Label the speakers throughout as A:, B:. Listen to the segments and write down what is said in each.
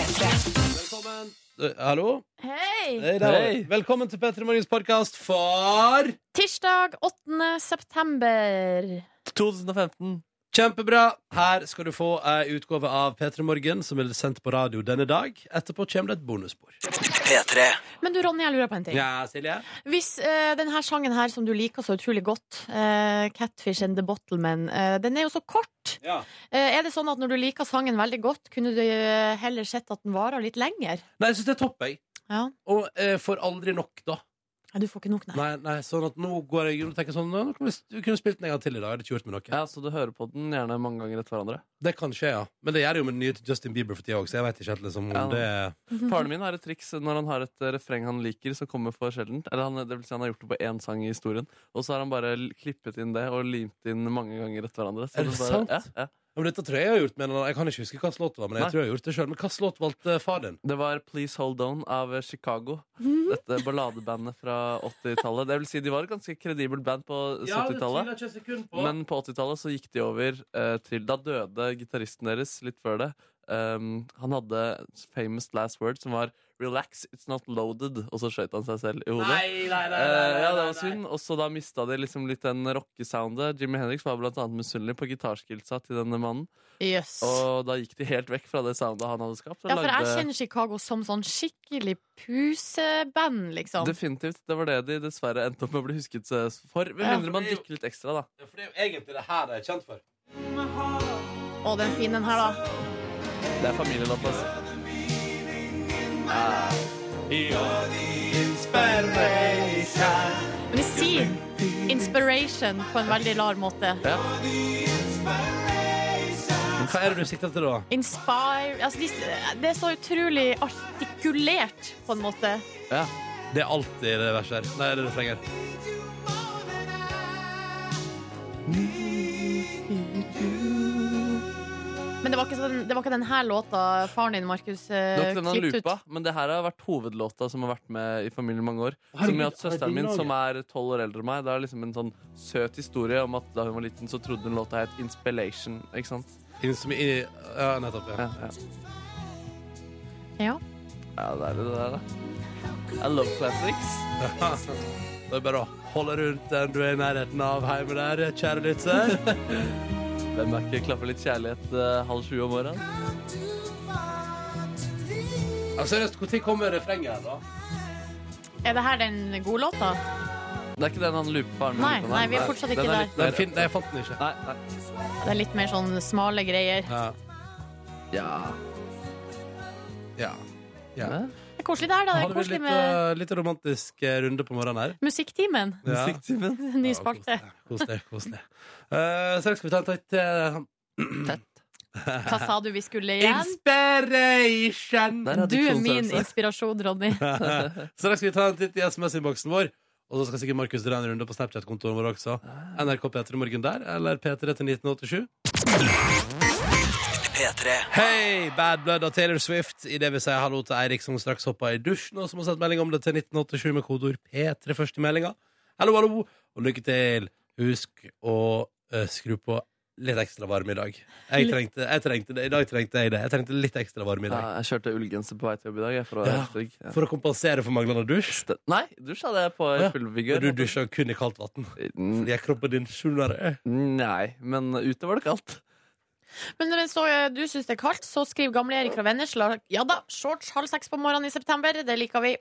A: Velkommen. Eh, Hallo?
B: Hei!
A: Hei, der var
C: Hei.
A: vi. Velkommen til Petter Morgens podkast for
B: Tirsdag 8. september.
C: 2015.
A: Kjempebra! Her skal du få ei utgave av P3 Morgen som er sendt på radio denne dag. Etterpå kommer det et bonusspor.
B: Men du, Ronny, jeg lurer på en ting.
A: Ja, Silje?
B: Hvis eh, denne sangen her som du liker så utrolig godt, eh, 'Catfish and the Bottleman', eh, den er jo så kort.
A: Ja.
B: Eh, er det sånn at når du liker sangen veldig godt, kunne du eh, heller sett at den varer litt lenger?
A: Nei, jeg syns det er topp, jeg.
B: Ja.
A: Og eh, får aldri nok, da.
B: Ja, Du får ikke nok, nei.
A: Nei, nei, sånn at nå går jeg rundt og tenker sånn Nå kunne vi- vi kunne spilt den en gang til i dag. Jeg hadde ikke gjort meg noe.
C: Ja, Så du hører på den gjerne mange ganger etter hverandre?
A: Det kan skje, ja. Men det gjør jeg jo med den nye til Justin Bieber for tida òg, så jeg vet ikke helt liksom, om
C: Ja.
A: det
C: Faren min har et triks når han har et eh, refreng han liker, som kommer for sjelden. Eller han, det vil si han har gjort det på én sang i historien. Og så har han bare l- klippet inn det og limt inn mange ganger etter hverandre. Så
A: Er det
C: bare,
A: sant?
C: Ja, ja.
A: ja, men Dette tror jeg jeg har gjort, men jeg kan ikke huske hvilken låt det var. Men jeg
C: Nei.
A: tror jeg har gjort det selv. Men hvilken låt valgte far din?
C: Det var Please Hold On av eh, Chicago. Dette balladebandet fra 80-tallet. Det vil si, de var et ganske kredibelt band på 70-tallet.
A: ikke sekund
C: Men på 80-tallet så gikk de over eh, til Da døde gitaristen deres litt før det. Um, han hadde famous last word som var 'relax, it's not loaded', og så skjøt han seg selv i hodet. Eh, ja, det var synd. Og så da mista de liksom litt den rockesoundet. Jimmy Henriks var blant annet misunnelig på gitarskillsa til denne mannen.
B: Jøss.
C: Og da gikk de helt vekk fra det soundet han hadde skapt. og
B: Ja, for jeg
C: lagde-
B: kjenner Chicago som sånn skikkelig puseband, liksom.
C: Definitivt. Det var det de dessverre endte opp med å bli husket eh, for. Med
B: Ja.
C: mindre man dykker litt ekstra, da.
A: For det er jo egentlig det her jeg er kjent for.
B: Å, den fin den her, da.
C: Det er familielåt, altså.
B: Men det sier 'inspiration' på en veldig rar måte.
C: Ja.
A: Hva er det du sikter til, da?
B: Inspire altså, de, Det er så utrolig artikulert, på en måte.
C: ja.
A: Det er alltid det verset her. Nei, det er refrenget. her.
B: Men det var ikke, sånn, det var ikke denne låta faren din, Markus,
C: Det var
B: eh,
C: ikke den han
B: klippte ut.
C: loopa, men det her har vært hovedlåta som har vært med i familien i mange år.
A: Herregud,
C: som gjør at
A: har
C: Søsteren
A: du
C: min,
A: laget?
C: som er tolv år eldre enn meg, det er liksom en sånn søt historie om at da hun var liten, så trodde hun låta het Inspillation. Ikke sant?
A: Inn som i Ja, nettopp. Ja.
C: Ja, ja.
B: Ja.
C: ja det er det der, da. I love classics.
A: Da er det bare å holde rundt den du er i nærheten av hjemme der, kjære lytter.
C: Hvem er ikke klapper litt kjærlighet eh, halv sju om morgenen?
A: Ja, seriøst, når kommer refrenget her, da?
B: Er det her den gode låta?
C: Det er ikke den han looper faren min
B: Nei,
C: ut av,
B: nei, vi er fortsatt ikke
C: Den
B: der.
C: litt
A: Nei,
C: mer-
A: fin, nei, jeg fant den ikke.
C: Nei, nei.
B: Det er litt mer sånn smale greier.
A: Ja.
C: Ja.
A: ja. ja.
C: Hæ?
B: Det er koselig det her, da. Det
A: Hadde
B: er
A: vi
B: koselig
A: litt,
B: med
A: eh, litt romantisk eh, runde på morgenen her?
B: Musikktimen.
A: Ja.
C: Musikktimen.
B: Ny spalte.
A: Ja, Kos deg, kos deg. Eh, Straks skal vi ta en tett eh,
B: Hva sa du vi skulle igjen?
A: Inspiration!
C: Der hadde
B: Du er min
C: diksjonsøvelse.
B: inspirasjon, Ronny.
A: Straks skal vi ta en titt i SMS-innboksen vår. Og så skal sikkert Markus dra en runde på Snapchat-kontoen vår også. NRK P3 Morgen der, eller P3 til 1987. Hei, Bad Blood og Taylor Swift. I det vi sier hallo til Eirik, som straks hoppa i dusjen, og som har sendt melding om det til 1987 med kodeord P3 først i meldinga. Hallo, hallo, og lykke til. Husk å eh, skru på litt ekstra varme i dag. Jeg trengte, jeg trengte det. I dag trengte jeg det. Jeg trengte litt ekstra varme i
C: Ja,
A: dag.
C: jeg kjørte ullgenser på vei til jobb i dag. Jeg, for å være
A: Ja,
C: helt trygg. Ah, Ja.
A: For å kompensere for manglende dusj.
C: Ste- Nei, dusj hadde jeg på
A: ja.
C: fullvigør.
A: Men du dusja kun i kaldt vann.
C: Mm,
A: Fordi jeg kroppen din skjønner det.
C: Nei, men ute var det kaldt.
B: Men mens da du syns det er kaldt, så skriver gamle Erik fra Vennesla Ja da, shorts halv seks på morgenen i september. Det liker vi.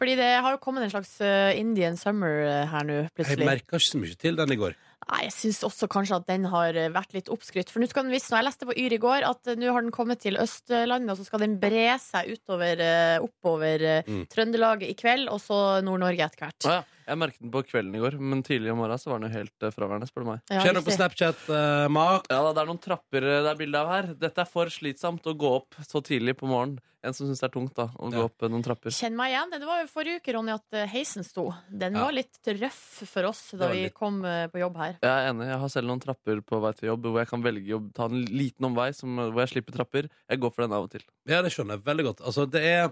B: Fordi det har jo kommet en slags eh, Indian summer eh, her nå,
A: Jeg
B: plutselig.
A: merka ikke så mye til den i går.
B: Nei, jeg syns også kanskje at den har eh, vært litt oppskrytt. For nå skal den visst, jeg leste på Yr i går, at eh, nå har den kommet til Østlandet, og så skal den bre seg utover, eh, oppover eh,
A: Mm.
B: Trøndelag i kveld, og så Nord-Norge etter hvert.
C: Ah, ja. Jeg merket den på kvelden i går, men tidlig om morgenen så var den jo helt eh, fraværende. spør du meg.
B: Ja,
A: Kjenn opp på
B: riktig.
A: Snapchat, eh, Mark.
C: Ja, da, Det er noen trapper eh, det er bilde av her. Dette er for slitsomt å gå opp så tidlig på morgenen. En som syns det er tungt da, å
A: Ja.
C: gå opp eh, noen trapper.
B: Kjenn meg igjen. Det var jo forrige uke, Ronny, at eh, heisen sto. Den
A: Ja.
B: var litt røff for oss
A: Det
B: da
A: var
B: vi
A: litt.
B: kom eh, på jobb her.
C: Jeg er enig, jeg har selv noen trapper på vei til jobb hvor jeg kan velge å ta en liten omvei som, hvor jeg slipper trapper. Jeg går for den av og til.
A: Ja, det skjønner jeg veldig godt. Altså, det er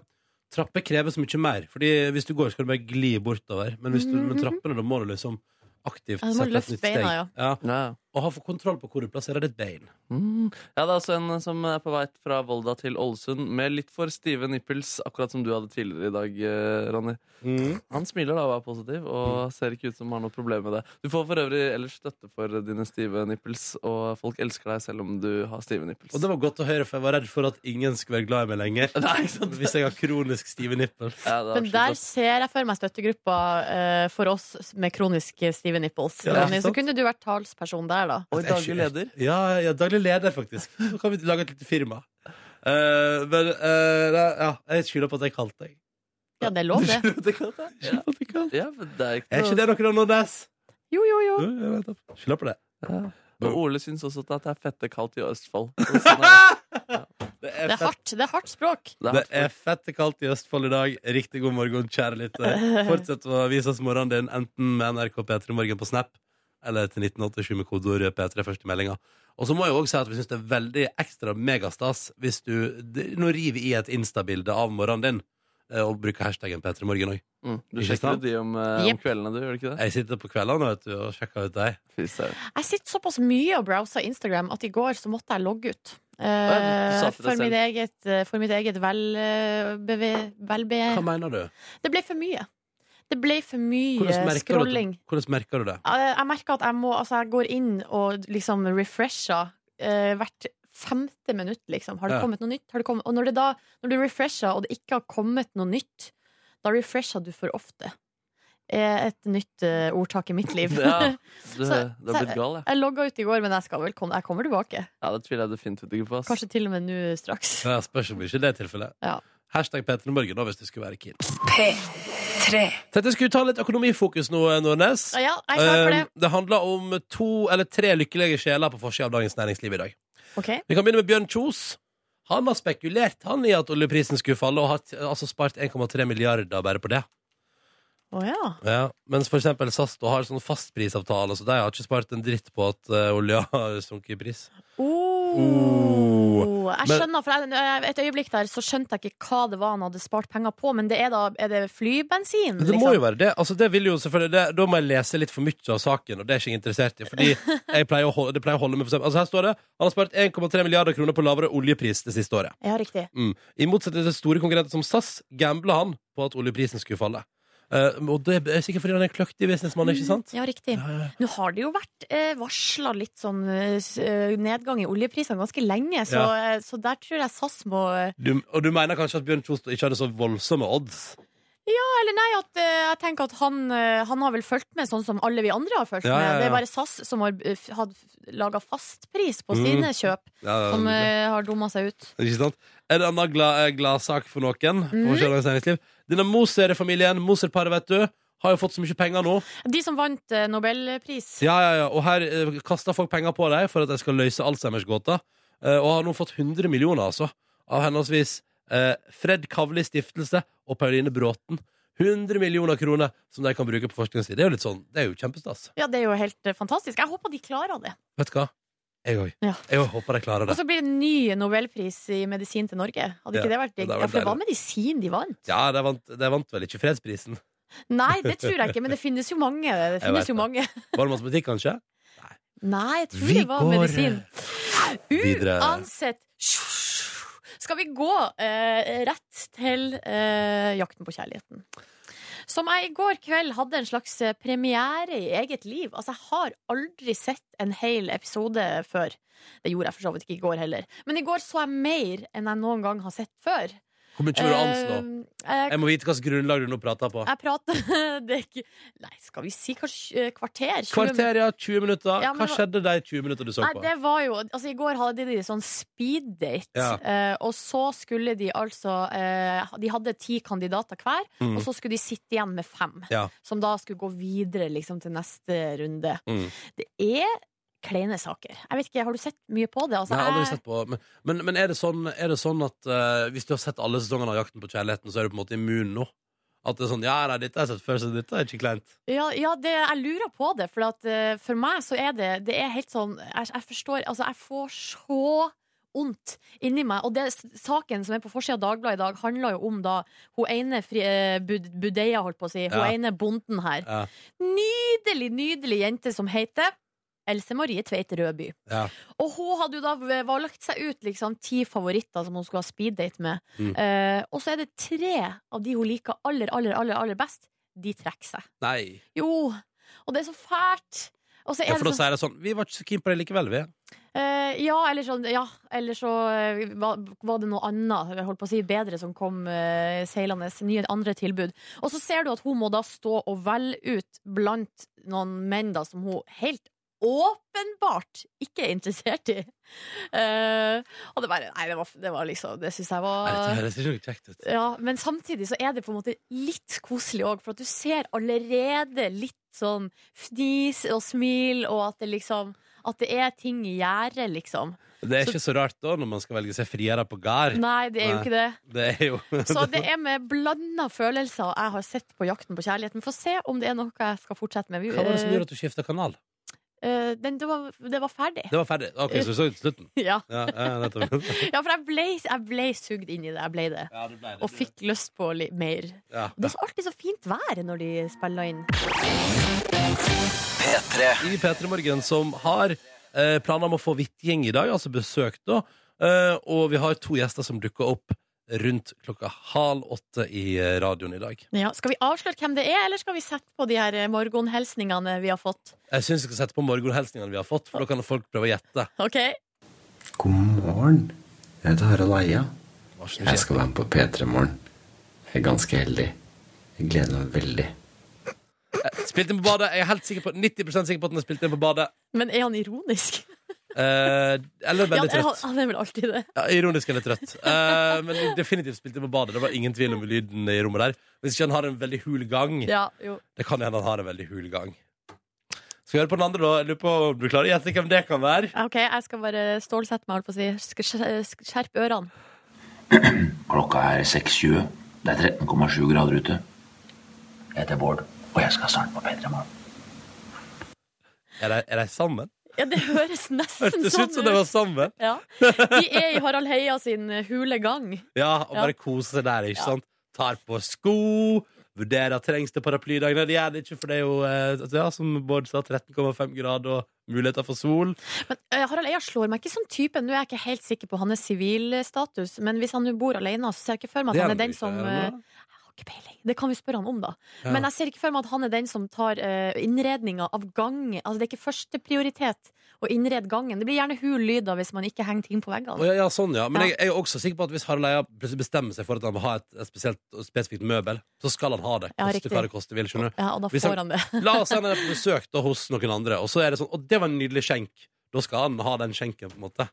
A: Trapper krever så mye mer. Fordi hvis du går, skal du bare gli bortover. Men hvis du med trappene, da må du liksom aktivt
B: Mhm. Ja, du må
A: sette et
B: løfte
A: nytt steg.
B: beina, ja.
C: Ja.
A: og ha få kontroll på hvor du plasserer ditt bein.
C: Mm. Ja, det er altså en som er på vei fra Volda til Ålesund med litt for stive nipples, akkurat som du hadde tidligere i dag, eh, Ronny.
B: Mhm.
C: Han smiler da og er positiv, og ser ikke ut som har noe problem med det. Du får for øvrig ellers støtte for dine stive nipples, og folk elsker deg selv om du har stive nipples.
A: Og det var godt å høre, for jeg var redd for at ingen skulle være glad i meg lenger.
C: Nei, ikke sant?
A: Hvis jeg har kronisk stive nipper.
C: Ja, det er
B: Men der
C: absolutt
B: ser jeg for meg støttegruppa eh, for oss med kronisk stive nipples.
A: Ja,
B: Ronny,
A: ikke
B: så
A: sant?
B: kunne du vært talsperson der, da.
C: sant. Og i daglig leder.
A: Ja, ja, daglig leder, faktisk. Så kan vi lage et lite firma. Eh, men eh, nei, ja, jeg skylder på at jeg kalte deg.
B: Ja, det er
A: Sånn,
B: lov, det.
C: Det kan det. Ja. Ja, men det er
A: Er
C: ikke
A: ikke
C: noe
A: det noe nådes?
B: Jo, jo, jo.
A: Skylder på det.
C: ja. Og Ole syns også at det er fette kaldt i Østfold. Og Sånn er,
A: Det
B: Det
A: er
B: er
A: fett.
B: hardt, det er hardt språk.
C: det
A: Det
C: er
A: er fette kaldt i Østfold i dag. Riktig god morgen, kjære lytter. Fortsett å vise oss morgenen din, enten med NRK P3 Morgen på Snap eller til 1987 med kodeord P3 først i meldinga. Og så må jeg også si at vi syns det er veldig ekstra megastas hvis du d- nå river i et Insta-bilde av morgenen din. eh, Og bruker hashtaggen P3 Morgen òg.
C: Mm. Du
A: Ikke
C: sjekker
A: sant?
C: jo de om, eh, om
B: Jep.
C: kveldene, du, gjør du ikke det?
A: Jeg sitter på kveldene vet du, og sjekker ut deg.
C: Fy søren.
B: Jeg sitter såpass mye og browser Instagram at i går så måtte jeg logge ut. Eh,
C: ja, du sa til deg
B: for,
C: selv.
B: mitt eget, eh, for mitt eget vel, eh, beve- velbe...
A: Hva mener du?
B: Det ble for mye. Det ble for
A: Hvordan
B: mye
A: merker du,
B: eh, scrolling.
A: at- hvordan merker du det?
B: Eh, Jeg merker at jeg må Altså, jeg går inn og liksom refresher eh, hvert femte minutt, liksom. Har det
A: Ja.
B: kommet noe nytt? Har det kommet? Og når, det da, når du refresher, og det ikke har kommet noe nytt, da refresher du for ofte. Er et nytt eh, ordtak i mitt liv.
C: Ja, du, du
B: Så-
C: har blitt gal, ja.
B: jeg logga ut i går, men jeg, skal vel komme, jeg kommer tilbake.
C: ja. Det tviler jeg definitivt ikke på. ass.
B: Kanskje til og med nå straks.
A: Ja, spørs om ikke det er tilfellet.
B: Ja.
A: Hashtag P3 Morgen da, hvis du skulle være keen. Tete skulle ta litt økonomifokus nå, Nordnes.
B: Ja, jeg er klar for det.
A: Eh, det handler om to eller tre lykkelige sjeler på forsida av Dagens Næringsliv i dag.
B: Ok,
A: Vi kan begynne med Bjørn Kjos. Han har spekulert han i at oljeprisen skulle falle, og har t- altså spart 1,3 milliarder bare på det.
B: Å ja.
A: Ja, mens for eksempel SAS da har sånn fastprisavtale, så de har ikke spart en dritt på at eh, olja har sunket i pris.
B: Oh. Jeg
A: Men-
B: skjønner, for jeg, Et øyeblikk der så skjønte jeg ikke hva det var han hadde spart penger på, men det er da er det flybensin? liksom?
A: Men Det må jo være det. Altså, det vil jo selvfølgelig det, Da må jeg lese litt for mye av saken, og det er ikke jeg interessert i. Fordi jeg pleier å holde, det pleier å holde med for eksempel, Altså Her står det han har spart 1,3 milliarder kroner på lavere oljepris det siste året.
B: Ja, riktig.
A: Mm. I motsetning til store konkurrenter som SAS gambla han på at oljeprisen skulle falle. Eh, og det er sikkert fordi han er en kløktig businessmann, ikke sant?
B: Ja, riktig.
A: Ja,
B: Nå har det jo vært eh, varsla litt sånn eh, s- eh, nedgang i oljeprisene ganske lenge, så, eh, så der tror jeg SAS må eh,
A: Du, og du mener kanskje at Bjørn Kjos ikke hadde så voldsomme odds?
B: Eller nei, at eh, jeg tenker at han, eh, han har vel fulgt med sånn som alle vi andre har fulgt
A: Ja, ja,
B: med.
A: ja.
B: Det er bare SAS som har eh, f- hatt laga fastpris på
A: Mm.
B: sine kjøp,
A: Ja,
B: som eh, har dumma seg ut.
A: Ikke sant? En annen glad, gladsak for noen.
B: Mhm.
A: For Sjølands Næringsliv. Denne Moser-familien, Moser-paret, vet du, har jo fått så mye penger nå.
B: De som vant eh, nobelpris.
A: Ja, ja, ja. Og her eh, kaster folk penger på deg for at de skal løse Alzheimers-gåta. Eh, og har nå fått 100 millioner, altså, av henholdsvis eh, Fred Kavli stiftelse og Pauline Bråten. 100 millioner kroner som de kan bruke på forskningen sin. Det er jo litt sånn, det er jo kjempestas.
B: Ja, det er jo helt eh, fantastisk. Jeg håper de klarer det.
A: Vet du hva? Jeg òg.
B: Ja.
A: Jeg også håper de klarer
B: Og
A: det.
B: så blir det en ny nobelpris i medisin til Norge. Hadde ikke det vært
A: det
B: digg?
A: hadde vært
B: Ja, for det var
A: deilig.
B: medisin de vant.
A: Ja, de vant, de vant vel ikke fredsprisen?
B: Nei, det tror jeg ikke, men det finnes jo mange. Det
A: vet
B: finnes jo
A: det.
B: mange.
A: Varmvannsbutikk, kanskje?
B: Nei, jeg tror
A: Vi
B: det var
A: går, eh,
B: medisin.
A: videre.
B: Uansett skal vi gå eh, rett til eh, Jakten på kjærligheten. Som jeg i går kveld hadde en slags eh, premiere i eget liv. Altså, jeg har aldri sett en hel episode før. Det gjorde jeg for så vidt ikke i går heller. Men i går så jeg mer enn jeg noen gang har sett før.
A: Hvor mye vil du anslå?
B: Eh, jeg,
A: Jeg må vite hvilket grunnlag du nå prater på.
B: jeg prater Det er ikke Nei, skal vi si kanskje eh, kvarter? 20
A: Kvarter, ja. 20 minutter.
B: Ja, men
A: Hva
B: hva-
A: skjedde de 20 minutter du så
B: Nei,
A: på?
B: det var jo Altså, i går hadde de sånn speeddate,
A: Ja.
B: eh, og så skulle de altså eh, De hadde ti kandidater hver,
A: Mm.
B: og så skulle de sitte igjen med fem,
A: Ja.
B: som da skulle gå videre liksom til neste runde.
A: Mm.
B: Det er kleine saker. Jeg vet ikke, har du sett mye på det? Altså,
A: Nei, jeg har aldri
B: jeg-
A: sett på Men, men, men er, det sånn, er det sånn at eh, hvis du har sett alle sesongene av Jakten på kjærligheten, så er du på en måte immun nå? At det er sånn Ja, nei, dette har jeg sett før, så dette er ikke kleint.
B: Ja, ja det, jeg lurer på det, for at, eh, for meg så er det Det er helt sånn Jeg, jeg forstår Altså, jeg får så vondt inni meg. Og det, saken som er på forsida av Dagbladet i dag, handler jo om da hun ene fri, eh, bud, budeia, holdt på å si, hun
A: Ja.
B: ene bonden her.
A: Ja.
B: Nydelig, nydelig jente som heter Else Marie Tveit Rødby.
A: Ja.
B: Og hun hadde jo da v- valgt seg ut liksom ti favoritter som hun skulle ha speeddate med.
A: Mm.
B: Eh, og så er det tre av de hun liker aller, aller, aller, aller best. De trekker seg.
A: Nei.
B: Jo! Og det er så fælt. Og så er
A: Ja,
B: det
A: for da
B: sånn-
A: sier jeg sånn Vi var ikke så keen på det likevel, vi.
B: Eh, ja, eller sånn Ja, eller så eh, var, var det noe annet, jeg holdt på å si, bedre som kom eh, seilende. Nye andre tilbud. Og så ser du at hun må da stå og velge ut blant noen menn da som hun helt åpenbart ikke er interessert i. Eh, og det bare Nei, det var, det var liksom Det syns jeg
A: Nei, dette
B: var
A: høres ikke noe kjekt ut.
B: ja, Men samtidig så er det på en måte litt koselig òg, for at du ser allerede litt sånn fnis og smil, og at det liksom At det er ting i gjære, liksom.
A: Det er ikke så rart da, når man skal velge seg friere på gard.
B: Nei, det er jo
A: Nei.
B: ikke det.
A: Det er jo
B: Så det er med blanda følelser jeg har sett på Jakten på kjærligheten. Få se om det er noe jeg skal fortsette med. Vi-
A: Hva var det som gjorde at du skifta kanal?
B: Eh, eh, den, det, var, det var ferdig.
A: Det var ferdig. OK, så du så ut slutten.
B: Ja.
A: Ja, ja, nettopp.
B: ja, for jeg ble, jeg ble sugd inn i det. Jeg ble det.
A: Ja, det ble det.
B: Og fikk lyst på litt mer.
A: Ja.
B: Det er alltid så fint vær når de spiller inn.
A: i P3 Morgen som har eh, planer om å få Hvitgjeng i dag, altså besøk da. Eh, og vi har to gjester som dukker opp rundt klokka halv åtte i eh, radioen i dag.
B: Ja, skal vi avsløre hvem det er, eller skal vi sette på de her eh, morgenhelsningene vi har fått?
A: Jeg syns vi skal sette på morgenhelsingene vi har fått, for da kan folk prøve å gjette.
B: Ok?
D: God morgen. Jeg heter Harald Eia.
A: Hva som
D: Jeg
A: skjer.
D: skal være med på P3 i morgen. Jeg er ganske heldig. Jeg gleder meg veldig.
A: Spilt Eh, inn på badet. Jeg er helt sikker på, 90 sikker på at den er spilt inn på badet.
B: Men er han ironisk?
A: Eh, eller
B: Ja,
A: veldig
B: han,
A: trøtt.
B: han er vel alltid det.
A: Ja, ironisk eller trøtt. Eh, men definitivt spilt inn på badet. Det var ingen tvil om lyden i rommet der. Hvis ikke han har en veldig hul gang.
B: Ja, jo.
A: Det kan hende han har en veldig hul gang. Skal vi høre på den andre, da? Jeg Lurer på om du klarer å gjette hvem det kan være?
B: Ok, jeg skal bare stålsette meg, holdt på å si. Sk- sk- Skjerp ørene.
E: Klokka er 6.20. Det er 13,7 grader ute. Jeg heter Bård, og jeg skal snart på P3 Morgen.
A: Er de, er de sammen?
B: Ja, det høres nesten
A: Hørtes
B: sånn
A: ut som de var sammen.
B: Ja. De er i Harald Heia sin hule gang.
A: Ja, og
B: Ja.
A: bare kose seg der, ikke sant? Tar på sko, vurderer trengs det paraplydag. Nei, det gjør det ikke, for det er jo, eh, ja, som Bård sa, 13,5 grader og muligheter for sol.
B: Men eh, Harald Eia slår meg ikke som typen. Nå er jeg ikke helt sikker på hans sivilstatus, men hvis han nå bor alene, så ser jeg ikke for meg
A: Det
B: at
A: er
B: han er
A: han
B: den
A: ikke,
B: som
A: er
B: eh,
A: han det?
B: Jeg har ikke peiling. Det kan vi spørre han om, da.
A: Ja.
B: Men jeg ser ikke for meg at han er den som tar eh, innredninga av gangen. Altså, det er ikke førsteprioritet å innrede gangen. Det blir gjerne hul lyd da hvis man ikke henger ting på
A: Å,
B: veggene.
A: ja, ja, sånn, ja. Men
B: Ja.
A: Jeg, jeg er også sikker på at hvis Harald Eia plutselig bestemmer seg for at han vil ha et, et spesielt og spesifikt møbel, så skal han ha det.
B: Ja,
A: Koste
B: riktig.
A: hva det koste vil, skjønner du.
B: Ja, og da
A: Hvis han-
B: får han det.
A: La oss si han er på besøk da, hos noen andre, og så er det sånn Og det var en nydelig skjenk. Da skal han ha den skjenken, på en måte.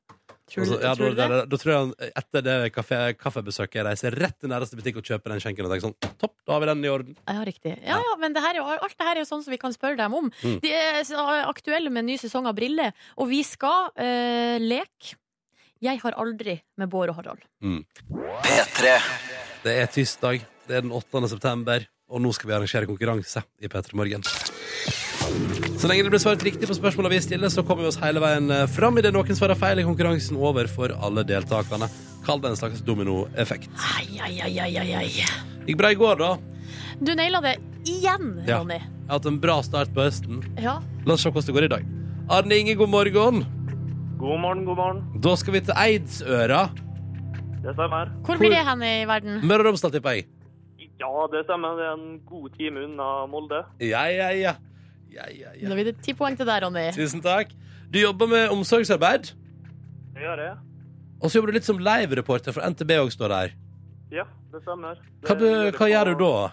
B: Tror,
A: Altså,
B: du-
A: ja,
B: tror du
A: da,
B: det?
A: da, da tror jeg han etter det kaffe, kaffebesøket reiser rett til nærmeste butikk og kjøper den skjenken og tenker sånn Topp, da har vi den i orden.
B: Ja, riktig. Ja, ja, men det her er, jo- alt det her er jo sånn som vi kan spørre dem om.
A: Mm.
B: De er så aktuelle med en ny sesong av Brille, og vi skal eh, leke Jeg har aldri med Bård og Harald.
A: Det er tirsdag, det er den 8. september, og nå skal vi arrangere konkurranse i P3 Morgen. Så lenge det blir svart riktig på spørsmåla vi stiller, så kommer vi oss hele veien eh, fram. Idet noen svarer feil, er konkurransen over for alle deltakerne. Kall det en slags dominoeffekt.
B: Ai, ai, ai, ai, ai, ai.
A: Gikk bra i går, da.
B: Du naila det igjen,
A: Ja.
B: Ronny.
A: Jeg har hatt en bra start på høsten.
B: Ja.
A: La oss se hvordan det går i dag. Arne Inge, god morgen.
F: God morgen, god morgen.
A: Da skal vi til Eidsøra.
F: Det stemmer.
B: Hvor blir det hen i verden?
A: Møre og Romsdal, tipper jeg.
F: Ja, det stemmer. Det er en god time unna Molde.
A: Ja, ja, ja. ja, ja,
B: Da
A: ja.
B: blir det ti poeng til deg, Ronny.
A: Tusen takk. Du jobber med omsorgsarbeid,
F: Det gjør jeg.
A: og så jobber du litt som live-reporter for NTB òg, står der.
F: Ja, det stemmer. Det
A: Hva, be,
F: jeg
A: hva gjør du
F: på-
A: da?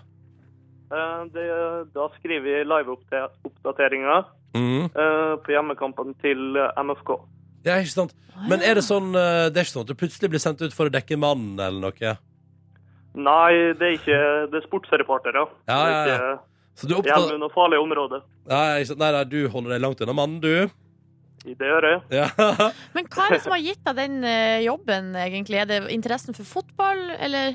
F: Eh, Det, da skriver vi liveoppdateringer
A: Mm.
F: eh, på hjemmekampen til eh, MFK.
A: Ja, ikke sant. Men er det sånn eh, Det er ikke sånn at du plutselig blir sendt ut for å dekke mannen eller noe?
F: Nei, det er ikke Det er sportsreportere.
A: Ja, ja, ja.
F: Det er ikke
A: Så du er opptatt...
F: Hjemme under farlige områder.
A: Nei, ikke sant? nei, nei, du holder deg langt unna mannen, du.
F: Det gjør jeg.
A: Ja.
B: Men hva er det som har gitt deg den eh, jobben, egentlig? Er det interessen for fotball, eller?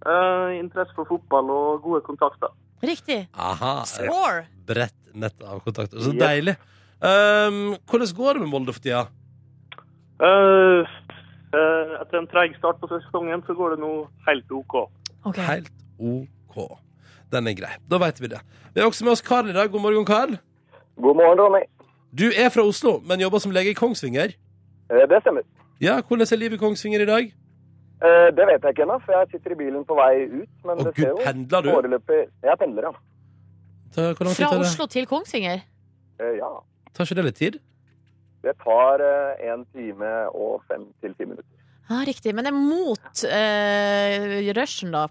F: Eh, Interesse for fotball og gode kontakter.
B: Riktig.
A: Aha.
B: Score!
A: Bredt nett av kontakter. Så
F: Yep.
A: deilig. Um, hvordan går det med Molde for tida?
F: Eh, eh, Etter en treig start på sesongen så går det nå helt OK.
B: Ok.
A: Helt OK. Den er grei. Da veit vi det. Vi har også med oss Karl i dag. God morgen, Karl.
G: God morgen, Ronny.
A: Du er fra Oslo, men jobber som lege i Kongsvinger.
G: Eh, Det stemmer.
A: Ja, Hvordan er livet i Kongsvinger i dag?
G: Eh, Det vet jeg ikke ennå, for jeg sitter i bilen på vei ut. Men
A: Å
G: det ser
A: gud,
G: jo
A: pendler du?
G: foreløpig Jeg pendler, ja.
A: Ta, hvor lang tid
B: Fra
A: tar det?
B: Oslo til Kongsvinger?
G: Eh, Ja.
A: Tar ikke det litt tid?
G: Det tar eh, en time og fem til ti minutter.
B: Ja, Ah, riktig. Men det er mot eh, rushen, da.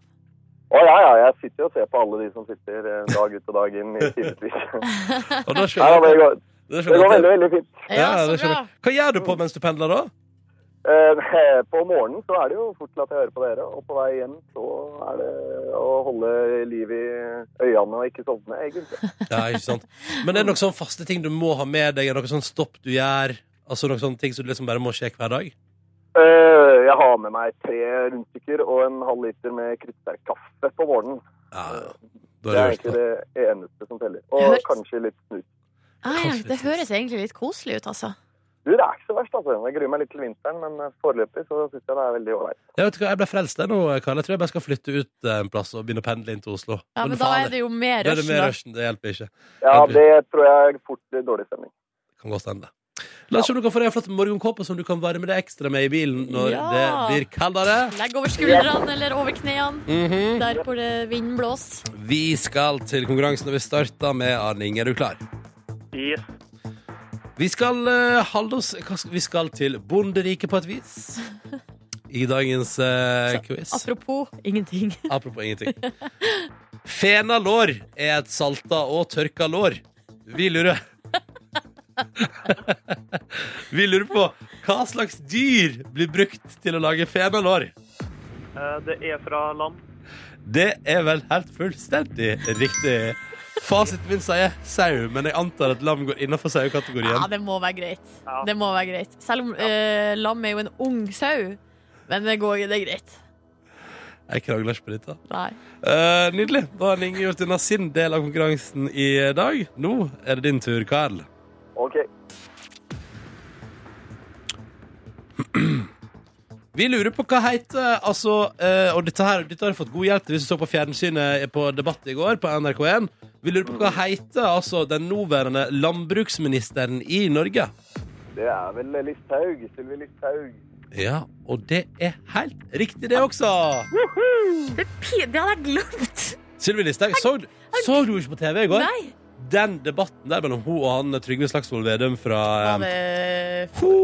G: Å ja, ja. Jeg sitter jo og ser på alle de som sitter eh, dag ut og dag inn i timevis.
A: Og
G: Ja,
A: da skjønner
G: det,
A: jeg.
G: går-
A: Da
G: det går
A: skjønner
G: veldig,
A: jeg.
G: veldig fint.
B: Ja,
A: det
B: så bra.
A: skjønner jeg. Hva gjør du på mens du pendler, da?
G: Eh, På morgenen så er det jo fort til at jeg hører på dere, og på vei hjem så er det å holde liv i øynene og ikke sovne, egentlig.
A: Ja, ikke sant Men er det noen sånne faste ting du må ha med deg? Er det noen sånne stopp du gjør? Altså noen sånne ting som du liksom bare må skje hver dag?
G: Eh, Jeg har med meg tre rundstykker og en halv liter med kryddsterk kaffe på morgenen.
A: Ja, da
G: Det er
A: er det gjort.
G: egentlig
A: da.
G: det eneste som teller.
B: Jeg
G: Og
B: hører-
G: kanskje litt snus.
B: Ah, ja,
A: Kanskje
B: det
A: litt
B: høres egentlig litt koselig ut, altså.
G: Du, det er ikke så verst, altså. Jeg gruer meg litt til vinteren, men eh, foreløpig så syns jeg det er veldig ålreit.
A: Jeg vet ikke hva, jeg ble frelst der nå, Karl. Jeg tror jeg bare skal flytte ut eh, en plass og begynne å pendle inn til Oslo.
B: Ja, men da er det jo mer
A: Da er det
B: rushen,
A: mer
B: da.
A: rushen. Det hjelper ikke.
G: Ja,
A: Ja, du-
G: det tror jeg er fort blir dårlig stemning.
A: Kan godt hende. La oss se om du kan få deg en flott morgenkåpe som du kan varme deg ekstra med i bilen når
B: Ja.
A: det blir kaldere.
B: Legg over skuldrene eller over knærne,
A: Mhm.
B: der hvor det vinden blåser.
A: Vi skal til konkurransen, og vi starter med Arning. Er du klar?
F: Yes.
A: Vi skal eh, holde oss hva skal- Vi skal til Bonderiket på et vis. I dagens eh, quiz.
B: altså, Apropos ingenting.
A: Apropos ingenting. Fena lår er et salta og tørka lår. Vi lurer Vi lurer på hva slags dyr blir brukt til å lage fena lår.
F: Eh, Det er fra land.
A: Det er vel helt fullstendig riktig. Fasiten min sier sau, men jeg antar at lam går innafor
B: Ja,
A: sauekategorien.
B: det må være greit.
F: Ja.
B: Det må være greit. Selv om eh, lam er jo en ung sau. Men det går det er greit.
A: Jeg krangler ikke på dette.
B: Nei.
A: Eh, nydelig. Da har Inge gjort unna sin del av konkurransen i dag. Nå er det din tur, Karl.
G: OK.
A: Vi lurer på hva heter altså, eh, Og dette, her, dette har jeg fått god hjelp til hvis du så på fjernsynet eh, på Debatt i går på NRK1. Vi lurer på hva heter altså, den nåværende landbruksministeren i Norge.
G: Det er vel Listhaug. Sylvi Listhaug.
A: Ja, og det er helt riktig, det også.
B: Det, er pi- det hadde jeg glemt!
A: Sylvi Listhaug, så, du- så du ikke på TV i går?
B: Nei.
A: Den debatten der mellom hun og han Trygve Slagsvold Vedum fra
B: Var
A: eh,
B: det-
A: Ho!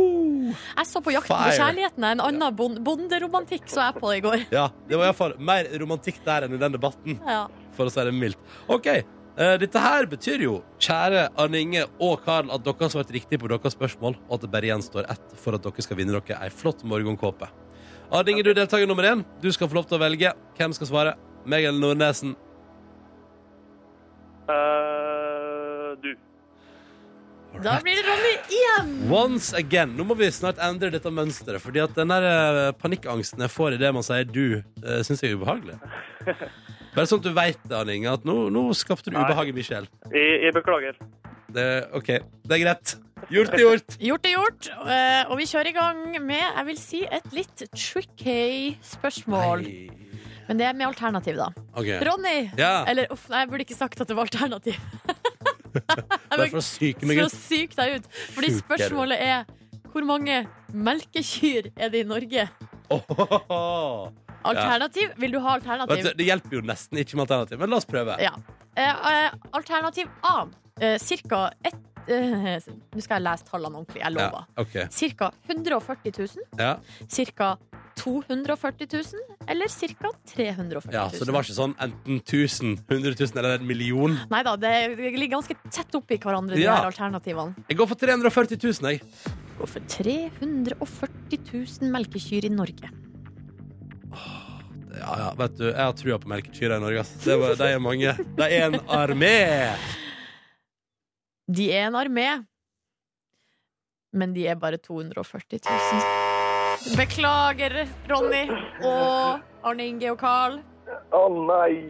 B: Jeg så på Jakten på
A: Fire.
B: kjærligheten. En annen bon bonderomantikk så jeg på det i går.
A: Ja, det var iallfall mer romantikk der enn i den debatten.
B: Ja.
A: for å si det mildt. OK. eh, dette her betyr jo, kjære Arne Inge og Karl, at dere har svart riktig på deres spørsmål, og at det bare gjenstår ett for at dere skal vinne dere ei flott morgenkåpe. Arne Inge, du er deltaker nummer én. Du skal få lov til å velge. Hvem skal svare? Meg eller Nordnesen?
F: Eh, Du.
B: Da blir det Ronny igjen!
A: Once again. Nå må vi snart endre dette mønsteret, fordi at den der eh, panikkangsten jeg får i det man sier du, uh, syns jeg er ubehagelig. Bare sånn at du veit det, Arne Inge, at nå, nå skapte du
F: Nei.
A: ubehag i min sjel.
F: Jeg, jeg beklager.
A: Det, OK, det er greit. Gjort er gjort.
B: Gjort er gjort, eh, og vi kjører i gang med jeg vil si, et litt tricky spørsmål.
A: Nei.
B: Men det er med alternativ, da.
A: Ok.
B: Ronny!
A: Ja.
B: Eller uff, nei, jeg burde ikke sagt at det var alternativ. jeg
A: Bare for
B: burde
A: å syke meg
B: for å
A: ut.
B: syke deg ut. Fordi
A: Syke deg ut.
B: spørsmålet er hvor mange melkekyr er det i Norge?
A: Åhåhå.
B: Alternativ? Vil du ha
A: Vet
B: alternativ?
A: du, det hjelper jo nesten ikke med alternativ, men la oss prøve.
B: Ja. Eh, eh, alternativ A. Eh, cirka ett eh, Nå skal jeg lese tallene ordentlig. Jeg
A: Ja,
B: lover.
A: ok.
B: Cirka 140 000.
A: Ja.
B: Cirka 240 000, eller cirka 340 000.
A: ja, Så det var ikke sånn enten 1000, 100 000 eller en million.
B: Nei da, det det ligger ganske tett oppi hverandre, de
A: Ja.
B: her alternativene.
A: Jeg går for 340 000, jeg.
B: Går for 340 000 melkekyr i Norge.
A: Ja, ja, vet du, Jeg har trua på melkekyra i Norge. ass. Det var, de er mange. De er en armé.
B: De er en armé, men de er bare 240 000. Beklager, Ronny og Arne Inge og Carl.
G: Å nei!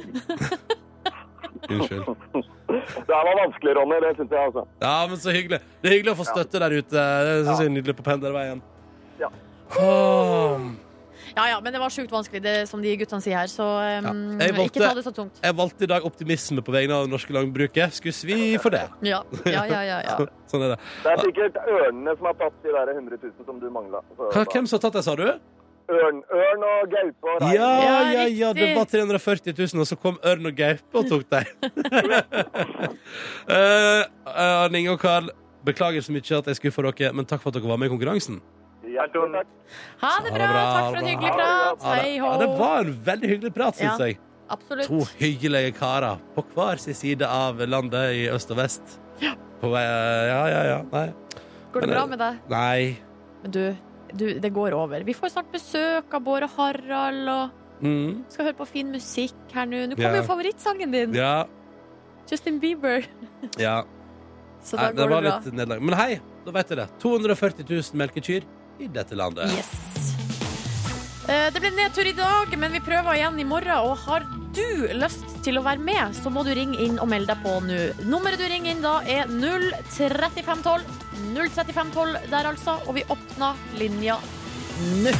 A: Unnskyld.
G: Det her var vanskelig, Ronny. Det syns jeg, altså.
A: Ja, men så hyggelig. Det er hyggelig å få støtte der ute. Det synes jeg er nydelig på pendlerveien.
G: Ja.
A: Åh.
B: Ja ja, men det var sjukt vanskelig, det som de guttene sier her, så um,
A: Ja. Jeg valgte-
B: ikke ta det så tungt.
A: Jeg valgte i dag optimisme på vegne av det norske langbruket. Skulle svi for det.
B: Ja, ja, ja. ja, ja.
A: Sånn er det.
G: Det er sikkert ørnene som har tatt de der 100 000 som du mangla.
A: Hva- Hvem som har tatt det, sa du?
G: Ørn, ørn og gaupe og
A: Ja,
G: rein.
A: ja,
B: Ja,
A: ja,
B: riktig.
A: det var 340 000, og så kom ørn og gaupe og tok deg. Eh, eh, Arne Inge og Karl, beklager så mye at jeg skuffa dere, men takk for at dere var med i konkurransen.
G: Hjertelig takk.
B: Ha det bra. Takk for en hyggelig prat.
A: Ja, det,
B: Hei
A: ja, det
B: ho.
A: var en veldig hyggelig prat, syns
B: Ja.
A: jeg. To
B: Absolutt.
A: hyggelige karer på hver sin side av landet, i øst og vest. På vei eh, Ja, ja, ja. Nei.
B: Går det
A: eh,
B: bra med deg?
A: Nei.
B: Men du, du, det går over. Vi får snart besøk av Bård og Harald, og
A: Mm.
B: skal høre på fin musikk her nå. Nå kommer
A: Ja.
B: jo favorittsangen din,
A: Ja.
B: Justin Bieber.
A: Ja.
B: Så
A: Nei,
B: da går
A: det
B: det
A: var
B: bra.
A: litt nederlag. Men hei, da vet jeg det. 240 000 melkekyr i dette landet.
B: Yes. Eh, Det ble nedtur i dag, men vi prøver igjen i morgen. Og har du lyst til å være med, så må du ringe inn og melde deg på nå. Nummeret du ringer inn da, er 03512. 03512 der, altså. Og vi åpner linja nå.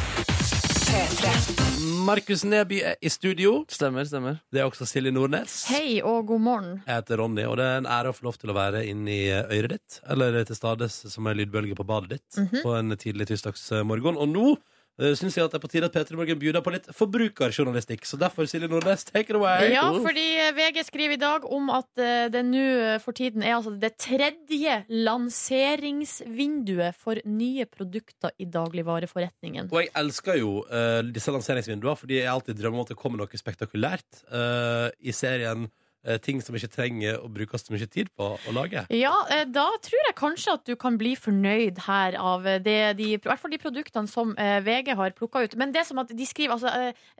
A: Markus Neby er i studio.
C: Stemmer, stemmer.
A: Det er også Silje Nordnes.
B: Hei og god morgen.
A: Jeg heter Ronny, og det er en ære å få lov til å være inni øret ditt. Eller til stades som en lydbølge på badet ditt
B: Mhm.
A: på en tidlig tirsdagsmorgen. Og nå uh, syns jeg at det er på tide at P3 Morgen bjuder på litt forbrukerjournalistikk. Så derfor, Silje Nordnes, take it away.
B: Ja, fordi VG skriver i dag om at eh, det nå eh, for tiden er altså det tredje lanseringsvinduet for nye produkter i dagligvareforretningen.
A: Og jeg elsker jo eh, disse lanseringsvinduene, fordi jeg alltid drømmer om at det kommer noe spektakulært eh, i serien eh, ting som ikke trenger å brukes så mye tid på å lage.
B: Ja, eh, da tror jeg kanskje at du kan bli fornøyd her av eh, det, de, i hvert fall de produktene som eh, VG har plukka ut. Men det som at de skriver, altså,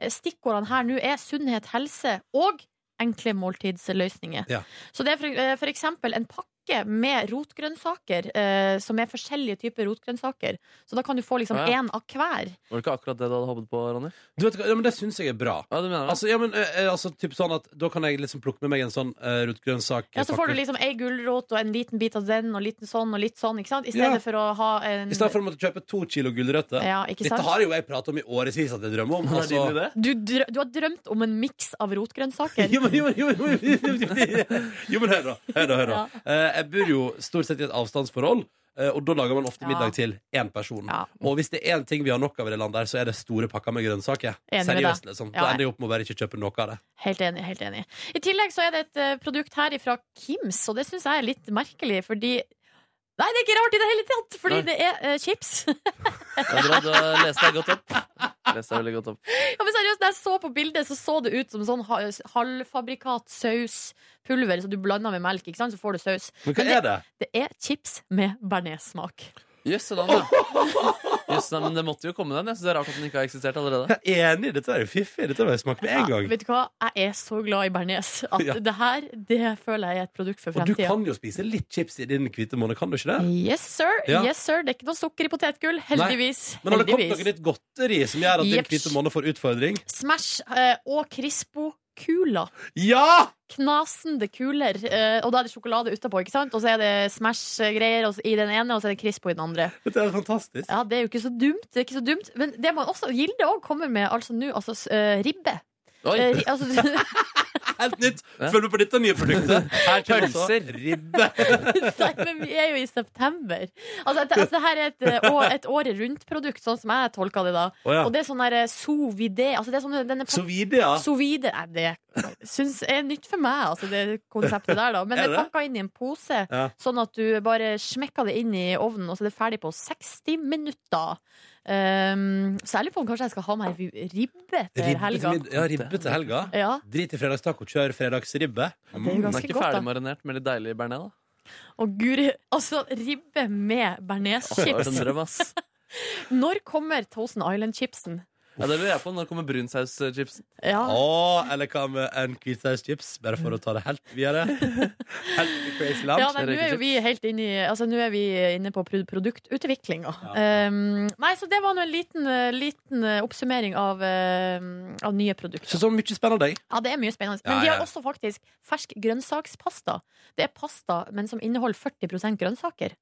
B: eh, stikkordene her nå er sunnhet, helse og enkle måltidsløsninger.
A: Ja.
B: Så det er for, eh, for eksempel en pakke med rotgrønnsaker, eh, som er forskjellige typer rotgrønnsaker. Så da kan du få liksom
C: Ja,
B: én
C: ja.
B: av hver.
C: Var det ikke akkurat det du hadde håpet på, Ronny?
A: Du vet hva, ja, men Det syns jeg er bra.
C: Ja, du mener det?
A: Altså, ja, men, eh, eh, altså, typ sånn at Da kan jeg liksom plukke med meg en sånn uh, rotgrønnsak.
B: Ja, så får du liksom ei gulrot og en liten bit av den, og liten sånn og litt sånn, ikke sant? I stedet
A: Ja.
B: for å ha en
A: I stedet for å måtte kjøpe to kilo gulrøtter.
B: Ja, ikke
A: Dette
B: sant?
A: har jo jeg pratet om i årevis at jeg drømmer om.
C: Det er din
A: Altså.
C: idé?
B: Du, drø du har drømt om en miks av rotgrønnsaker.
A: Jo, men, jo, men- jo, men- jo, men- jo, men hør, da. Hør, da, hør da.
B: Ja.
A: Eh, jeg bor jo stort sett i et avstandsforhold, eh, og da lager man
B: Ja.
A: ofte middag til én person.
B: Ja.
A: Og hvis det er én ting vi har nok av i det landet, her, så er det store pakker med grønnsaker.
B: Enig med
A: Seriøst,
B: deg.
A: liksom.
B: Ja,
A: Da ender jeg opp med å bare ikke kjøpe noe av det.
B: Helt enig. helt enig I tillegg så er det et eh, produkt her fra Kims, og det syns jeg er litt merkelig, fordi Nei, det er ikke rart i det hele tatt, fordi
C: Nei.
B: det er eh, chips.
C: Ja, bra, du har lest deg godt opp. Lest deg veldig godt opp.
B: ja, men seriøst, Da jeg så på bildet, så så det ut som sånn ha- halvfabrikat sauspulver, så du blander med melk, ikke sant? så får du saus.
A: Men hva
B: Men det-
A: er det?
B: Det er chips med bearnéssmak.
C: Jøsseland, da. Jøsseland, men det måtte jo komme den. Jeg synes det er rart at den ikke har eksistert allerede.
A: Jeg er enig, dette er jo fiffig. Dette må jeg smake med en
B: Ja,
A: gang.
B: vet du hva, jeg er så glad i bearnés at
A: Ja.
B: det her det føler jeg er et produkt for
A: Og du
B: fremtida.
A: kan jo spise litt chips i din hvite måned, kan du ikke det?
B: Yes sir,
A: Ja.
B: yes sir. Det er ikke noe sukker i potetgull. Heldigvis.
A: Men har det kommet
B: heldigvis.
A: noe litt godteri som gjør at din
B: Jeps.
A: hvite måned får utfordring?
B: Smash eh, og Crispo-kula.
A: Ja!
B: Knasende kuler. eh, og da er det sjokolade utapå, ikke sant? Og så er det Smash-greier og så- i den ene, og så er det Crispo i den andre.
A: Dette er fantastisk.
B: Ja, det er jo ikke så dumt. Det er ikke så dumt. Men det man også, Gilde òg kommer med altså nå, altså s- eh, ribbe.
C: Oi,
B: Eh, ri, altså,
A: Helt nytt.
C: Ja.
A: Følg med på dette nye produktet.
C: Eh,
A: Her kommer så
C: Pølser.
A: ribbe.
B: nei, men vi er jo i september. Altså, et, altså det her er et, eh, å- et året rundt-produkt, sånn som jeg tolka det da.
A: Oh, ja.
B: Og det er sånn der eh, sous vide. Altså, det er sånn, den er
A: Så videre, ja.
B: Sous vide Nei, det syns er nytt for meg, altså, det konseptet der, da. Men
A: Er
B: det
A: det?
B: er pakka inn i en pose,
A: Ja.
B: sånn at du bare smekker det inn i ovnen, og så er det ferdig på 60 minutter. Um, så jeg lurer på om kanskje jeg skal ha meg ribbe til
A: Ribbe til,
B: helga.
A: mid- ja, ribbe til helga.
B: Ja,
A: Drit i fredagstaco, kjør fredagsribbe.
B: det
A: Mm.
B: er jo
C: den er
B: ganske
C: ikke
B: godt, da.
C: ferdig marinert med litt deilig bearnés, da.
B: Og guri, altså, ribbe med
C: Det var en
B: bearnéschips.
C: drøm, ass.
B: Når kommer Thousand Island-chipsen?
C: Ja, det lurer jeg på. Når kommer brunsaus-chipsen?
A: Å,
B: Ja.
A: eller hva med en hvitsauschips? Bare for å ta det helt videre. Helt til crazy
B: Ja,
A: land.
B: nei, nå er jo vi helt inne i Altså, nå er vi inne på pro- produktutviklinga. Um, nei, så det var nå en liten, eh, liten eh, oppsummering av, eh, av nye produkter.
A: Så så mye spennende. jeg.
B: Ja, det er mye spennende. Men
A: Ja,
B: de
A: ja.
B: har også faktisk fersk grønnsakspasta. Det er pasta, men som inneholder 40 grønnsaker.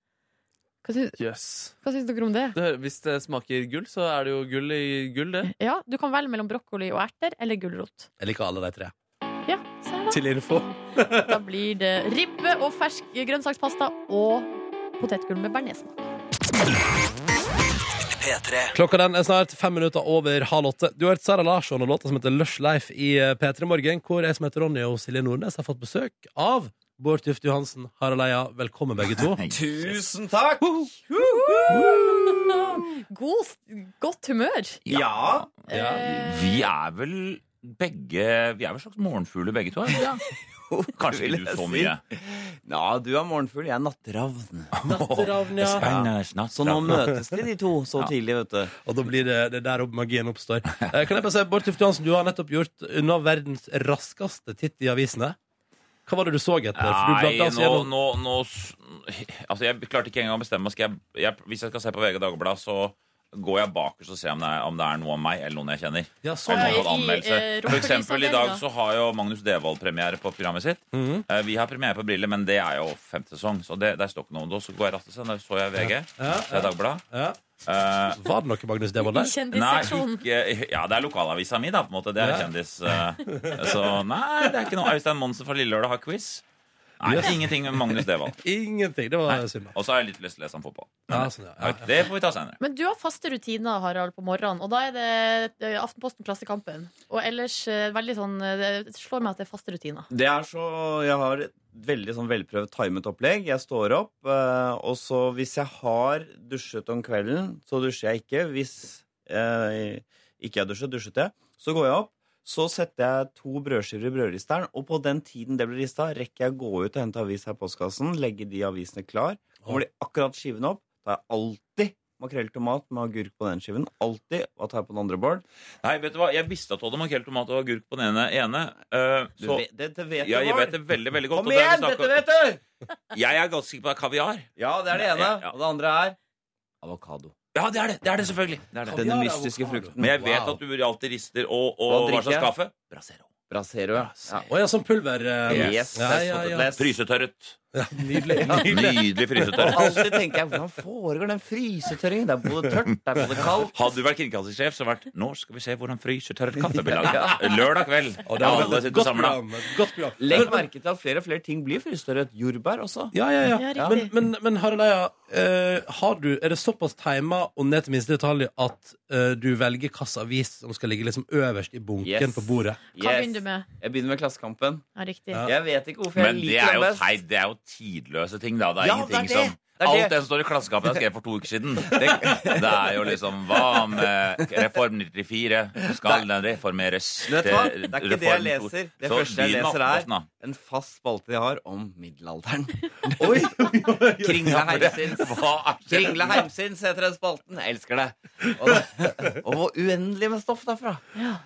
B: Hva syns,
C: Yes.
B: hva syns dere om det?
C: Det, hø- hvis det smaker gull, så er det jo gull i gull, det.
B: Ja, Du kan velge mellom brokkoli og erter eller gulrot.
A: Jeg liker alle de tre.
B: Ja, se her da.
A: Til info.
B: da blir det ribbe og fersk grønnsakspasta og potetgull med bearnéssmak.
A: Klokka den er snart fem minutter over halv åtte. Du har hørt Sara Larsson og låta som heter Lush Life i eh, P3 Morgen, hvor jeg som heter Ronny og Silje Nordnes har fått besøk av Bård Tufte Johansen, Harald Eia. Velkommen, begge to.
H: Tusen takk!
B: God, godt humør.
H: Ja,
B: Eh,
H: vi er vel begge Vi er vel slags morgenfugler begge to? er vi ikke det? Kanskje ikke du så mye.
I: Ja, du er morgenfugl, jeg er natteravn.
H: Spennende snart.
A: Sånn
I: Så nå møtes de, de to, så
H: Ja.
I: tidlig, vet du.
A: Og da blir det, det er der opp magien oppstår. Eh, Kan jeg bare si, Bård Tufte Johansen, du har nettopp gjort unna verdens raskeste titt i avisene. Hva var det du så etter? For du
H: Nei,
A: bladde
H: nå,
A: altså gjennom
H: nå, nå s- Altså, jeg klarte ikke engang å bestemme meg. Skal jeg, jeg, hvis jeg skal se på VG Dagblad, så går jeg bakerst og ser om det er, om det er noe om meg eller noen jeg kjenner.
A: ja, sånn,
H: Eller
B: I,
H: noen som har hatt
A: ja.
B: eh,
H: anmeldelse. For eksempel i dag så har jo Magnus Devold premiere på programmet sitt.
A: Mhm.
H: Eh, Vi har premiere på Briller, men det er jo femte sesong, så det, der står ikke noe om det. Og Så går jeg raskt og ser, der så jeg VG,
A: Ja,
H: så jeg Dagbladet.
A: Ja.
H: Eh,
A: Var det noe Magnus Devold
B: I
A: der?
H: Nei,
B: kjendisseksjonen.
H: ikke, ja, det er lokalavisa mi, da, på en måte. Det er
A: Ja.
H: kjendis. eh, Så nei, det er ikke noe Øystein Monsen fra Lillelørdag har quiz. Nei, ingenting med Magnus Devold.
A: Ingenting. Det var synd. da.
H: Og så har jeg litt lyst til å lese om fotball.
A: Ja, sånn, ja. Ja.
H: Det får vi ta senere.
B: Men du har faste rutiner, Harald, på morgenen. Og da er det eh, Aftenposten Klassekampen. Og ellers eh, veldig sånn eh, Det slår meg at det er faste rutiner.
I: Det er så Jeg har et veldig sånn velprøvd timet opplegg. Jeg står opp, eh, og så hvis jeg har dusjet om kvelden, så dusjer jeg ikke. Hvis eh, ikke jeg dusjet, dusjet jeg. Så går jeg opp. Så setter jeg to brødskiver i brødristeren, og på den tiden det blir rista, rekker jeg å gå ut og hente avis her i postkassen, legge de avisene klar. Kommer de akkurat skivene opp, tar jeg alltid makrell i tomat med agurk på den skiven. Alltid. Hva tar jeg på den andre, Bård?
H: Nei, vet du hva? Jeg visste at du hadde makrell, tomat og agurk på den ene. ene. eh,
I: Du
H: så,
I: vet, dette vet
H: ja,
I: du,
H: jeg
I: Bård.
H: vet det veldig, veldig godt.
I: Kom
H: og det har vi
I: igjen!
H: snakket-
I: Dette vet du!
H: Jeg er ganske sikker på det er kaviar.
I: Ja, det er det ene.
H: Ja, ja.
I: Og det andre er avokado.
H: Ja, det er det! Det er det, selvfølgelig. Det er det.
I: Denne
A: Kaviar,
I: mystiske
A: avokado.
I: frukten.
H: Men jeg vet
I: Wow.
H: at du alltid rister og,
I: Hva
H: og hva
I: drikker
H: slags
I: jeg?
H: kaffe?
I: Brasero, ja. ja.
A: Å ja, som pulver. eh,
I: Yes.
A: Ja, ja, ja.
I: Les.
H: Frysetørret.
A: ja nydelig. nydelig.
H: Nydelig
I: Og
H: frysetørret.
I: alltid tenker jeg hvordan foregår den frysetørringen? Det er både tørt, det er både kaldt.
H: Hadde du vært kringkastingssjef, så vært Nå skal vi se hvordan frysetørret kaffe blir laget. Lørdag kveld.
A: Og det har
H: Alle
A: vært et
H: sitter
A: godt
H: samla.
A: program. et Godt program.
I: Legg merke til at flere og flere ting blir frysetørret. Jordbær også.
A: Ja, ja, ja.
B: Ja,
A: Men,
B: riktig.
A: men, men Harald Eia, eh, har du, er det såpass tima og ned til minste detalj at eh, du velger hvilken avis som skal ligge liksom øverst i bunken
I: Yes.
A: på bordet?
B: Hva begynner du med?
I: Jeg begynner med Klassekampen.
B: Ja, riktig.
A: Ja.
I: Jeg vet ikke hvorfor jeg
H: Men det
I: liker
H: er,
I: den
H: jo
I: best.
H: teit, det er jo tidløse ting, da. Det er
I: Ja,
H: ingenting
I: det er det.
H: som
I: Det er det.
H: Alt det som står i Klassekampen er skrevet for to uker siden. Det, det er jo liksom Hva med Reform 94? Skal den reformeres?
I: Du vet hva? Det er ikke det jeg
H: Reform to-
I: leser. Det
H: Så
I: første jeg
H: begynn med
I: leser, er
H: Aftenposten, da.
I: en fast spalte de har om middelalderen.
A: Oi, oi, oi.
I: Kringle Heimsins.
H: Hva er det?
I: Kringle Heimsins heter den spalten. Jeg elsker det. Og, og hvor uendelig med stoff derfra.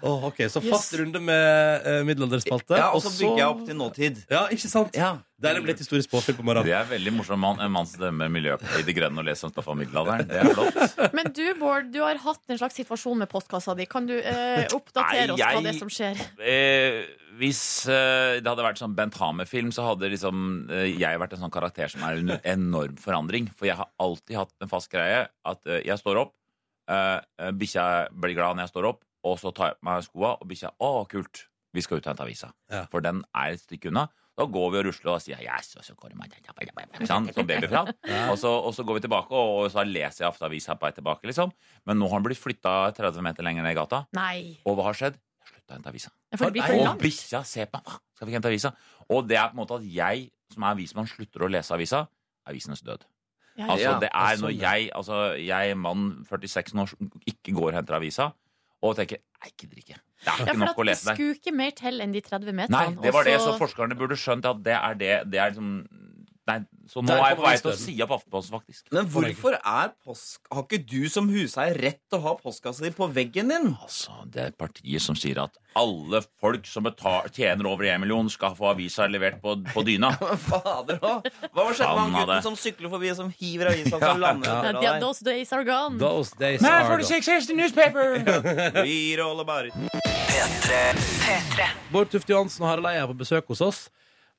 A: Åh, ok, Så
B: Yes.
A: fast runde med eh, middelalderspalte.
I: Ja, og så bygger jeg opp til nåtid.
A: Ja, ikke sant?
I: Ja.
A: Deilig med litt historisk påfyll på
H: Det
A: morgenen.
H: er veldig morsomt. Man, en mann som stemmer Miljøpartiet De Grønne og leser om stoff av middelalderen. Det er flott.
B: Men du, Bård, du har hatt en slags situasjon med postkassa di. Kan du eh, oppdatere
H: Nei,
B: oss hva
H: jeg-
B: det er som skjer?
H: Eh, hvis eh, det hadde vært sånn Bent Hamer-film, så hadde liksom eh, jeg vært en sånn karakter som er under enorm forandring. For jeg har alltid hatt en fast greie at eh, jeg står opp, eh, eh, bikkja blir glad når jeg står opp, og så tar jeg på meg skoa, og bikkja Å, kult! Vi skal ut og hente avisa.
A: Ja.
H: For den er et stykke unna. Da går vi og rusler, og da sier jeg yes, og så går det meg, ikke sant? Sånn babyprat. Og, så, og så går vi tilbake, og, og så leser jeg Aftenavisa på vei tilbake, liksom. Men nå har den blitt flytta 30 meter lenger ned i gata.
B: Nei.
H: Og hva har skjedd? Jeg slutta å hente avisa.
B: For det blir for
H: Og
B: langt.
H: bikkja ser på meg. «Hva? Skal vi ikke hente avisa? Og det er på en måte at jeg, som er avismann, slutter å lese avisa. Avisenes død.
B: Ja,
H: Altså,
I: Ja,
H: det
A: ja,
H: er
A: sånn,
H: når
A: ja.
H: jeg, altså, jeg mann 46 år, som ikke går og henter avisa, og tenker Nei, jeg gidder ikke. Det er
B: Ja,
H: ikke
B: for
H: nok å
B: at det
H: lese der.
B: skulle ikke mer til enn de 30
H: Nei,
B: meterne.
H: det var det. Så
B: og
H: forskerne burde skjønt at det er det. Det er liksom Nei, så nå
A: Der
H: er jeg
A: kommer
H: på vei til å
A: avisen.
H: si opp Aftenposten, faktisk.
I: Men hvorfor er post... Har ikke du som huseier rett til å ha postkassa di på veggen din?
H: Altså, det er partiet som sier at alle folk som betal, tjener over en million, skal få avisa levert på, på dyna.
I: Fader òg! Hva var skjedde med han
H: Faen,
I: gutten
H: det.
I: som sykler forbi, som hiver avisa og så lander
B: Ja,
I: etter
B: yeah,
I: deg?
B: those days are gone.
A: Those days are gone.
I: Vi roller bare ut.
A: Bård Tufte Johansen og Harald Eia er på besøk hos oss.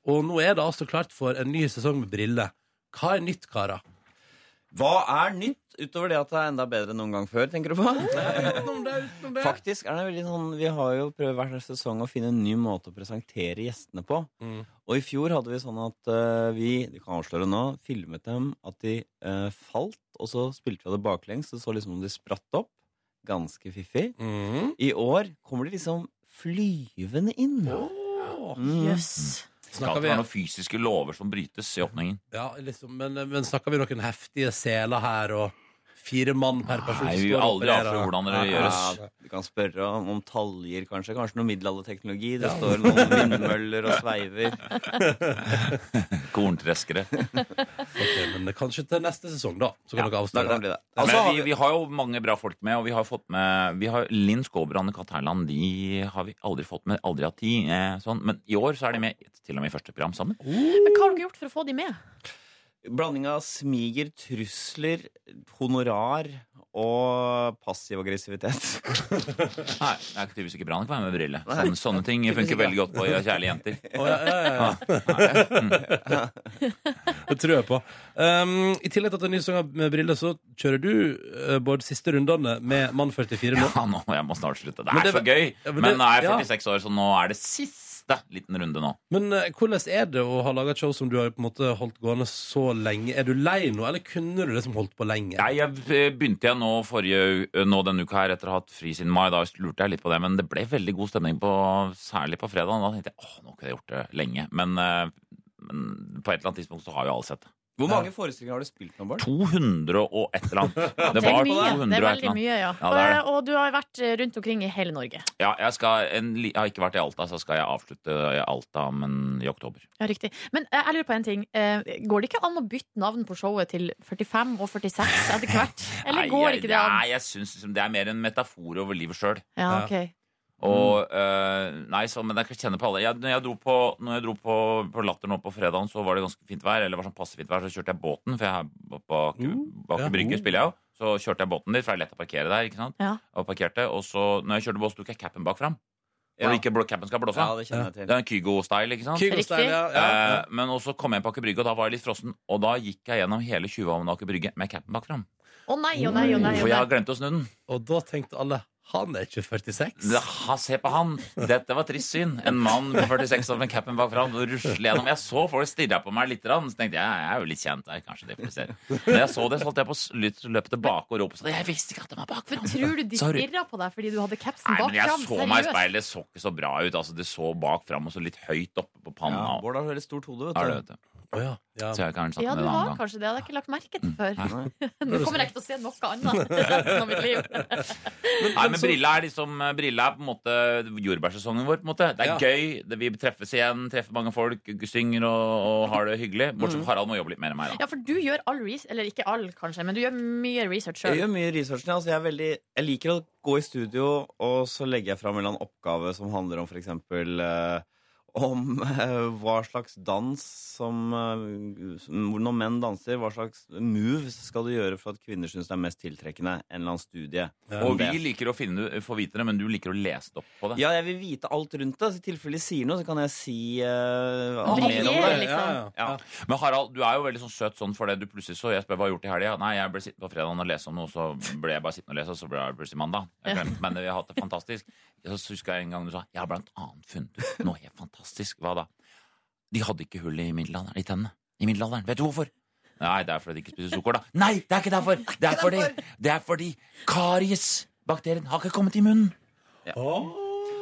A: Og nå er det altså klart for en ny sesong med briller. Hva er nytt, karer?
I: Hva er nytt utover det at det er enda bedre enn noen gang før, tenker du på?
A: Utenom det, utenom det.
I: Faktisk er det veldig sånn Vi har jo prøvd hver sesong å finne en ny måte å presentere gjestene på.
A: Mm.
I: Og i fjor hadde vi sånn at eh, vi vi kan avsløre nå, filmet dem at de eh, falt, og så spilte vi det baklengs. Det så liksom om de spratt opp. Ganske fiffig.
A: Mhm.
I: I år kommer de liksom flyvende inn. Mm.
B: Jøss.
A: Snakker
H: det
A: vi
H: var noen fysiske lover som brytes i åpningen.
A: Ja, liksom, men, men snakker vi noen heftige seler her og fire mann per person?
H: Nei,
A: som
H: vi vil
A: står og
H: aldri
A: opererer?
H: avsløre hvordan det
A: Nei,
H: gjøres.
A: nei, nei.
I: Vi kan spørre om, om taljer, kanskje. Kanskje noe middelalderteknologi. Det står noen vindmøller og sveiver.
H: Korntreskere.
A: Ok, men kanskje til neste sesong, da. Så kan dere
I: Da
A: avsløre.
I: kan det bli det.
H: Men
I: Altså, har
H: vi,
I: vi,
H: vi har jo mange bra folk med, og vi har fått med vi har Linn Skåber og Anne-Kat. Herland. De har vi aldri fått med. Aldri hatt tid. Eh, sånn. Men i år så er de med til og med i første program sammen.
A: Oh.
B: Men hva har dere gjort for å få de med?
I: blanding av smiger, trusler, honorar og passiv aggressivitet.
H: Nei, det er ikke tydeligvis ikke bra nok å være med briller. Sånne, sånne ting funker veldig godt på kjærlige jenter.
A: Å, ja, ja, ja, ja.
H: Mm.
A: Det tror jeg på. Um, I tillegg til at det er en ny sang av- med briller, så kjører du, eh, Bård, siste rundene med Mann 44 nå.
H: Ja, nå, jeg må snart slutte. Det
A: Men
H: er
A: det-
H: så gøy.
A: Ja, men
H: men
A: det-
H: nå er jeg
A: ja.
H: 46 år, så nå er det siste liten runde nå.
A: Men eh, hvordan er det å ha laga et show som du har på en måte holdt gående så lenge? Er du lei nå, eller kunne du liksom holdt på lenge?
H: Nei, jeg eh, begynte jeg nå, forrige, eh, nå denne uka her etter å ha hatt fri siden mai. Da lurte jeg litt på det, men det ble veldig god stemning, på, særlig på fredag. Da tenkte jeg åh, nå kunne jeg gjort det lenge. Men, eh, men på et eller annet tidspunkt så har jo alle sett det.
I: Hvor mange forestillinger har du spilt nå, Bård?
H: 200 og et eller annet.
B: Det
H: Det
B: er
H: var
B: mye. Det er
H: 200 og et eller
B: veldig
H: annet.
B: mye, ja.
H: Ja, det er det.
B: Og, og du har vært eh, rundt omkring i hele Norge.
H: Ja, jeg, skal, en, li- jeg har ikke vært i Alta, så skal jeg avslutte i Alta men i oktober.
B: Ja, riktig. Men eh, jeg lurer på en ting. Eh, Går det ikke an å bytte navn på showet til 45 og 46 etter hvert? Eller går
H: jeg,
B: ikke det an?
H: Nei, jeg synes liksom det er mer en metafor over livet sjøl.
B: Ja, ok.
H: Og eh, nei, så, men jeg kan kjenne på alle jeg, Når jeg dro, på, når jeg dro på, på Latter nå på fredagen Så var det ganske fint vær Eller det var sånn passe fint vær Så kjørte jeg båten For jeg her bak, bak
A: ja.
H: brygge spiller jeg jo Så kjørte jeg båten dit For det er lett å parkere der, ikke sant?
B: Ja.
H: Og parkerte Og så, når jeg kjørte båt Tok jeg cappen bak frem
I: Ja.
H: Hvor ikke blå- cappen skal blåse
I: Ja, det kjenner jeg
H: Det
I: til.
H: er en Kygo-style, ikke sant?
A: Kygo Stein, ja, ja.
H: Eh, men også kom jeg på Aker Brygge Og da var jeg litt frossen Og da gikk jeg gjennom hele 20-ånden Aker Brygge Med cappen bak frem
B: Å nei, å nei, å nei. å
H: For jeg har
B: nei.
H: glemt å snu den
A: Og da tenkte alle han er ikke 46.
H: Ja, se på han! Dette var trist syn. En mann på 46 år med capen bakfra og rusler gjennom. Jeg så folk stirra på meg litt, grann, så tenkte jeg jeg er jo litt kjent her. kanskje det får vi se. Når jeg så det, så holdt jeg på å sl- løpe tilbake og rope sånn Jeg visste ikke at den var
B: For
H: bakfra!
B: tror du de
H: Sorry.
B: stirra på deg fordi du hadde capsen
H: Nei,
B: bak
H: men jeg
B: fram?
H: så meg i
B: Seriøst.
H: speilet, det så ikke så bra ut. Altså, det så bak fram og så litt høyt oppe på
I: Ja,
H: panna. og-
I: Bård har veldig stort hode,
H: Ja, det
I: vet du.
H: vet du.
A: Å, ja. Ja.
H: Så jeg kan satt
B: Ja,
H: med
B: du
H: det en
B: har
H: annen gang. Mm.
B: kanskje det. Jeg hadde ikke lagt merke til før.
H: Nei.
B: Nå kommer jeg ikke til å se noe annet resten av mitt liv.
H: Nei, men Brilla er liksom Brilla er på en måte jordbærsesongen vår. på en måte Det er
A: Ja.
H: gøy. Det, vi treffes igjen, treffer mange folk, synger og, og har det hyggelig. Bortsett
B: Mm.
H: fra Harald må jobbe litt mer enn meg, da.
B: Ja, for du gjør all research, eller ikke all, kanskje, men du gjør mye research
I: Jeg
B: sjøl.
I: gjør mye research. ja. Altså jeg, er veldig, jeg liker å gå i studio, og så legger jeg fram en eller annen oppgave som handler om for eksempel eh, om eh, hva slags dans som eh, som- Når menn danser, hva slags moves skal du gjøre for at kvinner syns det er mest tiltrekkende? En eller annen studie.
A: Ja.
H: Og
I: om det.
H: vi liker å finne, eh, få vite det, men du liker å lese det opp på det.
I: Ja, jeg vil vite alt rundt det. Så I tilfelle de sier noe, så kan jeg si eh, mer om
B: Briljere,
I: det.
B: liksom.
A: ja.
I: Ja.
H: Men Harald, du er jo veldig sånn søt sånn for det du plutselig så. Jeg spør hva har du gjort i helga. Nei, jeg ble sittende på fredagen og lese om noe, så ble jeg bare sittende og lese, og så ble det plutselig mandag. Jeg glemte, men vi har hatt det fantastisk. Og Så husker jeg en gang du sa jeg har blant annet funnet ut noe helt fantastisk. Hva da? De hadde ikke hull i middelalderen, i tennene. I middelalderen. Vet du hvorfor? Nei, det er fordi de ikke spiser sukker, da. Nei, det er ikke derfor! Det er fordi, det er fordi kariesbakterien har ikke kommet i munnen.
A: Å.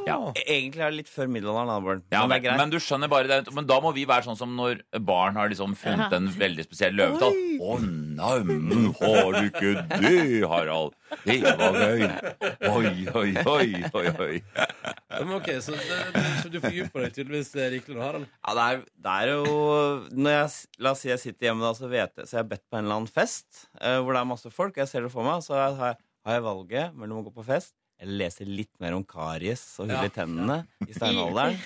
H: Ja.
I: E-, Egentlig er det litt før middelalderen, da, Bård.
H: Ja,
I: men det er
H: men,
I: greit.
H: men du skjønner bare det Men da må vi være sånn som når barn har liksom funnet en veldig spesiell løvetall. Å nei, men har du ikke det, Harald? Det var gøy. Oi, oi, oi, oi, oi.
A: Ja, Men ok, så, det- det- så du fordyper deg tydeligvis eh, rikelig nå, Harald?
I: Ja, det er, det er jo når jeg, s- La oss si jeg sitter hjemme, da, så, vet jeg, så jeg har bedt på en eller annen fest eh, hvor det er masse folk, og jeg ser det for meg, så har jeg, har jeg valget mellom å gå på fest eller lese litt mer om karies og hull
A: Ja.
I: i tennene i steinalderen.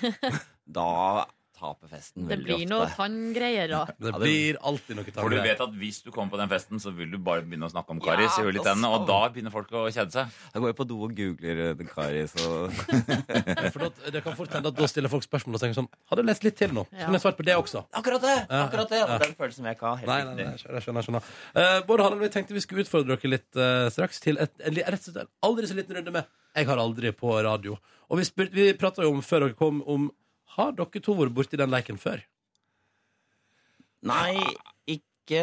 I: Da taper festen
B: Det
I: veldig
B: blir
I: ofte.
B: noe tanngreier og
A: Det
I: Ja, det-
A: blir alltid noe
H: For du
A: tanker.
H: vet at hvis du kommer på den festen, så vil du bare begynne å snakke om karis i hull i tennene, og da begynner folk å kjede seg.
I: Da går jeg på do og googler eh, den karis og
A: For da, det kan fort hende at da stiller folk spørsmål og tenker sånn Hadde jeg lest litt til nå, så kunne jeg svart på det også.
I: Akkurat det! akkurat det, og Den følelsen vil jeg ikke ha. Helt
A: Nei, nei, nei, jeg skjønner, jeg skjønner, jeg skjønner. Eh, Bård Harald, vi tenkte vi skulle utfordre dere litt eh, straks til et, en, li- rett og slett en aldri så liten runde med Jeg har aldri på radio. Og vi, spurte- vi prata jo om før dere kom, om har dere to vært borti den leken før?
I: Nei, ikke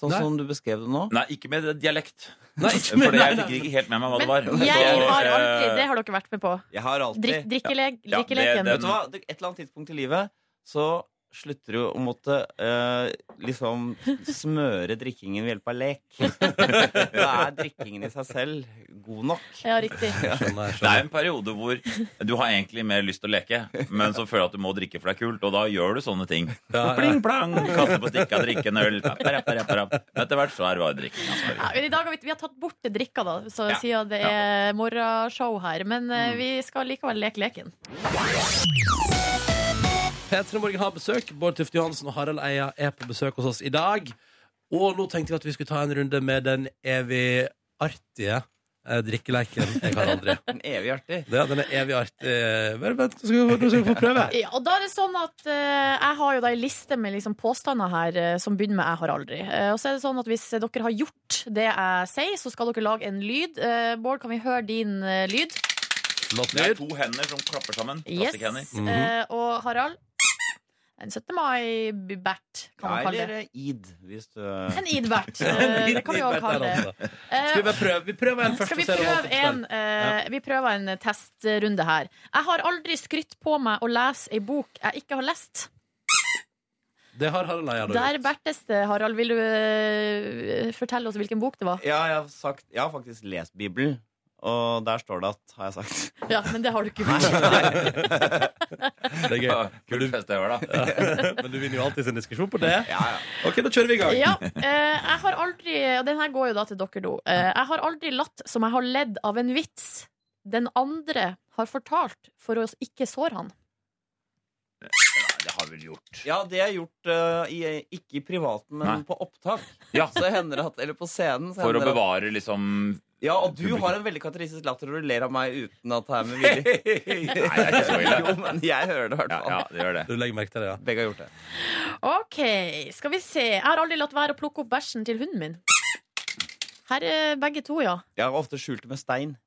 I: sånn
A: Nei.
I: som du beskrev det nå.
H: Nei, ikke med dialekt.
A: Nei, ikke med-
H: For jeg
A: nei,
H: fikk ikke helt med meg hva det var.
B: Men jeg
H: Så,
B: har
H: eh,
B: aldri Det har dere vært med på.
I: Jeg har alltid
B: Drikk, drikkelek,
H: Ja, det-
B: drikkeleken.
H: det-
I: Vet du hva? Et eller annet tidspunkt i livet så slutter du å måtte eh, liksom smøre drikkingen ved hjelp av lek. Da er drikkingen i seg selv god nok.
B: Ja, riktig.
A: jeg skjønner,
H: Det
A: jeg
H: er
A: skjønner.
H: en periode hvor du har egentlig mer lyst til å leke, men så føler du at du må drikke for det er kult, og da gjør du sånne ting.
A: Ja, ja.
H: Pling, plang, kaste på stikka, drikke en øl. Parap, parap, parap. Men etter hvert så er det bare drikking. altså.
B: Ja, men I dag har vi, vi har tatt bort det drikka, da, så
H: Ja. Mm.
B: siden det er morgenshow her. Men eh, vi skal likevel leke leken.
A: P3 Morgen har besøk. Bård Tufte Johansen og Harald Eia er på besøk hos oss i dag. Og nå tenkte vi at vi skulle ta en runde med den evig artige eh, drikkeleken Jeg har aldri.
I: Den evig artig.
A: Det, den er evig artig. Bare vent, nå skal vi, nå skal vi få prøve.
B: Ja, og da er det sånn at eh, Jeg har jo da ei liste med liksom påstander her eh, som begynner med 'jeg har aldri'. Eh, og så er det sånn at Hvis dere har gjort det jeg sier, så skal dere lage en lyd. Eh, Bård, kan vi høre din eh, lyd?
A: Flott
H: Det er
A: lyd.
H: to hender som klapper sammen.
B: Yes.
H: Plastikkhender. Mhm.
B: Eh, og Harald? En 17. mai-bert, kan
I: Ja,
B: man kalle det.
I: eller id, hvis du
B: En id-bert. Eh, det kan vi òg kalle det.
A: altså. Skal vi
B: Eh,
A: bare prøve? Vi prøver en først.
B: Skal vi
A: og ser om
B: prøve
A: alt oppstår.
B: en, eh, vi prøver en testrunde her. Jeg har aldri skrytt på meg å lese ei bok jeg ikke har lest.
A: Det har Harald Eia nå
B: Der
A: gjort.
B: bertes det, Harald. Vil du eh, fortelle oss hvilken bok det var?
I: Ja, jeg har, sagt, jeg har faktisk lest Bibelen, og der står det at Har jeg sagt.
B: Ja, Men det har du ikke. gjort.
A: Det er gøy.
H: Ja, Kult fest det var, da.
A: Men du vinner jo alltid sin diskusjon på det.
I: Ja, ja.
A: Ok, da kjører vi i gang.
B: Ja, eh, jeg har aldri Og den her går jo da til dere nå. Eh, jeg har aldri latt som jeg har ledd av en vits den andre har fortalt for å ikke såre han.
H: Det har vi vel gjort.
I: Ja, det har jeg gjort eh, i, ikke i privaten, men
H: Nei.
I: på opptak.
H: Ja.
I: Så hender det at, Eller på scenen. Så
H: For å
I: hender det at,
H: bevare liksom
I: ja, og du har en veldig karakteristisk latter og du ler av meg uten at det er med vilje.
H: Nei, det er ikke så
I: Jo,
H: ille.
I: men jeg hører det i hvert
H: Ja,
I: fall.
H: ja, det gjør det.
A: Du legger merke til det, ja.
I: Begge har gjort det.
B: OK, skal vi se. Jeg har aldri latt være å plukke opp bæsjen til hunden min. Her er begge to, ja.
I: Jeg har ofte skjult det med stein.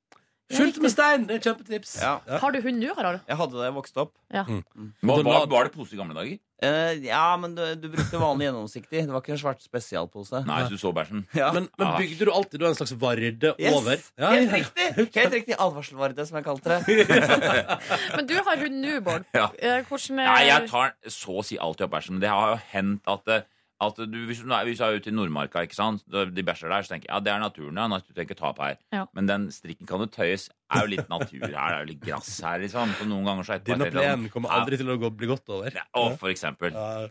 A: Skjult med stein! Det er kjempetips.
I: Ja.
B: Har du hund nå, Harald?
I: Jeg hadde det da jeg vokste opp.
H: Mm. Var, var, var det pose i gamle dager?
I: Eh, ja, men du, du brukte vanlig gjennomsiktig. Det var ikke en svart spesialpose.
H: Nei, hvis du så bæsjen.
I: Ja.
A: Men, men
H: Ah.
A: bygde du alltid da en slags varde
I: Yes!
A: over?
I: Helt riktig! Helt riktig Advarselvarde, som jeg kalte det.
B: Men du har hund nå, Bård.
H: Ja.
B: Eh, Hvordan eh,
H: Nei, jeg tar så å si alltid opp bæsjen. Det har jo hendt at, eh, at du, hvis, du, nei, hvis du er ute i Nordmarka, ikke sant? Da de bæsjer der, så tenker jeg ja, det er naturen. Ja, du trenger ikke ta opp her.
B: Ja.
H: Men den strikken kan jo tøyes. Det er jo litt natur her, det er jo litt grass her, liksom. Så noen ganger så er det
A: Denne
H: bare helt sånn-
A: plenen kommer aldri til å gå, bli godt over.
H: Ja, og for eksempel.
A: Ja.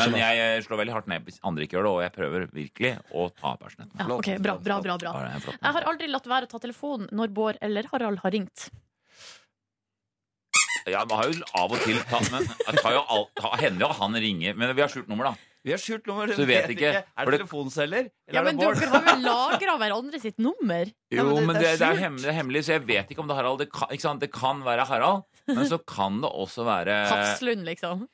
H: Men jeg eh, slår veldig hardt ned hvis andre ikke gjør det, og jeg prøver virkelig å ta opp bæsjen.
B: ja, ok, bra, bra, bra, bra.
H: Ja, det er flott.
B: Jeg har aldri latt være å ta telefonen når Bård eller Harald har ringt.
H: Ja, man har jo av og til tatt Men det tar jo alt- ta- hender jo at han ringer. Men vi har skjult nummer, da.
I: Vi har skjult nummer.
H: Så du vet ikke.
I: Er
H: For
I: det
H: det-
I: telefonselger? Eller
B: Ja,
I: er det
B: men
I: Bård?
B: dere har jo lagra hverandre sitt nummer.
I: Ja, men
H: Jo,
I: det-
H: men
I: det
H: det,
I: er
H: det, er
I: skjult.
H: hemmelig, det er hemmelig, så jeg vet ikke om det er Harald. Det kan, ikke sant? Det kan være Harald, men så kan det også være
B: Hafslund, liksom.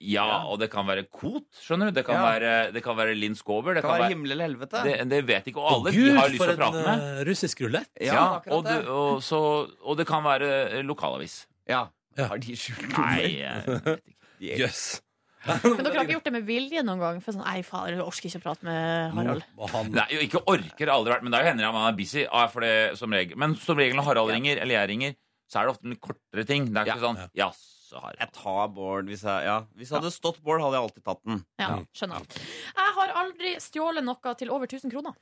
H: Ja, og det kan være Kot, skjønner du. Det kan,
I: Ja.
H: være, det kan være Linn Skåber. Det,
I: Det kan
H: kan
I: være
H: være,
I: himmel eller helvete.
H: det, det vet ikke. Og alle de
A: Gud,
H: har lyst
A: for
H: til å
A: en
H: prate med.
A: eh, russisk rulett.
I: Ja,
H: og,
I: akkurat det.
H: du, og, så, og det kan være eh, lokalavis.
I: Ja.
A: Ja.
I: Har de skjult nummer?
H: Nei, jeg vet ikke.
A: Jøss.
B: Men dere har ikke gjort det med vilje noen gang? For sånn, Nei, fader, jeg orker ikke å prate med Harald.
A: Og han
H: Nei, jo, ikke orker aldri vært, men det er jo hender at man er busy. Ja, for det, som regel. Men som regel når Harald ringer, eller jeg ringer, så er det ofte litt kortere ting. Det er ikke sånn Jaså,
I: Jeg
H: Harald.
I: tar Bård hvis jeg Ja. Hvis jeg hadde stått Bård, hadde jeg alltid tatt den.
B: Ja,
H: Mm.
B: skjønner. Jeg har aldri stjålet noe til over 1000 kroner.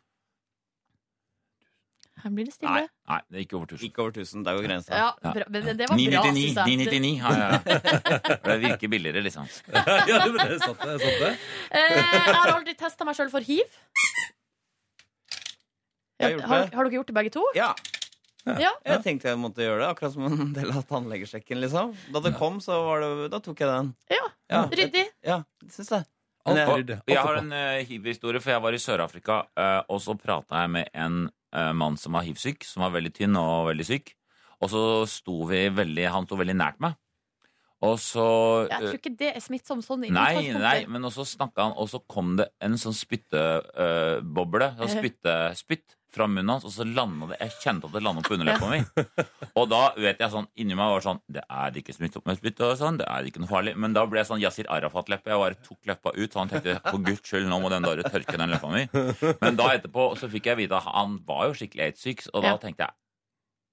B: Her blir det
H: Nei,
B: stille.
H: nei, det er ikke over 1000.
I: Ikke over 1000. Der går grensa.
B: Ja, bra. Men det- det var bra, synes
H: 999.
B: jeg.
H: 999 ja, ja. For det virker billigere, liksom.
A: ja, men det er sant, det. Er sant, det.
B: Eh, jeg har aldri testa meg sjøl for hiv.
I: Jeg har
B: Ja,
I: gjort
B: har,
I: det.
B: har dere gjort det begge to?
I: Ja.
B: Ja.
I: Jeg tenkte jeg måtte gjøre det, akkurat som en del av tannlegesjekken. liksom Da det kom, så var det, da tok jeg den.
B: Ja,
I: Ja,
B: Ryddig.
I: ja det syns jeg.
A: Alt
I: Men
A: er
I: jeg-
A: ryddig.
H: Og jeg
A: Alt
H: har
A: er på.
H: en eh, hiv-historie, for jeg var i Sør-Afrika, eh, og så prata jeg med en eh, mann som var hiv-syk, som var veldig tynn og veldig syk. Og så sto vi veldig Han sto veldig nært meg. Og så
B: Jeg tror ikke det er smittsomt sånn. i
H: Nei,
B: utgangspunktet.
H: nei, men også snakka han, og så kom det en sånn spytteboble. sånn
B: Eh.
H: spytte, spytt fra munnen hans, og så landa det Jeg kjente at det landa på underleppa mi. Og da vet jeg sånn inni meg var sånn Det er ikke smittsomt med spytt, og sånn, det er ikke noe farlig. Men da ble jeg sånn Yasir Arafat-leppe. Jeg bare tok leppa ut, så han tenkte for guds skyld, nå må den der tørke den leppa mi. Men da etterpå så fikk jeg vite at han var jo skikkelig aids-syk, og da
B: Ja.
H: tenkte jeg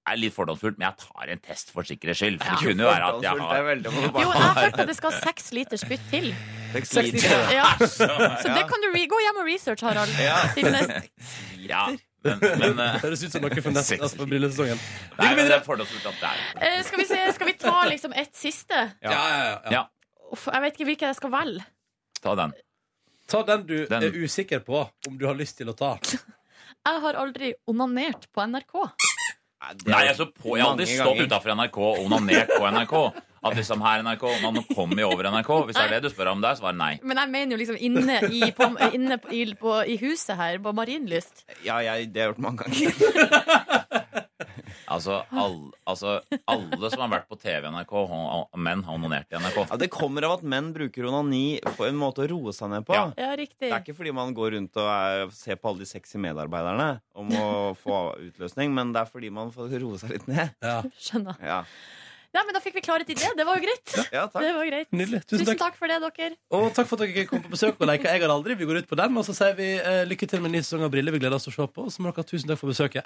H: det er litt fordomsfullt, men jeg tar en test for sikkerhets skyld. For
I: Ja.
H: det kunne jo være at jeg
I: Fordomsfullt
H: har
I: er veldig
B: Jo, jeg har hørt at det skal seks liter spytt til.
I: Seks
A: Seks
I: liter.
A: liter.
B: Ja.
H: Så-
B: Så det kan du re gå hjem og researche, Harald. Til neste-
H: Ja, men, men eh,
A: Det høres ut som noe for neste
H: Seks.
A: altså, for brillesesongen.
H: Nei, men det er fordomsfullt at det er
B: Eh, Skal vi se, skal vi ta liksom ett siste?
A: Ja, ja, ja.
H: Ja.
B: Uff, jeg vet ikke hvilken jeg skal velge.
H: Ta den.
A: Ta den du
H: Den.
A: er usikker på om du har lyst til å ta.
B: Jeg har aldri onanert på NRK.
H: Nei, jeg, så på, jeg har aldri
I: Mange
H: stått
I: ganger.
H: utafor NRK og onanert på NRK. At liksom her NRK, man kommer jo over NRK. Hvis det er det du spør om der, så var det nei.
B: Men jeg mener jo liksom inne i, på, inne på, i, på, i huset her, på Marienlyst.
I: Ja, jeg, det har jeg gjort mange ganger.
H: Altså, all, altså alle som har vært på TV i NRK, og- og menn har onanert i
I: Ja,
H: NRK.
I: det kommer av at menn bruker onani på en måte å roe seg ned på.
H: Ja.
B: Ja, riktig.
I: Det er ikke fordi man går rundt og er, ser på alle de sexy medarbeiderne om å få utløsning, men det er fordi man får roe seg litt ned.
A: Ja.
B: Skjønner.
I: Ja,
B: Nei, men da fikk vi klarhet i det. Det var jo greit.
I: ja takk.
B: Det var greit.
A: Nydelig. Tusen
B: Tusen
A: takk.
B: takk for det, dere.
A: Og takk for at dere kom på besøk og leika Jeg har aldri. Vi går ut på den, og så sier vi eh, lykke til med en ny sesong av Briller. Vi gleder oss til å se på. Og så må dere ha tusen takk for besøket.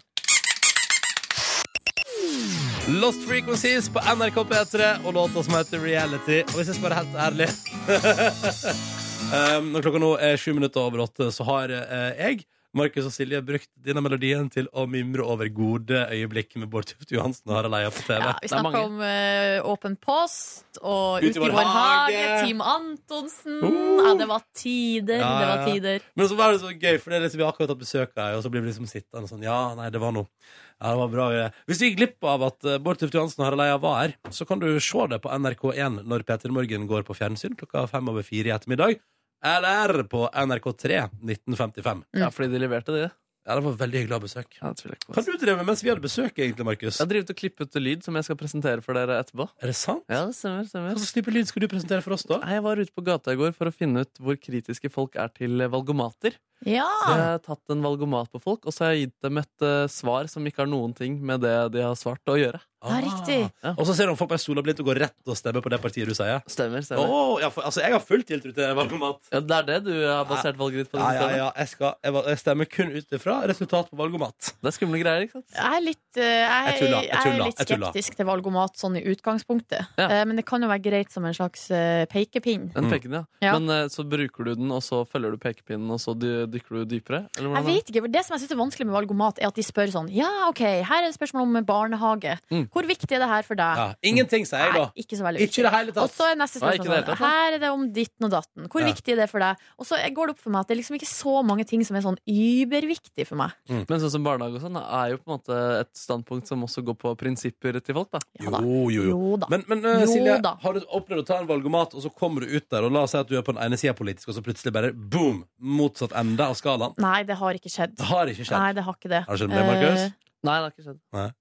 A: Lost Frequencies på NRK P3 og låta som heter Reality. Og hvis jeg skal være helt ærlig um, Når klokka nå er sju minutter over åtte, så har eh, jeg, Markus og Silje, brukt denne melodien til å mimre over gode øyeblikk med Bård Tufte Johansen og Harald Eia på TV.
B: Ja, vi
C: Det er
B: snakka
C: mange.
B: om eh, Åpen post og
A: Ut i
B: Ut i vår
A: vår
B: hage,
A: hage.
B: Team Antonsen.
A: Uh.
B: Ja, det var tider.
A: Ja,
B: Det
A: ja,
B: var
A: ja.
B: tider.
A: Men så var det så gøy, for det er liksom, vi har akkurat hatt besøk av deg, og så blir vi liksom sittende sånn Ja, nei, det var noe. Ja, det var bra greier. Hvis du gikk glipp av at eh, Bård Tufte Johansen og Harald Eia var her, så kan du se det på NRK1 når Peter Morgen går på fjernsyn klokka fem over fire i ettermiddag. Eller på NRK3 1955.
C: Ja, fordi de leverte det.
A: Ja, det var veldig hyggelig å ha besøk.
C: Ja, det tviler jeg ikke på.
A: Hva har du drevet med mens vi hadde besøk, egentlig, Markus?
C: Jeg har drevet og klippet lyd som jeg skal presentere for dere etterpå.
A: Er det sant?
C: Ja, det stemmer,
A: Hva
C: stemmer.
A: slags type lyd skal du presentere for oss, da?
C: Nei, Jeg var ute på gata i går for å finne ut hvor kritiske folk er til eh, valgomater.
B: Ja!
C: Så jeg har tatt en valgomat på folk, og så har jeg gitt dem et eh, svar som ikke har noen ting med det de har svart å gjøre.
B: Ja, riktig.
A: Ah. Og så ser du om folk på sola blitt og går rett og stemmer på det partiet du sier.
C: Stemmer, stemmer.
A: Oh, ja, for, altså, jeg har full tiltro til valgomat.
C: Ja, det er det du har basert valget ditt på?
A: Ja,
C: liksom.
A: ja,
C: systemet.
A: ja. Jeg, skal, jeg, val- jeg stemmer kun ut ifra resultat på valgomat.
C: Det er skumle greier, ikke sant?
B: Jeg er litt, eh, jeg,
A: Jeg tuller, jeg
B: jeg er
A: tuller,
B: litt
A: jeg tuller.
B: skeptisk til valgomat sånn i utgangspunktet.
C: Ja.
B: Eh, Men det kan jo være greit som en slags eh, pekepinn.
C: Den
A: Mm.
C: pekende, ja.
B: Ja.
C: Men eh, så bruker du den, og så følger du pekepinnen, og så dy- dykker du dypere?
B: Jeg
A: Mm.
C: Eller hvordan er det?
B: vet ikke, for Det som jeg synes er vanskelig med valgomat, er at de spør sånn Ja, OK, her er det spørsmål om barnehage.
C: Mm.
B: Hvor viktig er det her for deg?
A: Ja. Ingenting, sier jeg
B: Nei,
A: da.
B: ikke så veldig
A: Ikke i det hele
B: Og
A: tatt.
B: så er neste
C: Nei,
B: spørsmål
C: ikke i det
B: sånn,
C: hele tatt, da.
B: Her er det om ditten og datten. Hvor
A: Ja.
B: viktig er det for deg? Og så går det opp for meg at det er liksom ikke så mange ting som er sånn überviktig for meg.
C: Men sånn som barnehage og sånn er jo på en måte et standpunkt som også går på prinsipper til folk. da
B: Ja da.
A: Jo, jo, jo.
B: Jo da.
A: Men, men eh,
B: Jo
A: Silje,
B: da.
A: har du opplevd å ta en valgomat, og så kommer du ut der, og la oss si at du er på den ene sida politisk, og så plutselig bare boom! Motsatt ende av skalaen.
B: Nei, det har ikke skjedd.
A: Det har ikke
B: Nei,
A: skjedd.
B: det har ikke det.
A: Har det skjedd med deg, Markus?
B: Eh,
C: Nei, det har ikke skjedd.
A: Nei.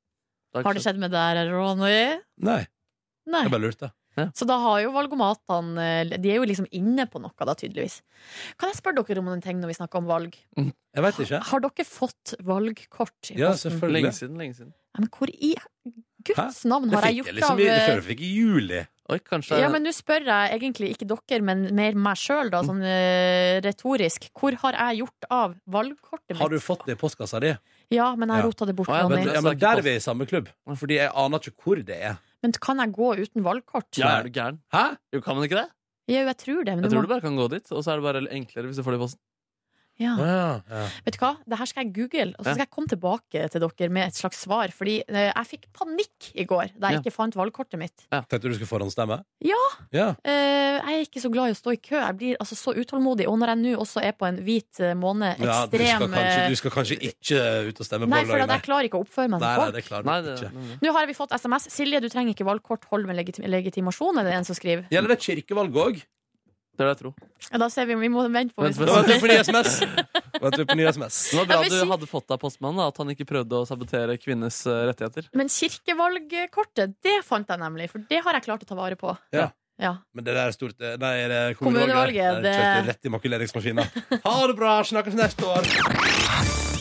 C: har
B: har det
C: ikke skjedd.
B: skjedd med deg, Ronny?
A: Nei.
B: Nei.
A: Jeg bare lurte.
B: Så da har jo valgomatene eh, De er jo liksom inne på noe, da, tydeligvis. Kan jeg spørre dere om en ting når vi snakker om valg?
A: Jeg veit ikke.
B: Har dere fått valgkort? i
A: Ja,
B: posten?
A: selvfølgelig.
C: Lenge siden, lenge siden.
B: Ja, Men hvor i guds navn
A: Det
B: har jeg
A: fikk
B: gjort
A: jeg liksom
B: av
A: i,
B: eh,
A: før vi fikk i juli.
C: Oi, kanskje
B: Ja, men nå spør jeg egentlig ikke dere, men mer meg sjøl, da, sånn eh, retorisk. Hvor har jeg gjort av valgkortet mitt?
A: Har du fått det i postkassa di?
B: Ja, men jeg
A: Ja.
B: rota det bort.
C: Å, ja,
B: Ronny.
A: Men,
C: det-
A: ja, men der er vi i samme klubb. Fordi jeg aner ikke hvor det er.
B: Men kan jeg gå uten valgkort?
C: Ja, er du gæren?
A: Hæ?
C: Jo, kan man ikke det?
B: Jo, jeg tror det. Men
C: Jeg
B: du
C: tror du
B: må...
C: bare kan gå dit, og så er det bare enklere hvis du får det i posten.
B: ja.
A: Ja, ja.
B: Vet du hva, det her skal jeg google, og så
C: Ja.
B: skal jeg komme tilbake til dere med et slags svar. Fordi eh, jeg fikk panikk i går da jeg
C: Ja.
B: ikke fant valgkortet mitt.
A: Tenkte du skulle forhåndsstemme?
B: Ja.
A: ja.
B: Eh, jeg er ikke så glad i å stå i kø. Jeg blir altså så utålmodig. Og når jeg nå også er på en hvit eh, måned,
A: Ja, du, skal
B: ekstrem
A: kanskje,
B: eh,
A: du skal kanskje ikke ut og stemme på
B: Nei, for at
A: lørdag,
B: jeg klarer ikke å oppføre meg
A: Nei,
B: som
A: nei,
B: folk.
A: det klarer
C: Nei,
A: du
C: det,
A: ikke.
B: Nå har vi fått SMS. Silje, du trenger ikke valgkort. Hold med legiti- legitimasjon, er det en som skriver.
A: Gjelder det kirkevalg òg?
C: Det er det jeg tror.
B: Ja, Da ser vi om vi må vente på
C: Vent,
A: Da venter
B: hvis-
A: vi på ny SMS. Venter vi på ny SMS.
C: Det var bra
B: Ja, men si-
C: du hadde fått deg postmannen, da, at han ikke prøvde å sabotere kvinnes eh, rettigheter.
B: Men kirkevalgkortet, det fant jeg nemlig, for det har jeg klart å ta vare på.
A: Ja.
B: Ja.
A: Men det der er stort eh, Nei, er det
B: Kommunevalget,
A: kommunevalget? Det...
B: det-
A: Kjørte rett i makuleringsmaskina. Ha det bra! Snakkes neste år!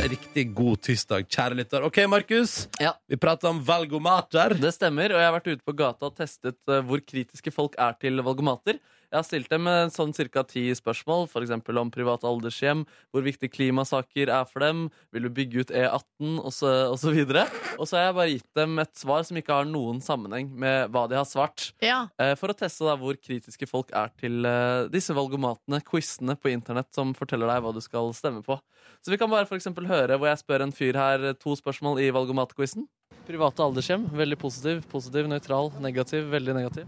A: Riktig god tirsdag, kjære lytter. OK, Markus.
C: Ja.
A: Vi prater om valgomater.
C: Det stemmer, og jeg har vært ute på gata og testet eh, hvor kritiske folk er til valgomater. Jeg har stilt dem eh, sånn ca. ti spørsmål, f.eks. om private aldershjem, hvor viktige klimasaker er for dem, vil du bygge ut E18, og så, og så videre. Og så har jeg bare gitt dem et svar som ikke har noen sammenheng med hva de har svart,
B: ja.
C: eh, for å teste da hvor kritiske folk er til eh, disse valgomatene, quizene på internett som forteller deg hva du skal stemme på. Så vi kan bare for eksempel høre hvor jeg spør en fyr her eh, to spørsmål i valgomatquizen. Private aldershjem. Veldig positiv. Positiv, nøytral, negativ. Veldig negativ.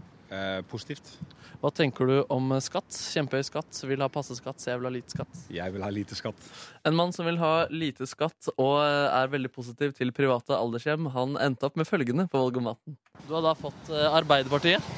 J: positivt.
C: Hva tenker du om eh, skatt? Kjempehøy skatt. Vil ha passe skatt, så jeg vil ha lite skatt.
J: Jeg vil ha lite skatt.
C: En mann som vil ha lite skatt og eh, er veldig positiv til private aldershjem, han endte opp med følgende på valgomaten. Du har da fått eh, Arbeiderpartiet.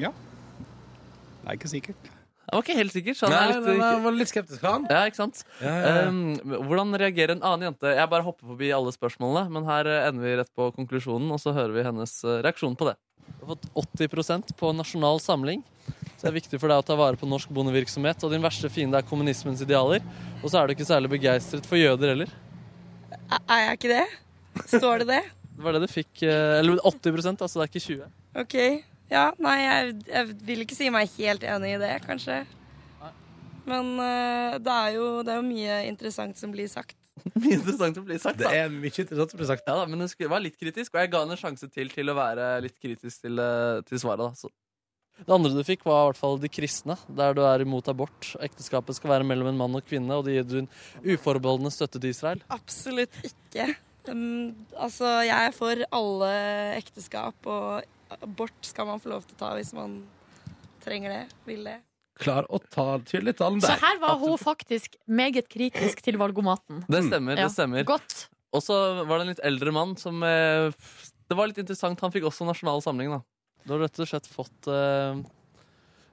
J: ja. Det er ikke sikkert.
C: Han var ikke helt sikker, så
A: Nei,
C: han
A: nei,
C: er litt
A: nei, jeg var litt skeptisk, han. Eh,
C: Ja, ikke sant?
A: Ja, ja, ja.
C: Um, hvordan reagerer en annen jente? Jeg bare hopper forbi alle spørsmålene, men her eh, ender vi rett på konklusjonen, og så hører vi hennes eh, reaksjon på det. Du har fått 80 på nasjonal samling. Så det er viktig for deg å ta vare på norsk bondevirksomhet, og din verste fiende er kommunismens idealer. Og så er du ikke særlig begeistret for jøder heller.
K: Er jeg ikke det? Står det det?
C: Det var det du fikk. eh, Eller 80 altså det er ikke 20.
K: OK. Ja, nei, jeg, jeg vil ikke si meg helt enig i det, kanskje. Men eh, det, er jo, det er jo mye interessant som blir sagt.
C: Mye interessant å bli sagt,
A: Det
C: da.
A: er mye interessant som blir sagt.
C: Ja, da, men hun skulle- var litt kritisk, og jeg ga henne en sjanse til til å være litt kritisk til, eh, til svaret. Da. Så. Det andre du fikk, var i hvert fall de kristne, der du er imot abort. Ekteskapet skal være mellom en mann og kvinne, og det gir du en uforbeholdende støtte til Israel.
K: Absolutt ikke. Um, altså, jeg er for alle ekteskap, og abort skal man få lov til å ta hvis man trenger det, vil det.
A: Klar å ta tydelig talen
B: Så
A: der.
B: her var hun faktisk meget kritisk til valgomaten.
C: Det stemmer.
B: Ja.
C: det stemmer.
B: Godt.
C: Og så var det en litt eldre mann som eh, f- Det var litt interessant. Han fikk også Nasjonal Samling, da. Du har rett og slett fått eh,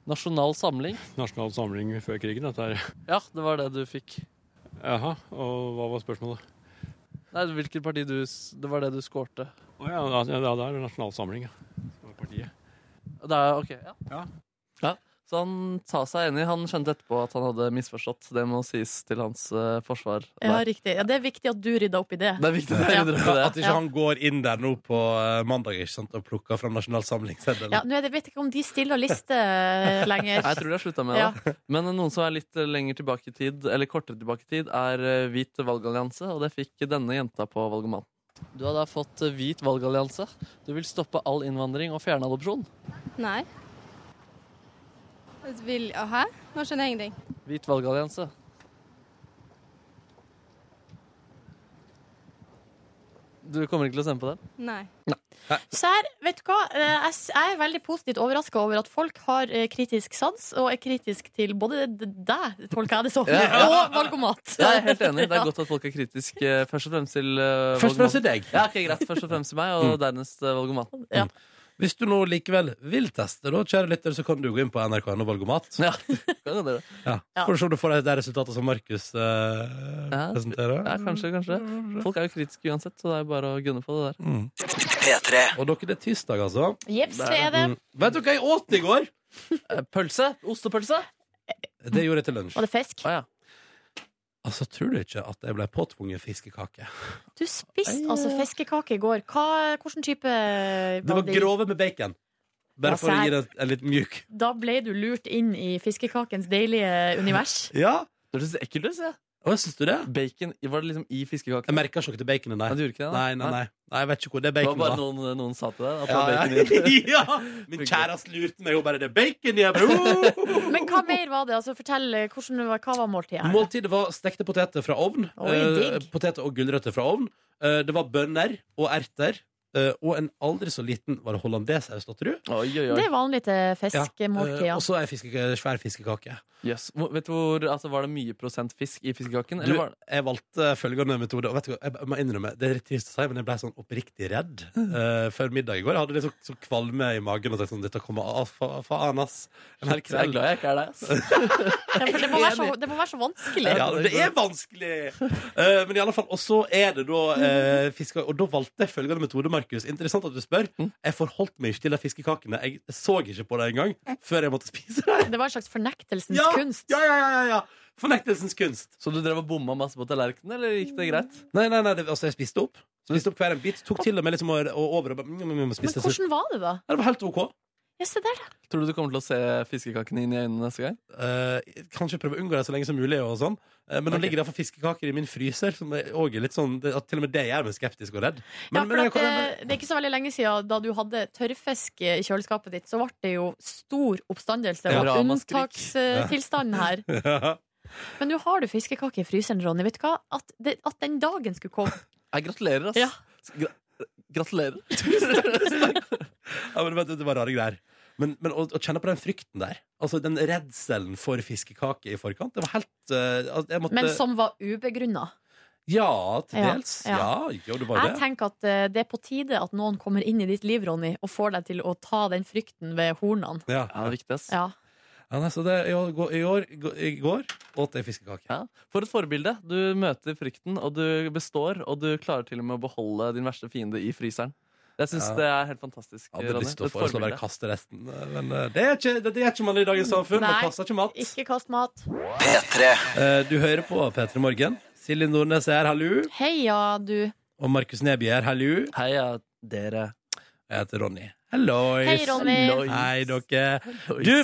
C: Nasjonal Samling.
J: Nasjonal Sånn samling før krigen, dette her.
C: Ja, det var det du fikk.
J: Jaha, og hva var spørsmålet?
C: Nei, hvilket parti du s- Det var det du skårte.
J: Å ja, da- ja, da er det Nasjonal samling, ja. Som er partiet.
C: Det er, ok, ja.
J: Ja.
C: Ja, Så han sa seg enig. Han skjønte etterpå at han hadde misforstått. Det må sies til hans eh, forsvar.
B: Ja,
C: der.
B: riktig. Ja, det er viktig at du rydda opp i det.
C: Det er viktig å
B: Ja.
C: innrømme det.
A: At ikke han går inn der nå på eh, mandag ikke sant, og plukker fram Nasjonal Samlingsseddel.
B: Ja, nå er det, vet jeg ikke om de stiller liste eh, lenger.
C: Nei, Jeg tror de har slutta med
B: Ja.
C: det. Men noen som er litt eh, lenger tilbake i tid, eller kortere tilbake i tid, er eh, Hvit valgallianse, og det fikk denne jenta på valgomaten. Du har da fått eh, Hvit valgallianse. Du vil stoppe all innvandring og fjerne adopsjon.
L: Nei. Vil, hæ? Nå skjønner jeg ingenting.
C: Hvit valgallianse. Du kommer ikke til å stemme på den?
L: Nei.
B: Så her, vet du hva? Eh, Jeg s- jeg er veldig positivt overraska over at folk har eh, kritisk sans, og er kritisk til både d- deg, tolker jeg det som, og valgomat.
C: Ja, jeg er helt enig. Det er godt at folk er kritiske først og fremst til eh,
A: Først og fremst
C: valgomaten.
A: til deg.
C: Ja, ok, greit. Først og fremst til meg, og dernest eh, valgomaten.
A: Hvis du nå likevel vil teste, da, kjære lytter, så kan du gå inn på NRK.no valgomat.
C: Ja, kan jo det.
A: Ja.
B: Ja.
A: For å se om du får det resultatet som Markus eh, presenterer.
C: Ja, kanskje, kanskje. Folk er jo kritiske uansett, så det er jo bare å gunne på det der.
A: Mm. Og dere, det er tirsdag, altså.
B: Jepps, det er det.
A: Mm. Vet du hva jeg åt i går?
C: Eh, Pølse? Ostepølse?
A: Det gjorde jeg til lunsj.
B: Var det fisk?
C: Å ja.
A: Altså, Tror du ikke at jeg ble påtvunget fiskekake?
B: Du spiste altså fiskekake i går. Hva, hvilken type eh,
A: Det var grove med bacon. Bare
B: Ja,
A: for å
B: sær.
A: gi det en litt mjuk.
B: Da ble du lurt inn i fiskekakens deilige univers.
A: Ja,
C: Det høres ekkelt ut, sier jeg.
A: Å, Syns du det?
C: Bacon var det liksom i fiskekaken?
A: Jeg merka ikke til baconet,
C: Nei,
A: nei.
C: du gjorde ikke det? da?
A: Nei, nei, nei. nei. Jeg vet ikke hvor det er
C: Det var
A: bacon,
C: bare
A: da.
C: noen, eh, noen sa til deg at det
A: Ja,
C: var bacon i
A: ja. ja. Min kjæreste lurte meg, hun bare 'Det er bacon i jeg bare,
B: Men hva mer var det? Altså, fortell, eh, hvordan, var- hva var måltidet her?
A: Måltidet var stekte poteter fra ovn.
B: Oi, digg.
A: eh, poteter og gulrøtter fra ovn. Eh, det var bønner og erter eh, og en aldri så liten Var det hollandesaus, datter du?
B: Det er vanlig til
A: Ja,
B: fiskemåltid.
A: eh,
B: Ja.
A: Og så ei fiskeka- svær fiskekake.
C: Yes. Hvor- Vet du hvor, altså, Var det mye prosent fisk i fiskekaken?
A: Du,
C: Eller var det
A: jeg valgte følgende metode. Og vet du, hva, jeg må innrømme, Det er litt trist å si, men jeg ble sånn oppriktig redd eh, før middag i går. Jeg hadde liksom så kvalme i magen og tenkte sånn Dette kommer av, fa, faen, ass. En hel
C: Så jeg er
A: kveld.
C: glad jeg ikke er deg, ass.
B: Ja, for det, må være så, det må være så vanskelig.
A: Ja, det er vanskelig! Eh, men i alle fall, Og så er det da eh, fiske... Og da valgte jeg følgende metode, Markus. Interessant at du spør. Jeg forholdt meg ikke til de fiskekakene. Jeg så ikke på det engang
B: Mm.
A: før jeg måtte spise det.
B: Det var en slags fornektelsens
A: Ja,
B: kunst.
A: Ja, ja, ja, ja, ja. Fornektelsens kunst.
C: Så du drev og bomma masse på tallerkenen, eller gikk det greit?
A: Nei, nei, nei, det, altså, jeg spiste opp. Spiste opp hver en bit. Tok til og med liksom å, å over og bare mm, mm, mm,
B: Men
A: spiste
B: hvordan var det, da?
A: Ja, Det var helt OK.
B: Ja, se der, da.
C: Tror du du kommer til å se fiskekakene inn i øynene neste gang?
A: Eh, kanskje prøve å unngå det så lenge som mulig. Og sånn. Eh, men nå ligger det iallfall fiskekaker i min fryser. Som er også er litt sånn, det, at til og med det gjør meg skeptisk og redd. Men,
B: Ja, for
A: men
B: at,
A: jeg kan-
B: eh, det er ikke så veldig lenge siden da du hadde tørrfisk i kjøleskapet ditt, så ble det jo stor oppstandelse
A: Ja,
B: og
A: ramaskrik.
B: unntakstilstand her.
A: Ja.
B: Men nå har du fiskekake i fryseren, Ronny. Vet du hva? At, det, at den dagen skulle komme.
C: Jeg gratulerer, ass.
B: Ja.
C: Gra gratulerer.
A: Ja, men vet du, det var rare greier. Men, men å, å kjenne på den frykten der, altså den redselen for fiskekake i forkant, det var helt eh, altså, jeg måtte,
B: Men som var ubegrunna.
A: Ja, til
B: Ja,
A: dels. Ja,
B: ja.
A: jo, det var
B: Jeg
A: det.
B: tenker at eh, det er på tide at noen kommer inn i ditt liv, Ronny, og får deg til å ta den frykten ved hornene.
A: Ja.
C: det er viktig, ass.
B: Ja.
A: Ja, nei, så det, i, går, i, år, I går åt jeg fiskekake.
C: Ja. For et forbilde. Du møter frykten, og du består, og du klarer til og med å beholde din verste fiende i fryseren. Jeg syns
A: Ja.
C: det er helt fantastisk.
A: Jeg hadde
C: Ronny.
A: lyst til å
C: Et
A: foreslå
C: forbilde.
A: bare kaste resten, men eh, det er ikke, det, det er ikke man i dagens samfunn. Man kaster ikke mat.
B: ikke kast mat.
A: Eh, Du hører på P3 Morgen. Silje Nordnes er her, hallo.
B: Heia, du.
A: Og Markus Neby er her, hallo.
C: Heia dere.
A: Jeg heter Ronny. Hallois.
B: Hei, Ronny. Hallois.
A: Hei, dere. Du,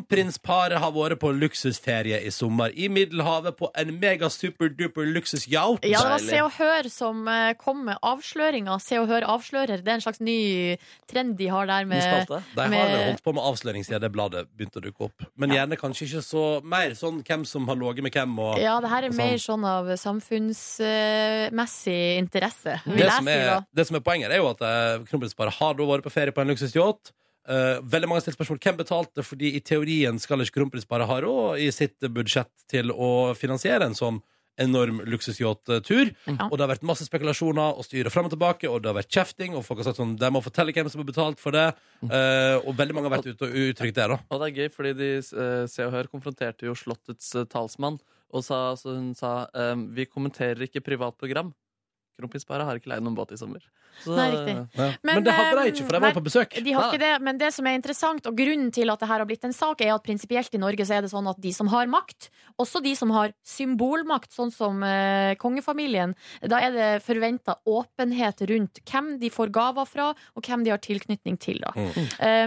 A: kronprinsparet har vært på luksusferie i sommer i Middelhavet på en mega super-duper luksusyacht.
B: Ja, det var Se og Hør som eh, kom med avsløringa. Se og Hør avslører. Det er en slags ny trend de har der med
A: De har
B: med-
A: vel holdt på med avsløring siden det bladet begynte å dukke opp. Men gjerne kanskje ikke så mer sånn hvem som har ligget med hvem. Og,
B: Ja, det her er
A: og
B: mer
A: sånn.
B: sånn av samfunnsmessig interesse, vil
A: det
B: jeg
A: som,
B: si da.
A: er, det som er poenget, er jo at eh, kronprinsparet har da vært på ferie på en luksusyacht. Eh, veldig mange stiller spørsmål hvem betalte, fordi i teorien skal ikke kronprinsparet ha råd i sitt budsjett til å finansiere en sånn enorm luksusyacht-tur.
B: Mm.
A: Og det har vært masse spekulasjoner og styre fram og tilbake, og det har vært kjefting, og folk har sagt sånn De må fortelle hvem som har betalt for det.
B: Mm.
A: Eh, og veldig mange har vært ute og uttrykt det, da.
C: Og det er gøy, fordi de eh, Se og Hør konfronterte jo Slottets eh, talsmann, og sa, så hun sa ehm, vi kommenterer ikke privatprogram. Kronprinsparet har ikke leid noen båt i sommer. Så- eh,
B: Nei, riktig.
A: Ja. Men det hadde de ikke, for de var
B: eh,
A: på besøk.
B: De har
A: Nei,
B: ikke det, men det som er interessant, og grunnen til at det her har blitt en sak, er at prinsipielt i Norge så er det sånn at de som har makt, også de som har symbolmakt, sånn som eh, kongefamilien, da er det forventa åpenhet rundt hvem de får gaver fra, og hvem de har tilknytning til, da. Um,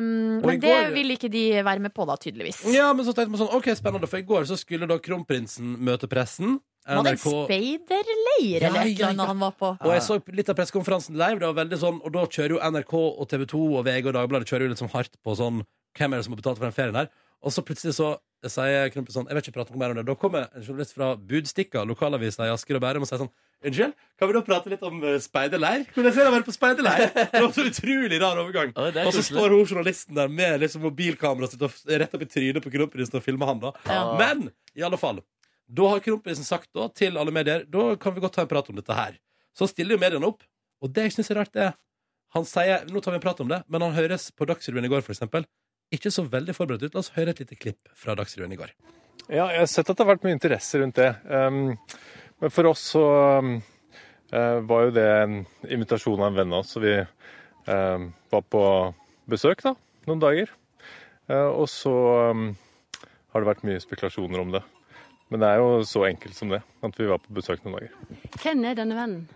A: Mm. Og i
B: men det
A: går-
B: vil ikke de være med på, da, tydeligvis.
A: Ja, men så tenkte man sånn, ok, spennende, for i går så skulle da kronprinsen møte pressen.
B: Var det en
A: NRK
B: speiderleir eller
A: Ja,
B: et
A: ja,
B: eller annet
A: ja.
B: han var på?
A: Og jeg så litt av pressekonferansen live, det var veldig sånn, og da kjører jo NRK og TV 2 og VG og Dagbladet kjører jo litt sånn hardt på sånn, hvem er det som har betalt for den ferien her? Og så plutselig så sier Kronprinsen sånn, jeg vet ikke prate noe mer om det. Da kommer en journalist fra Budstikka, lokalavisen i Asker og Bærum, og sier sånn, unnskyld, kan vi da prate litt om eh, speiderleir? Hvordan ser det å være på speiderleir? Det var så utrolig rar overgang.
C: det er
A: Og så
C: koselig.
A: står hun journalisten der med liksom mobilkamera sitt og f- rett opp i trynet på kronprinsen og filmer han da.
C: Ja.
A: Men i alle fall, da har kronprinsen sagt da til alle medier da kan vi godt ta en prat om dette her. Så stiller jo mediene opp, og det jeg syns er rart, er Han sier nå tar vi en prat om det, men han høres på Dagsrevyen i går, for eksempel, ikke så veldig forberedt ut. La oss høre et lite klipp fra Dagsrevyen i går.
M: Ja, jeg har sett at det har vært mye interesse rundt det. Um, men for oss så um, eh, var jo det en invitasjon av en venn av oss, så vi um, var på besøk da, noen dager. Eh, og så um, har det vært mye spekulasjoner om det. Men det er jo så enkelt som det, at vi var på besøk noen dager.
N: Hvem er denne vennen?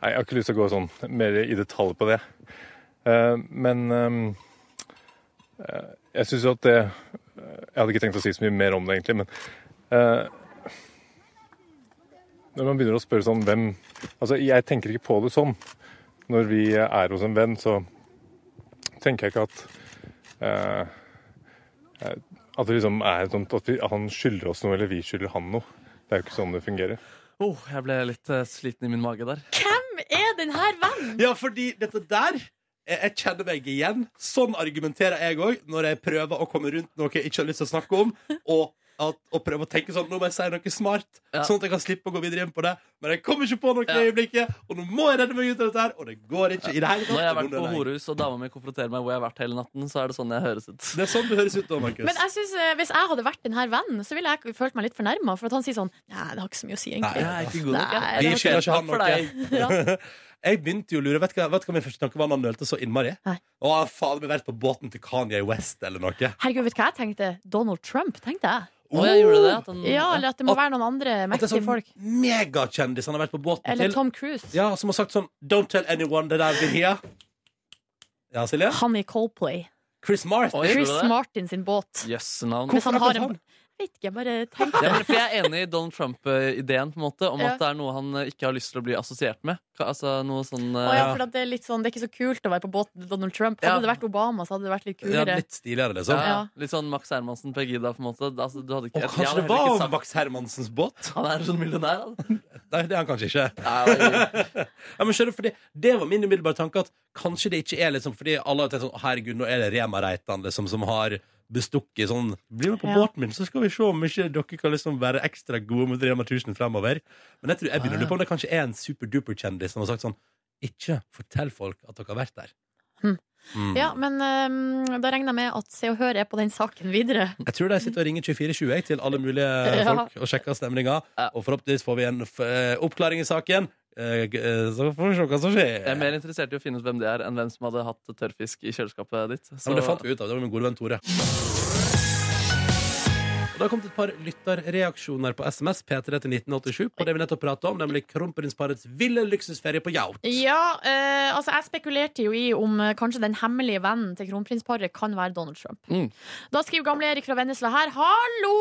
M: Nei, jeg har ikke lyst til å gå sånn mer i detalj på det. Eh, men um, eh, jeg syns jo at det Jeg hadde ikke tenkt å si så mye mer om det, egentlig, men eh, når man begynner å spørre sånn hvem Altså, jeg tenker ikke på det sånn. Når vi er hos en venn, så tenker jeg ikke at eh, eh, At det liksom er sånn at vi, han skylder oss noe, eller vi skylder han noe. Det er jo ikke sånn det fungerer.
C: Oh, jeg ble litt eh, sliten i min mage der.
B: Hvem er denne vennen?
A: Ja, fordi dette der eh, jeg, jeg kjenner meg igjen. Sånn argumenterer jeg òg når jeg prøver å komme rundt noe jeg ikke har lyst til å snakke om. Og, at, og prøver å tenke sånn Nå må jeg si noe smart,
C: Ja.
A: sånn at jeg kan slippe å gå videre inn på det. Men jeg kommer ikke på noe i øyeblikket, og nå må jeg redde meg ut av dette her. Og det går ikke i det hele tatt.
C: Når jeg har
A: Og
C: vært
A: nå
C: på
A: er jeg-
C: horehus og dama mi konfronterer meg hvor jeg har vært hele natten, så er det sånn jeg høres ut.
A: Det er sånn du høres ut da, Markus.
B: Men jeg synes, eh, Hvis jeg hadde vært denne vennen, så ville jeg følt meg litt fornærma. For at han sier sånn Nei, det har ikke så mye å si, egentlig.
A: Nei, jeg er ikke
C: god nok,
B: Nei,
C: jeg.
A: Vi
B: det har
A: skylder ikke han
B: for deg. Ja.
A: noe. Jeg begynte jo å lure. Vet du hva, vet du hva min første tanke var da han nølte så innmari? Å, faen, vi har vært på båten til Kanye West eller noe.
B: Herregud, vet du hva jeg tenkte? Donald Trump, tenkte jeg.
A: Å, ja, gjorde du det? At han-
C: Mm,
B: ja, eller at det må være noen andre
A: At det er
B: mektige
A: sånn
B: folk.
A: megakjendis han har vært på båten
B: Eller
A: til.
B: Tom Cruise.
A: Ja, som har sagt sånn Don't tell anyone that I've been here. Ja, Silje?
B: Han i Coldplay.
A: Chris Martin.
B: Chris Martin sin båt.
C: Jøssenavn.
B: Mens han har en Jeg vet ikke, jeg bare tenkte
C: Ja, men for jeg er enig i Donald Trump-ideen på en måte om
B: Ja.
C: at det er noe han eh, ikke har lyst til å bli assosiert med. Ka- Altså noe sånn eh,
B: Å ja, for at det er litt sånn, det er ikke så kult å være på båten til Donald Trump. Hadde
C: Ja.
B: det vært Obama, så hadde det vært litt
C: Ja,
B: kulere.
C: litt
A: stiligere,
C: liksom. Ja,
B: Ja.
C: Litt sånn Max Hermansen, Pegida, på en måte. Altså, du hadde ikke,
A: Og
C: jeg- jeg
A: kanskje
C: hadde
A: det
C: heller ikke
A: var
C: sagt-
A: Max Hermansens båt?
C: Han er sånn millionær, han.
A: Nei, det er han kanskje ikke. ja, men skjønner du, fordi Det var min umiddelbare tanke, at kanskje det ikke er liksom fordi alle har tenkt sånn «Å, Herregud, nå er det Rema Reitan liksom, som har bestukket sånn Bli med på
C: Ja.
A: båten min, så skal vi se om ikke dere kan liksom være ekstra gode mot Rema 1000 fremover. Men jeg tror jeg begynner å lure på om det kanskje er en superduper-kjendis som har sagt sånn Ikke fortell folk at dere har vært der. Mm.
B: Ja, men ehm, da regner jeg med at Se og Hør er på den saken videre.
A: Jeg tror de sitter og ringer 2420 jeg, til alle
B: Ja.
A: mulige folk og sjekker stemninga. Og forhåpentligvis får vi en f eh, oppklaring i saken. Eh, g- eh, Så får vi se hva som skjer.
C: Jeg er mer interessert i å finne ut hvem det er, enn hvem som hadde hatt tørrfisk i kjøleskapet ditt.
A: Ja, men det fant vi ut av. Det var min gode venn Tore. Og Det har kommet et par lytterreaksjoner på SMS P3 til 1987 på det vi nettopp pratet om, nemlig kronprinsparets ville luksusferie på Jaut.
B: Ja, eh, altså jeg spekulerte jo i om eh, kanskje den hemmelige vennen til kronprinsparet kan være Donald Trump.
A: Mm.
B: Da skriver gamle Erik fra Vennesla her Hallo!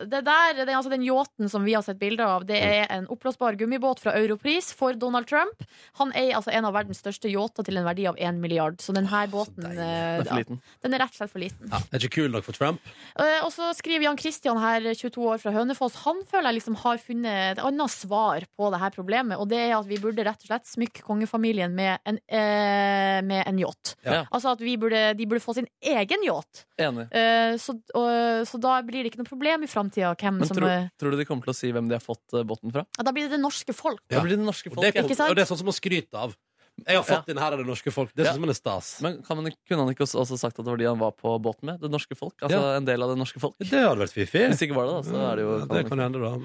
B: Det der, det, er altså den yachten som vi har sett bilder av, det er en oppblåsbar gummibåt fra Europris for Donald Trump. Han eier altså en av verdens største yachter til en verdi av én milliard. Så denne båten eh,
A: Den er for
B: ja,
A: liten.
B: den er rett og slett for liten.
A: Ja, er ikke kul nok for Trump.
B: Eh, Og så skriver Jan Kristian her, 22 år fra Hønefoss, han føler jeg liksom har funnet et annet svar på det her problemet, og det er at vi burde rett og slett smykke kongefamilien med en, eh, med en yacht.
C: Ja.
B: Altså at vi burde, de burde få sin egen yacht.
C: Enig.
B: Eh, så, og, så da blir det ikke noe problem i framtida hvem
C: Men
B: som
C: tro,
B: eh,
C: tror du de kommer til å si hvem de har fått eh, båten fra?
B: ja, Da blir det det norske folk.
C: Da blir det det norske
A: Og det, er,
C: folk. ja.
A: og det er sånn som å skryte av. Jeg har fått inn her av det norske folk. Det
C: Ja.
A: synes man er stas.
C: Men kan man, ikke- kunne han ikke også, også sagt at det var de han var på båten med? Det norske folk? Altså
A: Ja.
C: en del av det norske folk?
A: Det hadde vært fiffig.
C: Hvis ikke var det, da, så er det jo
A: Ja, det kan hende, da.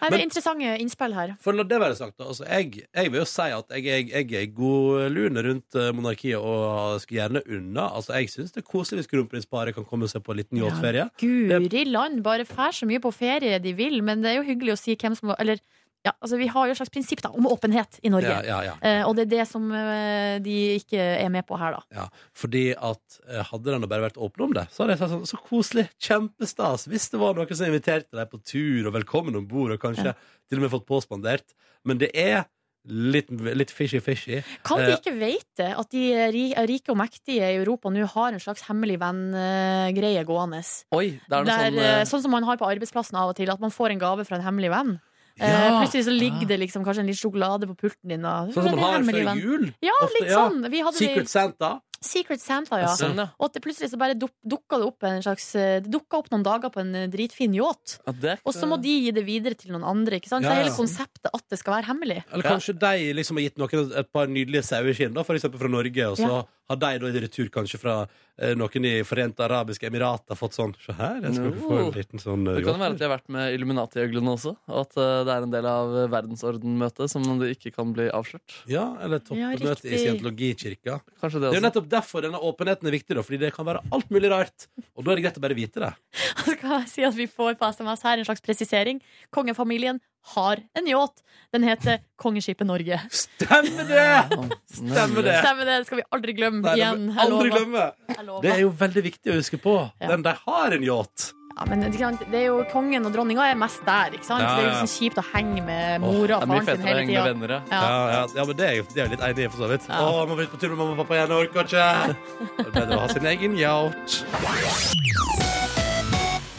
B: Nei, det er interessante innspill her.
A: For la det være sagt, da, altså, jeg, jeg vil jo si at jeg, jeg, jeg er i god lune rundt eh, monarkiet og skulle gjerne unna. Altså, jeg syns det er koselig hvis kronprinsparet kan komme seg på en liten yachtferie.
B: Guri land, bare fær så mye på ferie de vil, men det er jo hyggelig å si hvem som Eller ja, altså vi har jo et slags prinsipp da, om åpenhet i Norge.
A: Ja, ja, ja.
B: Eh, og det er det som eh, de ikke er med på her, da.
A: Ja, fordi at eh, hadde de nå bare vært åpne om det, så hadde jeg sagt sånn Så koselig, kjempestas. Hvis det var noen som inviterte deg på tur, og velkommen om bord, og kanskje til og med fått påspandert. Men det er litt, litt fishy-fishy.
B: Kan
A: Eh.
B: de ikke vite at de ri- rike og mektige i Europa nå har en slags hemmelig venn-greie gående?
C: Oi, det er noe
B: Der,
C: sånn,
B: eh,
C: eh,
B: sånn som man har på arbeidsplassen av og til, at man får en gave fra en hemmelig venn. Eh,
C: Ja.
B: Plutselig så ligger det liksom kanskje en litt sjokolade på pulten din. Da.
A: Ah. Sånn som
B: Det er
A: man
B: en
A: har
B: hemmelig
A: før
B: venn.
A: jul?
B: Ja,
A: ofte,
B: litt sånn. Vi hadde det i-
A: Secret Santa.
B: Secret Santa, ja.
A: Sånn, ja.
B: Og at det plutselig så bare duk- dukka det opp en slags eh, Det dukka opp noen dager på en eh, dritfin yacht. Og så må de gi det videre til noen andre. Ikke sant?
A: Eh. Ja,
B: Så
A: ja.
B: hele konseptet at det skal være hemmelig.
A: Eller kanskje de liksom har gitt noen et par nydelige saueskinn, da, for eksempel fra Norge, og så
B: Ja.
A: har de da i retur kanskje fra eh, noen i Forente arabiske emirater fått sånn Se her, jeg skal få en liten sånn eh,
C: Det kan jo
A: yacht."
C: være at de har vært med Illuminati-øglene også. Og at eh, det er en del av eh, verdensordenmøtet som det ikke kan bli avslørt.
A: Ja, eller toppmøte i scientologikirka. Det
C: Kanskje det
A: er jo
B: altså.
C: også.
A: nettopp derfor denne åpenheten er viktig, da, fordi det kan være alt mulig rart. Og da er det greit å bare vite det.
B: Så kan jeg si at vi får på SMS her en slags presisering. Kongefamilien har en yacht. Den heter Kongeskipet Norge.
A: Stemmer det! Stemmer det!
B: Stemmer det, det skal vi aldri glemme
A: Nei, det må
B: igjen.
A: vi
B: Jeg lover.
A: aldri glemme.
B: Jeg lover.
A: Det er jo veldig viktig å huske på.
B: Ja.
A: Den de har en yacht.
B: Ja, men ikke sant, det er jo kongen og dronninga er mest der, ikke sant?
A: Ja, ja, ja.
B: Det er jo liksom kjipt å henge med mora og faren sin hele tida.
A: Ja. Ja, ja, men det er jo det er jo litt enig i, for så vidt. Å, må vi ut på tur med mamma og pappa igjen, jeg orker ikke! Det er bedre å ha sin egen yacht.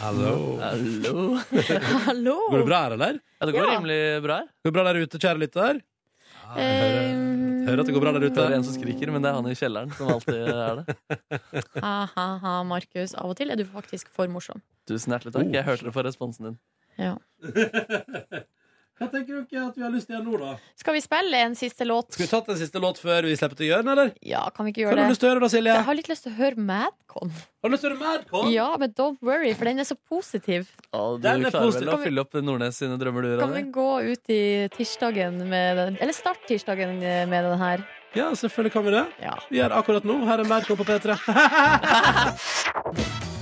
A: Hallo.
B: Hallo.
A: Går det bra her, eller?
C: Ja, det går rimelig bra her.
A: Går det bra der ute, kjære lytter?
B: Eh,
C: Hører at det går bra der ute. Det er en som skriker, men det er han i kjelleren som alltid eh, er det.
B: Ha-ha-ha, Markus. Av og til er du faktisk for morsom.
C: Tusen hjertelig takk. Jeg hørte det på responsen din.
B: Ja.
A: Hva tenker dere at vi har lyst til å gjøre nå, da?
B: Skal vi spille en siste låt?
A: Skal vi tatt en siste låt før vi slipper til å gjøre den, eller?
B: Ja, kan vi ikke
A: Hva
B: gjøre
A: har du lyst til å
B: det?
A: høre da, Silje?
B: Jeg har litt lyst til å høre Madcon.
A: Har du lyst til å høre Madcon?
B: Ja, men don't worry, for den er så positiv.
C: Og du
B: Den er
C: klarer
B: positiv.
C: vel å fylle opp Nordnes sine drømmer, du,
B: Kan vi
C: Ronny?
B: gå ut i tirsdagen med den? Eller start tirsdagen med den her.
A: Ja, selvfølgelig kan vi det. Vi gjør det akkurat nå. Her er Madcon på P3.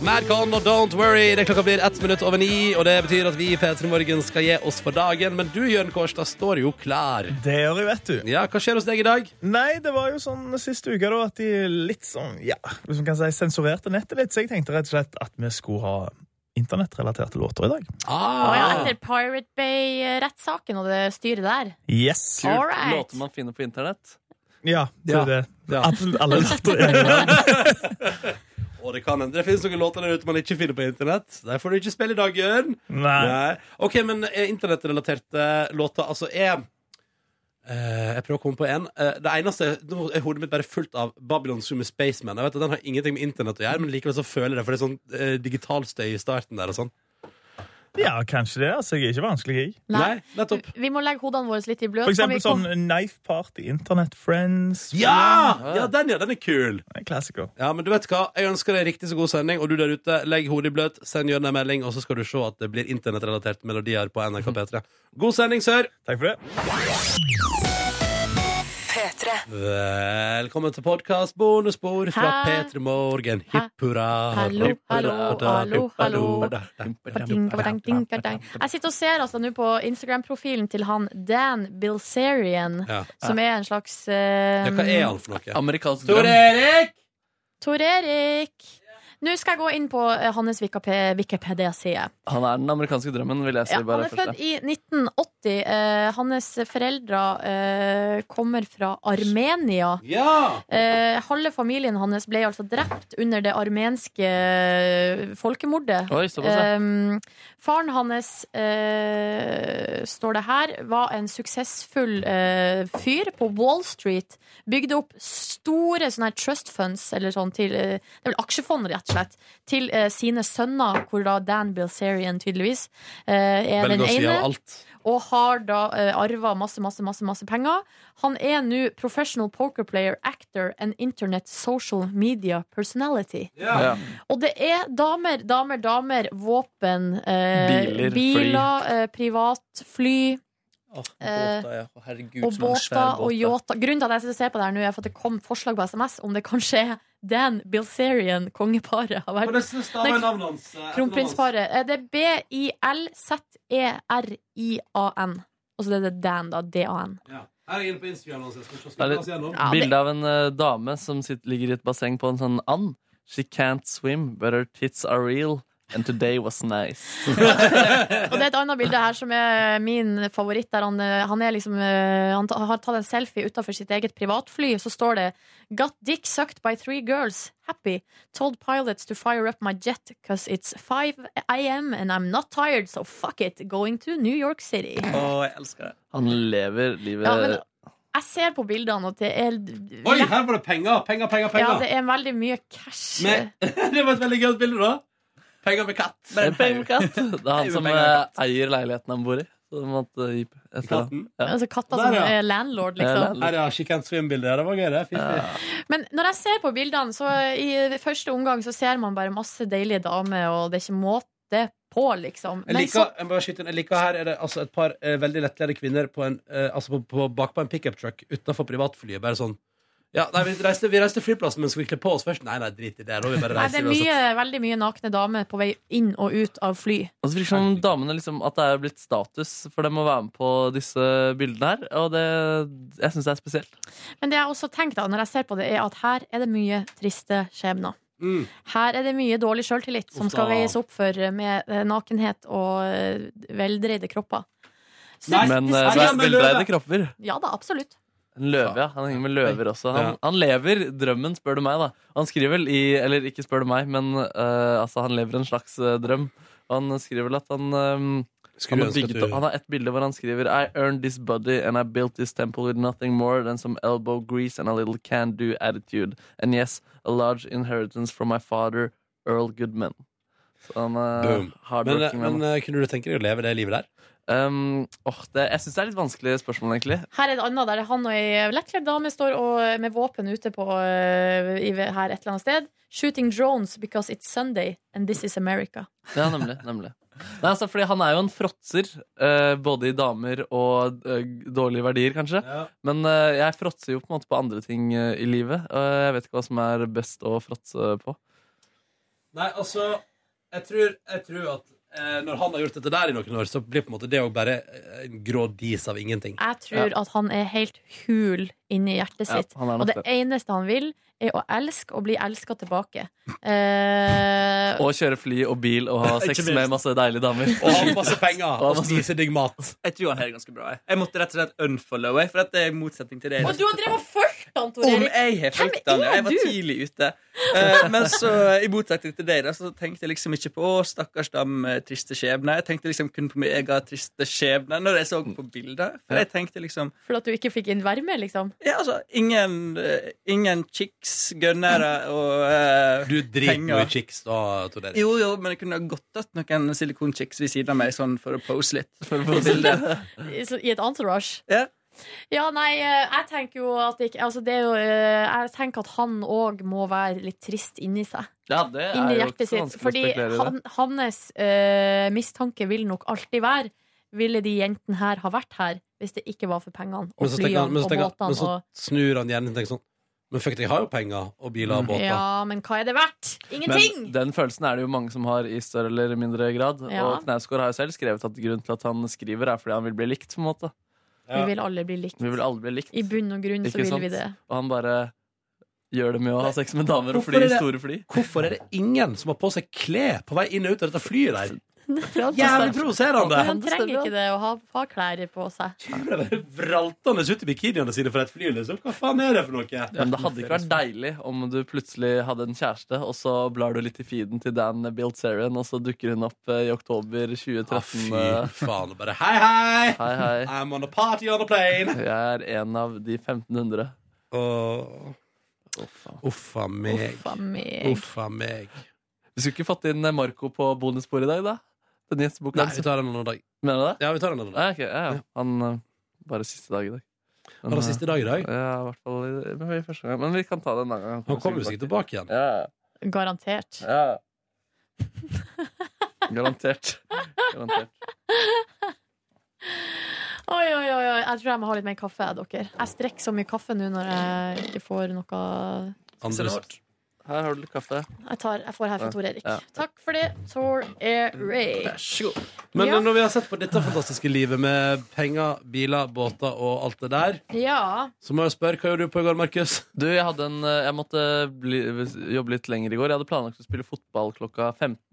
A: Madcon og Don't Worry. Det klokka blir ett minutt over ni, og det betyr at vi i P3 Morgen skal gi oss for dagen. Men du, Jørn Kårstad, står jo klar.
N: Det gjør jeg, vet du.
A: Ja, Hva skjer hos deg i dag?
N: Nei, det var jo sånn siste uka da at de litt sånn, ja, hvis man kan si sensurerte nettet litt, så jeg tenkte rett og slett at vi skulle ha internettrelaterte låter i dag.
B: Å ja, etter Pirate Bay-rettssaken og det styret der.
N: Yes.
B: Kult. All right. Låter
C: man finner på internett.
N: Ja, det er det. Absolutt alle låter.
A: Og det kan hende det finnes noen låter der ute man ikke finner på internett. Der får du ikke spille i dag, Jørn.
N: Nei.
A: OK, men eh, internettrelaterte låter, altså er eh, Jeg prøver å komme på en. Eh, det eneste Nå er hodet mitt bare fullt av Babylon Summer Spaceman. Jeg vet at Den har ingenting med internett å gjøre, men likevel så føler jeg det, for det er sånn eh, digitalstøy i starten der og sånn.
N: Ja, kanskje det. Altså, jeg er ikke vanskelig, jeg.
A: nettopp.
B: Vi må legge hodene våre litt i bløt.
N: For
B: Kan vi
N: eksempel sånn
B: komme-
N: Knife Party, Internet Friends.
A: Ja! ja, den ja, den er kul.
N: En klassiker.
A: Ja, men du vet hva, Jeg ønsker deg riktig så god sending, og du der ute, legg hodet i bløt, send Jørn en melding, og så skal du se at det blir internettrelaterte melodier på NRK P3. God sending, sør!
N: Takk for det.
O: P3.
A: Velkommen til podkast bonusbord fra
O: Hæ?
A: P3 Morgen. Hipp hurra.
B: Hallo,
A: hipp
B: hallo,
A: hurra, da,
B: hallo,
A: hipp hurra,
B: hallo.
A: da, da, da, da.
B: Ding-ka-dang, ding-ka-dang. Jeg sitter og ser altså nå på Instagram-profilen til han Dan Bilzerian,
A: Ja.
B: som er en slags eh,
A: Ja, hva er han for noe?
C: Amerikansk
A: Tor Erik!
B: Tor Erik! Nå skal jeg gå inn på eh, hans Wikipe- Wikipedia-side.
C: Han er den amerikanske drømmen, vil jeg si.
B: Ja, han
C: bare
B: er født
C: først.
B: i 1980. Eh, hans foreldre eh, kommer fra Armenia.
A: Ja!
B: Eh, halve familien hans ble altså drept under det armenske folkemordet.
C: Oi, såpass, ja.
B: Eh, faren hans, eh, står det her, var en suksessfull eh, fyr på Wall Street. Bygde opp store sånne her trust funds, eller sånn til eh, Det er vel aksjefond, rett og slett, til eh, sine sønner, hvor da Dan Bilzerian tydeligvis eh, er
A: Velger
B: den
A: å si
B: ene.
A: av alt.
B: Og har da uh, arva masse, masse, masse, masse penger. Han er nå professional poker player, actor and internet social media personality.
C: Ja.
B: Og det er damer, damer, damer, våpen, eh,
C: Biler, fly.
B: biler, eh, privat, fly. eh,
C: båter, ja. Å,
B: og
C: herregud, som en svær
B: båter og
C: båt, ja.
B: yachter. Grunnen til at jeg sitter og ser på det her nå, er for at det kom forslag på SMS om det kanskje er Dan Bilzerian kongeparet har vært Nei, Kronprinsparet. Eh, Det er E B-I-L-Z-E-R-I-A-N. Og så er det Dan, da. D-A-N.
A: Her er jeg inne på Instagram. Altså. Jeg skal se-
C: Det
A: skal
C: er
A: vi ta oss gjennom?
C: litt bilde av en eh, dame som sitter, ligger i et basseng på en sånn and. She can't swim, but her tits are real. And today was nice.
B: Og det er et annet bilde her som er min favoritt. Der han, eh, han, er liksom, eh, han ta- har tatt en selfie utenfor sitt eget privatfly. Så står det 'Got dick sucked by three girls. Happy. Told pilots to fire up my jet cause it's 5 am and I'm not tired, so fuck it. Going to New York City.
C: jeg elsker det. Han lever livet
B: Ja, men- Jeg ser på bildene at det er
A: Oi, her var det penger! Penger, penger, penger.
B: Ja, det er veldig mye cash.
A: Men- det var et veldig gøyt bilde, da. Penger med katt.
C: Det er penger med katt. Det er han som
A: Penger med
C: eh, eier leiligheten han bor i. Så de måtte gi etter
A: Katten?
C: han. Ja.
B: Altså katter som
C: Der, ja.
B: er landlord,
C: Ja,
B: liksom.
C: landlord.
A: Her er She Can't Swim-bildet. Det var gøy, det. Fint.
B: Men når jeg ser på bildene, så i første omgang så ser man bare masse deilige damer, og det er ikke måte på, liksom.
A: Jeg
B: Men
A: liker,
B: så,
A: jeg må bare skyte inn, jeg liker her er det altså et par eh, veldig lettlærde kvinner på en, eh, altså på, på, bakpå en pickup truck utenfor privatflyet. Bare sånn ja, nei, vi, reiste, vi reiste til flyplassen, men skal vi kle på oss først? Nei, nei, drit i det. Da vil vi bare
B: nei,
A: reise
B: det er
A: uansett.
B: mye, veldig mye nakne damer på vei inn og ut av fly.
C: Og så virker det som damene liksom, at det er blitt status for dem å være med på disse bildene her. Og det, jeg syns det er spesielt.
B: Men det jeg også tenker da, når jeg ser på det, er at her er det mye triste skjebner. Her er det mye dårlig sjøltillit som
C: Mm. Uff da.
B: skal veies opp for med eh, nakenhet og eh, veldreide kropper. Så-
C: Men eh, det er veldreide kropper.
B: Ja da, absolutt.
C: En løve, ja. Han henger med løver også. Han, han lever drømmen, spør du meg, da. Han skriver vel i Eller ikke spør du meg, men eh, altså, han lever en slags eh, drøm. Og han skriver vel at han eh,
A: Skulle
C: Han, har
A: ønske at
C: bygd
A: du-
C: opp- han har et bilde hvor han skriver I earned this body and I built this temple with nothing more than some elbow grease and a little can-do attitude. And yes, a large inheritance from my father, Earl Goodman. Så han er
A: Boom. Men, eh,
C: hardworking.
A: men eh, kunne du tenke deg å leve det livet der?
C: Um, åh, det, jeg syns det er litt vanskelig spørsmål, egentlig.
B: Her er et annet der han og ei lettkledd dame står og, med våpen ute på, eh, i, her et eller annet sted. Shooting drones because it's Sunday and this is America.
C: Ja, nemlig. nemlig. Nei, altså, fordi Han er jo en fråtser, eh, både i damer og eh, dårlige verdier, kanskje. Men eh, jeg fråtser jo på en måte på andre ting eh, i livet. Og jeg vet ikke hva som er best å fråtse på.
A: Nei, altså Jeg tror, jeg tror at eh, når han har gjort dette der i noen år, så blir på en måte det òg bare eh, en grå dis av ingenting.
B: Jeg tror at han er helt hul inni hjertet
A: Ja,
B: sitt.
A: han er nok
B: og det
A: det.
B: eneste han vil, er å elske og bli elska tilbake. Eh,
C: Og kjøre fly og bil og ha sex
O: Ikke minst.
C: med masse deilige damer.
A: Og ha masse penger, og spise digg mat.
O: Jeg tror han har det ganske bra. Jeg, jeg måtte rett og slett unfollow, jeg, for dette er i motsetning til deg.
B: og du har drevet og fulgt han, Tor
O: Om
B: Erik!
O: jeg har
B: Hvem
O: fulgt han, ja.
B: er
O: Jeg var
B: du?
O: tidlig ute. Eh, Men så, i motsetning til deg, da, så tenkte jeg liksom ikke på å, stakkars dem eh, triste skjebne. Jeg tenkte liksom kun på min egen triste skjebne når jeg så på bildet. For jeg tenkte liksom
B: For at du ikke fikk inn varme, liksom.
O: Ja, altså, ingen, eh, ingen chicks, gønnere og eh,
A: Du driter
O: penger.
A: jo i chicks, da, Tor Erik.
O: Jo, jo, men jeg kunne godt hatt noen silikonchicks ved siden av meg sånn for å pose litt.
B: I så- i et entourage.
O: Ja.
B: nei, eh, jeg tenker jo at det ikke altså det er jo, eh, Jeg tenker at han òg må være litt trist inni seg.
C: Ja, det er
B: Inni
C: jo
B: hjertet
C: ikke så
B: sitt.
C: vanskelig å
B: Fordi
C: spekulere i det.
B: han, hans eh, mistanke vil nok alltid være Ville de jentene her ha vært her hvis det ikke var for pengene og
A: Men så, tenker han,
B: flyene
A: men,
B: og
A: så tenker, han- men
B: båtene
A: så
B: og
A: snur han hjernen og tenker sånn Men fuck, jeg har jo penger og biler og båter.
B: Ja, men hva er det verdt? Ingenting!
C: Men den følelsen er det jo mange som har i større eller mindre grad.
B: Ja.
C: Og Knausgård har jo selv skrevet at grunnen til at han skriver, er fordi han vil bli likt. på en måte
B: Vi vil alle bli likt.
C: Vi vil alle bli likt.
B: I bunn og grunn så
C: Ikke
B: vil
C: sant?
B: vi det.
C: Og han bare gjør det med å ha sex med damer og
A: Hvorfor
C: fly
A: er
C: i
A: det-
C: store fly.
A: Hvorfor er det ingen som har på seg klær på vei inn og ut av dette flyet der?
B: Jævlig
A: Jævlig provoserende!
B: Han trenger ikke det å ha, ha klær på seg.
A: Vraltende ut i bikiniene sine fra et fly, liksom. Hva faen er det liksom? for noe?
C: Men det hadde ikke vært deilig om du plutselig hadde en kjæreste, og så blar du litt i feeden til Dan Bilzerian, og så dukker hun opp eh, i oktober 2013.
A: Ah, fy faen, og bare, hei, hei!
C: hei, eh. hei!
A: I'm on a party on a plane!
C: Jeg er en av de 1500.
A: Uffa meg.
B: Uffa meg.
A: Uffa meg.
C: Vi skulle ikke fått inn eh, Marco på bonusbordet i dag, da? Den gjesteboka
A: Nei,
C: hans.
A: vi tar den en annen dag.
C: Mener du det?
A: Ja, vi tar den en annen
C: dag. ja, ja. Han eh, bare siste dag i dag. Men,
A: Bare
C: eh,
A: siste dag i dag?
C: Ja, i hvert fall i- men i første gang. Men vi kan ta det en annen gang.
A: Han kommer jo sikkert tilbake igjen.
C: Ja, ja.
B: Garantert.
C: Ja. Garantert. Garantert.
B: Oi, oi, oi, oi. Jeg tror jeg må ha litt mer kaffe, jeg, dere. Jeg strekker så mye kaffe nå når jeg ikke får noe
A: Andre-
C: Her har du litt kaffe.
B: Jeg, tar, jeg får her fra Tor Erik.
A: Ja.
B: Takk for det, Tor Erik. Vær
O: så god.
A: Men
B: ja.
A: når vi har sett på dette fantastiske livet med penger, biler, båter og alt det der,
B: ja.
A: så må jeg spørre hva gjorde du på i går, Markus?
C: Du, jeg, hadde en, eh, jeg måtte bli, jobbe litt lenger i går. Jeg hadde planlagt å spille fotball klokka 15.00.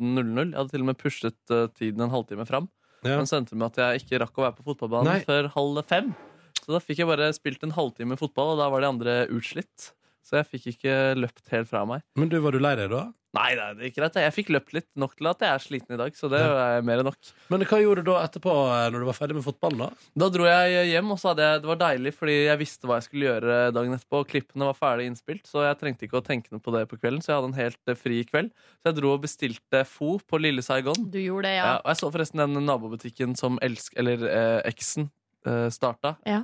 C: Jeg hadde til og med pushet eh, tiden en halvtime fram.
A: Ja.
C: Men så endte det med at jeg ikke rakk å være på fotballbanen
A: Nei.
C: før halv fem. Så da fikk jeg bare spilt en halvtime fotball, og da var de andre utslitt. Så jeg fikk ikke løpt helt fra meg.
A: Men du, var du lei deg da?
C: Nei, nei, det gikk greit. Jeg fikk løpt litt nok til at jeg er sliten i dag. Så det er mer enn nok.
A: Men hva gjorde du da etterpå, eh, når du var ferdig med fotballen, da?
C: Da dro jeg hjem, og så hadde jeg, det var deilig, fordi jeg visste hva jeg skulle gjøre dagen etterpå. og Klippene var ferdig innspilt, så jeg trengte ikke å tenke noe på det på kvelden. Så jeg hadde en helt eh, fri kveld. Så jeg dro og bestilte Fo på Lille Saigon.
B: Du gjorde det, ja.
C: Ja, og jeg så forresten den nabobutikken som elsk, eller eh, eksen eh, starta.
B: Ja.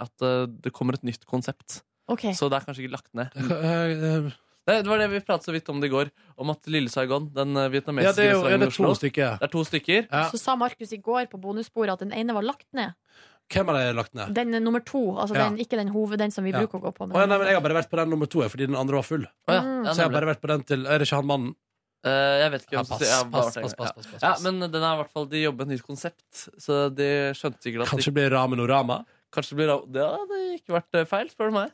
C: At eh, det kommer et nytt konsept.
B: Ok.
C: Så det er kanskje ikke lagt ned.
A: Eh, eh,
C: Nei, det var det vi pratet så vidt om det i går. Om at Lille Saigon, den eh,
A: Ja,
C: vietnamesiske
A: det er jo ja,
C: restauranten i
A: det er to
C: Oslo
A: stykker.
C: Det er to stykker.
B: Så sa Markus i går på bonussporet at den ene var lagt ned.
A: Hvem har de lagt ned?
B: Den er nummer to. Altså
A: Ja.
B: den, ikke den hoved, den som vi
A: Ja.
B: bruker å gå på.
A: Å, ja, nei, men jeg har bare vært på den nummer to jeg, fordi den andre var full.
C: ja. Mm. Ja,
A: så jeg har
C: nemlig. Eh,
A: bare vært på den til Er det ikke han mannen?
C: jeg vet ikke
A: ja,
C: hvem som
A: pass,
C: sier- jeg har bare
A: pass,
C: vært
A: pass,
C: der.
A: pass,
C: Ja.
A: pass, pass,
C: Ja, men den er i hvert fall De jobber med et nytt konsept, så de skjønte sikkert at
A: Kanskje det blir Ramenorama?
C: Kanskje det blir ra- Det hadde ikke vært eh, feil, spør du meg.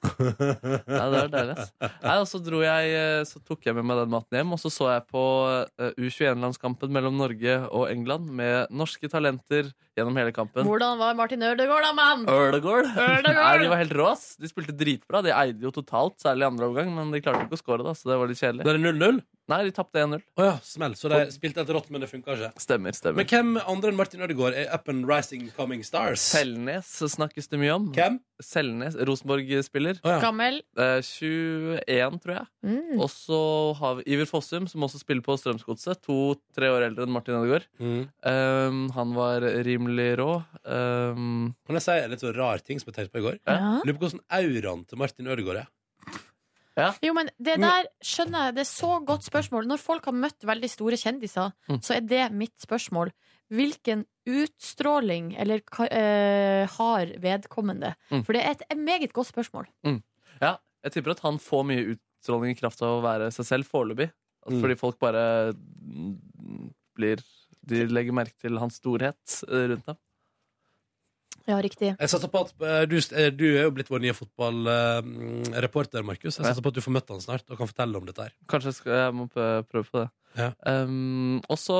C: Ja, det var deilig. ass. Nei, og så, dro jeg, eh, så tok jeg med meg den maten hjem, og så så jeg på eh, U21-landskampen mellom Norge og England med norske talenter gjennom hele kampen.
B: Hvordan var Martin Ødegaard, da, mann?
C: Ødegaard. Nei,
B: Ødegaard.
C: de var helt rå. ass. De spilte dritbra. De eide jo totalt, særlig i andre omgang, men de klarte ikke å score, da, så det var litt kjedelig.
A: Da er det 0-0?
C: Nei, de tapte 1-0.
A: Å ja, smell. Så de spilte helt rått, men det funka ikke.
C: Stemmer, stemmer.
A: Men hvem andre enn Martin Ødegaard er up and rising coming stars?
C: Selnes snakkes det mye om.
A: Hvem?
C: Selnes, Rosenborg-spiller.
B: ja. Gammel.
C: Eh, 21, tror jeg.
B: Mm.
C: Og så har vi Iver Fossum, som også spiller på Strømsgodset. To-tre år eldre enn Martin Ødegaard.
A: Mm.
C: Um, han var rimelig rå. Um,
A: Kan jeg si en litt så rar ting som jeg tenkte på i går?
C: Ja.
A: Lurer på hvordan auraen til Martin Ødegaard er.
B: Jo, men det der skjønner jeg. Det er så godt spørsmål. Når folk har møtt veldig store kjendiser,
A: Mm.
B: så er det mitt spørsmål. Hvilken utstråling eller ka- eh, har vedkommende?
C: Mm.
B: For det er et, et meget godt spørsmål.
C: Mm. Ja, jeg tipper at han får mye utstråling i kraft av å være seg selv foreløpig. Altså, Fordi folk bare mm, blir De legger merke til hans storhet eh, rundt dem.
B: Ja, riktig.
A: Jeg satser på at eh, du, eh, du er jo blitt vår nye fotballreporter, Markus. Jeg
C: Ja.
A: satser på at du får møtt han snart og kan fortelle om dette her.
C: Kanskje jeg, skal, jeg må p- prøve på det. Um, og så,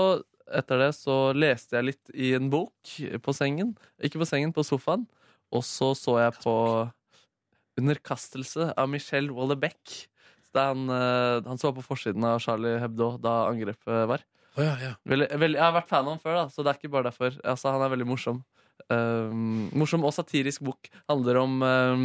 C: etter det, så leste jeg litt i en bok på sengen. Ikke på sengen, på sofaen. Og så så jeg på Underkastelse av Michelle Waller-Beck. Så det er Han, eh, han så på forsiden av Charlie Hebdo da angrepet var.
A: Å ja, ja.
C: Veldig, veldig, jeg har vært fan av han før, da, så det er ikke bare derfor. Altså, han er veldig morsom. Um, morsom og satirisk bok. Handler om um,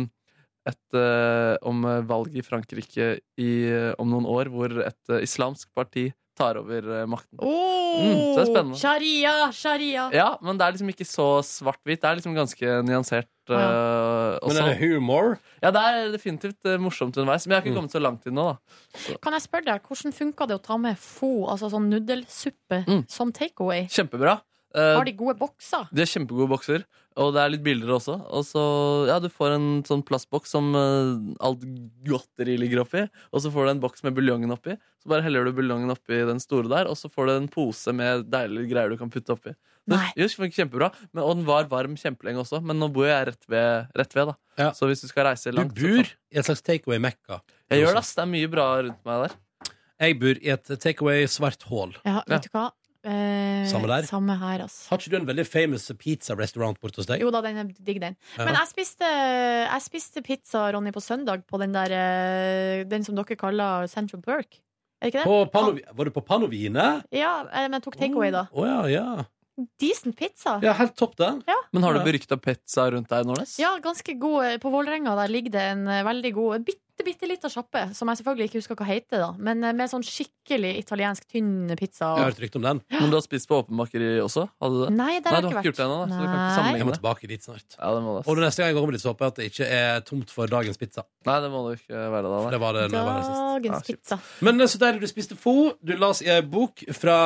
C: et eh, om eh, valget i Frankrike i, eh, om noen år, hvor et eh, islamsk parti tar over eh, makten. Mm, så det er spennende.
B: Oh, Sharia, sharia.
C: Ja, men det er liksom ikke så svart-hvitt. Det er liksom ganske nyansert. eh,
A: Men er
C: også.
A: det humor?
C: Ja, det er definitivt eh, morsomt underveis. Men jeg har
A: Mm.
C: ikke kommet så langt inn nå, da.
B: Kan jeg spørre deg, hvordan funka det å ta med fo, altså sånn nudelsuppe,
A: Mm.
B: som takeaway?
C: Kjempebra. Eh,
B: Har de gode bokser?
C: De har kjempegode bokser, og det er litt bilder også. Og så, ja, Du får en sånn plastboks som eh, alt godteri ligger oppi, og så får du en boks med buljongen oppi. Så bare heller du buljongen oppi den store der, og så får du en pose med deilige greier du kan putte oppi. Det- Jo, det funker kjempebra, men, Og den var varm kjempelenge også, men nå bor jeg rett ved, rett ved da. Så hvis du skal reise langt
A: Du bor i et slags takeaway-mekka.
C: Jeg gjør det, ass. Det er mye bra rundt meg der.
A: Jeg bor i et takeaway-svart hull.
B: Ja, vet du hva? Eh,
A: Samme der.
B: Samme her, altså.
A: Har ikke du en veldig famous pizza-restaurant borte hos deg?
B: Jo da, den er digg, den.
A: Ja.
B: Men jeg spiste, jeg spiste pizza, Ronny, på søndag på den der eh, Den som dere kaller Central Perk. Er det ikke det?
A: På Panovi var du på Panovine?
B: Ja, eh, men jeg tok takeaway, da.
A: Å ja, ja.
B: Decent pizza.
A: Oh. Ja, helt topp, det.
B: Ja.
C: Men har du berykta pizza rundt deg, Nordnes?
B: Ja, ganske god. eh, På Vålerenga der ligger det en eh, veldig god, en bitte, bitte lita sjappe, som jeg selvfølgelig ikke husker hva heter, da, men eh, med sånn skikkelig italiensk tynn pizza.
C: Jeg har
A: hørt rykte om den.
C: Men du har spist på åpen bakeri også? Hadde du det?
B: Nei, der har
C: du
B: jeg
C: har
B: ikke
C: ikke gjort det ennå. da, Så du kan
B: Nei.
C: ikke sammenligne
B: Jeg må
A: tilbake dit snart.
C: Ja, det må du, ass.
A: Og det neste gang jeg kommer dit, så håper jeg at det ikke er tomt for dagens pizza.
C: Nei, det må du ikke være da.
A: Det var det når jeg var her sist.
B: Dagens pizza.
A: Men eh, så deilig du spiste fo. Du las i ei bok fra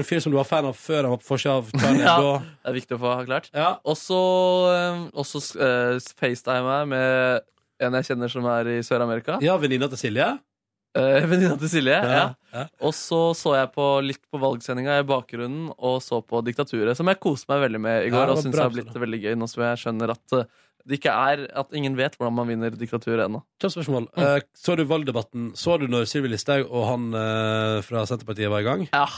A: en fyr som du var fan av før han var på forsida av Charlie
C: Ja,
A: Hebdo.
C: det er viktig å få klart.
A: Ja.
C: Og så eh, og så, eh, facetimer jeg med en jeg kjenner som er i Sør-Amerika.
A: Ja, venninna til Silje.
C: Venninna til Silje, ja.
A: Ja, ja.
C: Og så så jeg på litt på valgsendinga i bakgrunnen, og så på Diktaturet, som jeg koste meg veldig med i
A: Ja,
C: går,
A: det var
C: og syns
A: bra,
C: har blitt veldig gøy, nå som jeg skjønner at eh, det ikke er At ingen vet hvordan man vinner diktaturet ennå.
A: Kjapt spørsmål.
C: Mm.
A: Eh, Så du valgdebatten? Så du når Sylvi Listhaug og han eh, fra Senterpartiet var i gang?
C: Ja.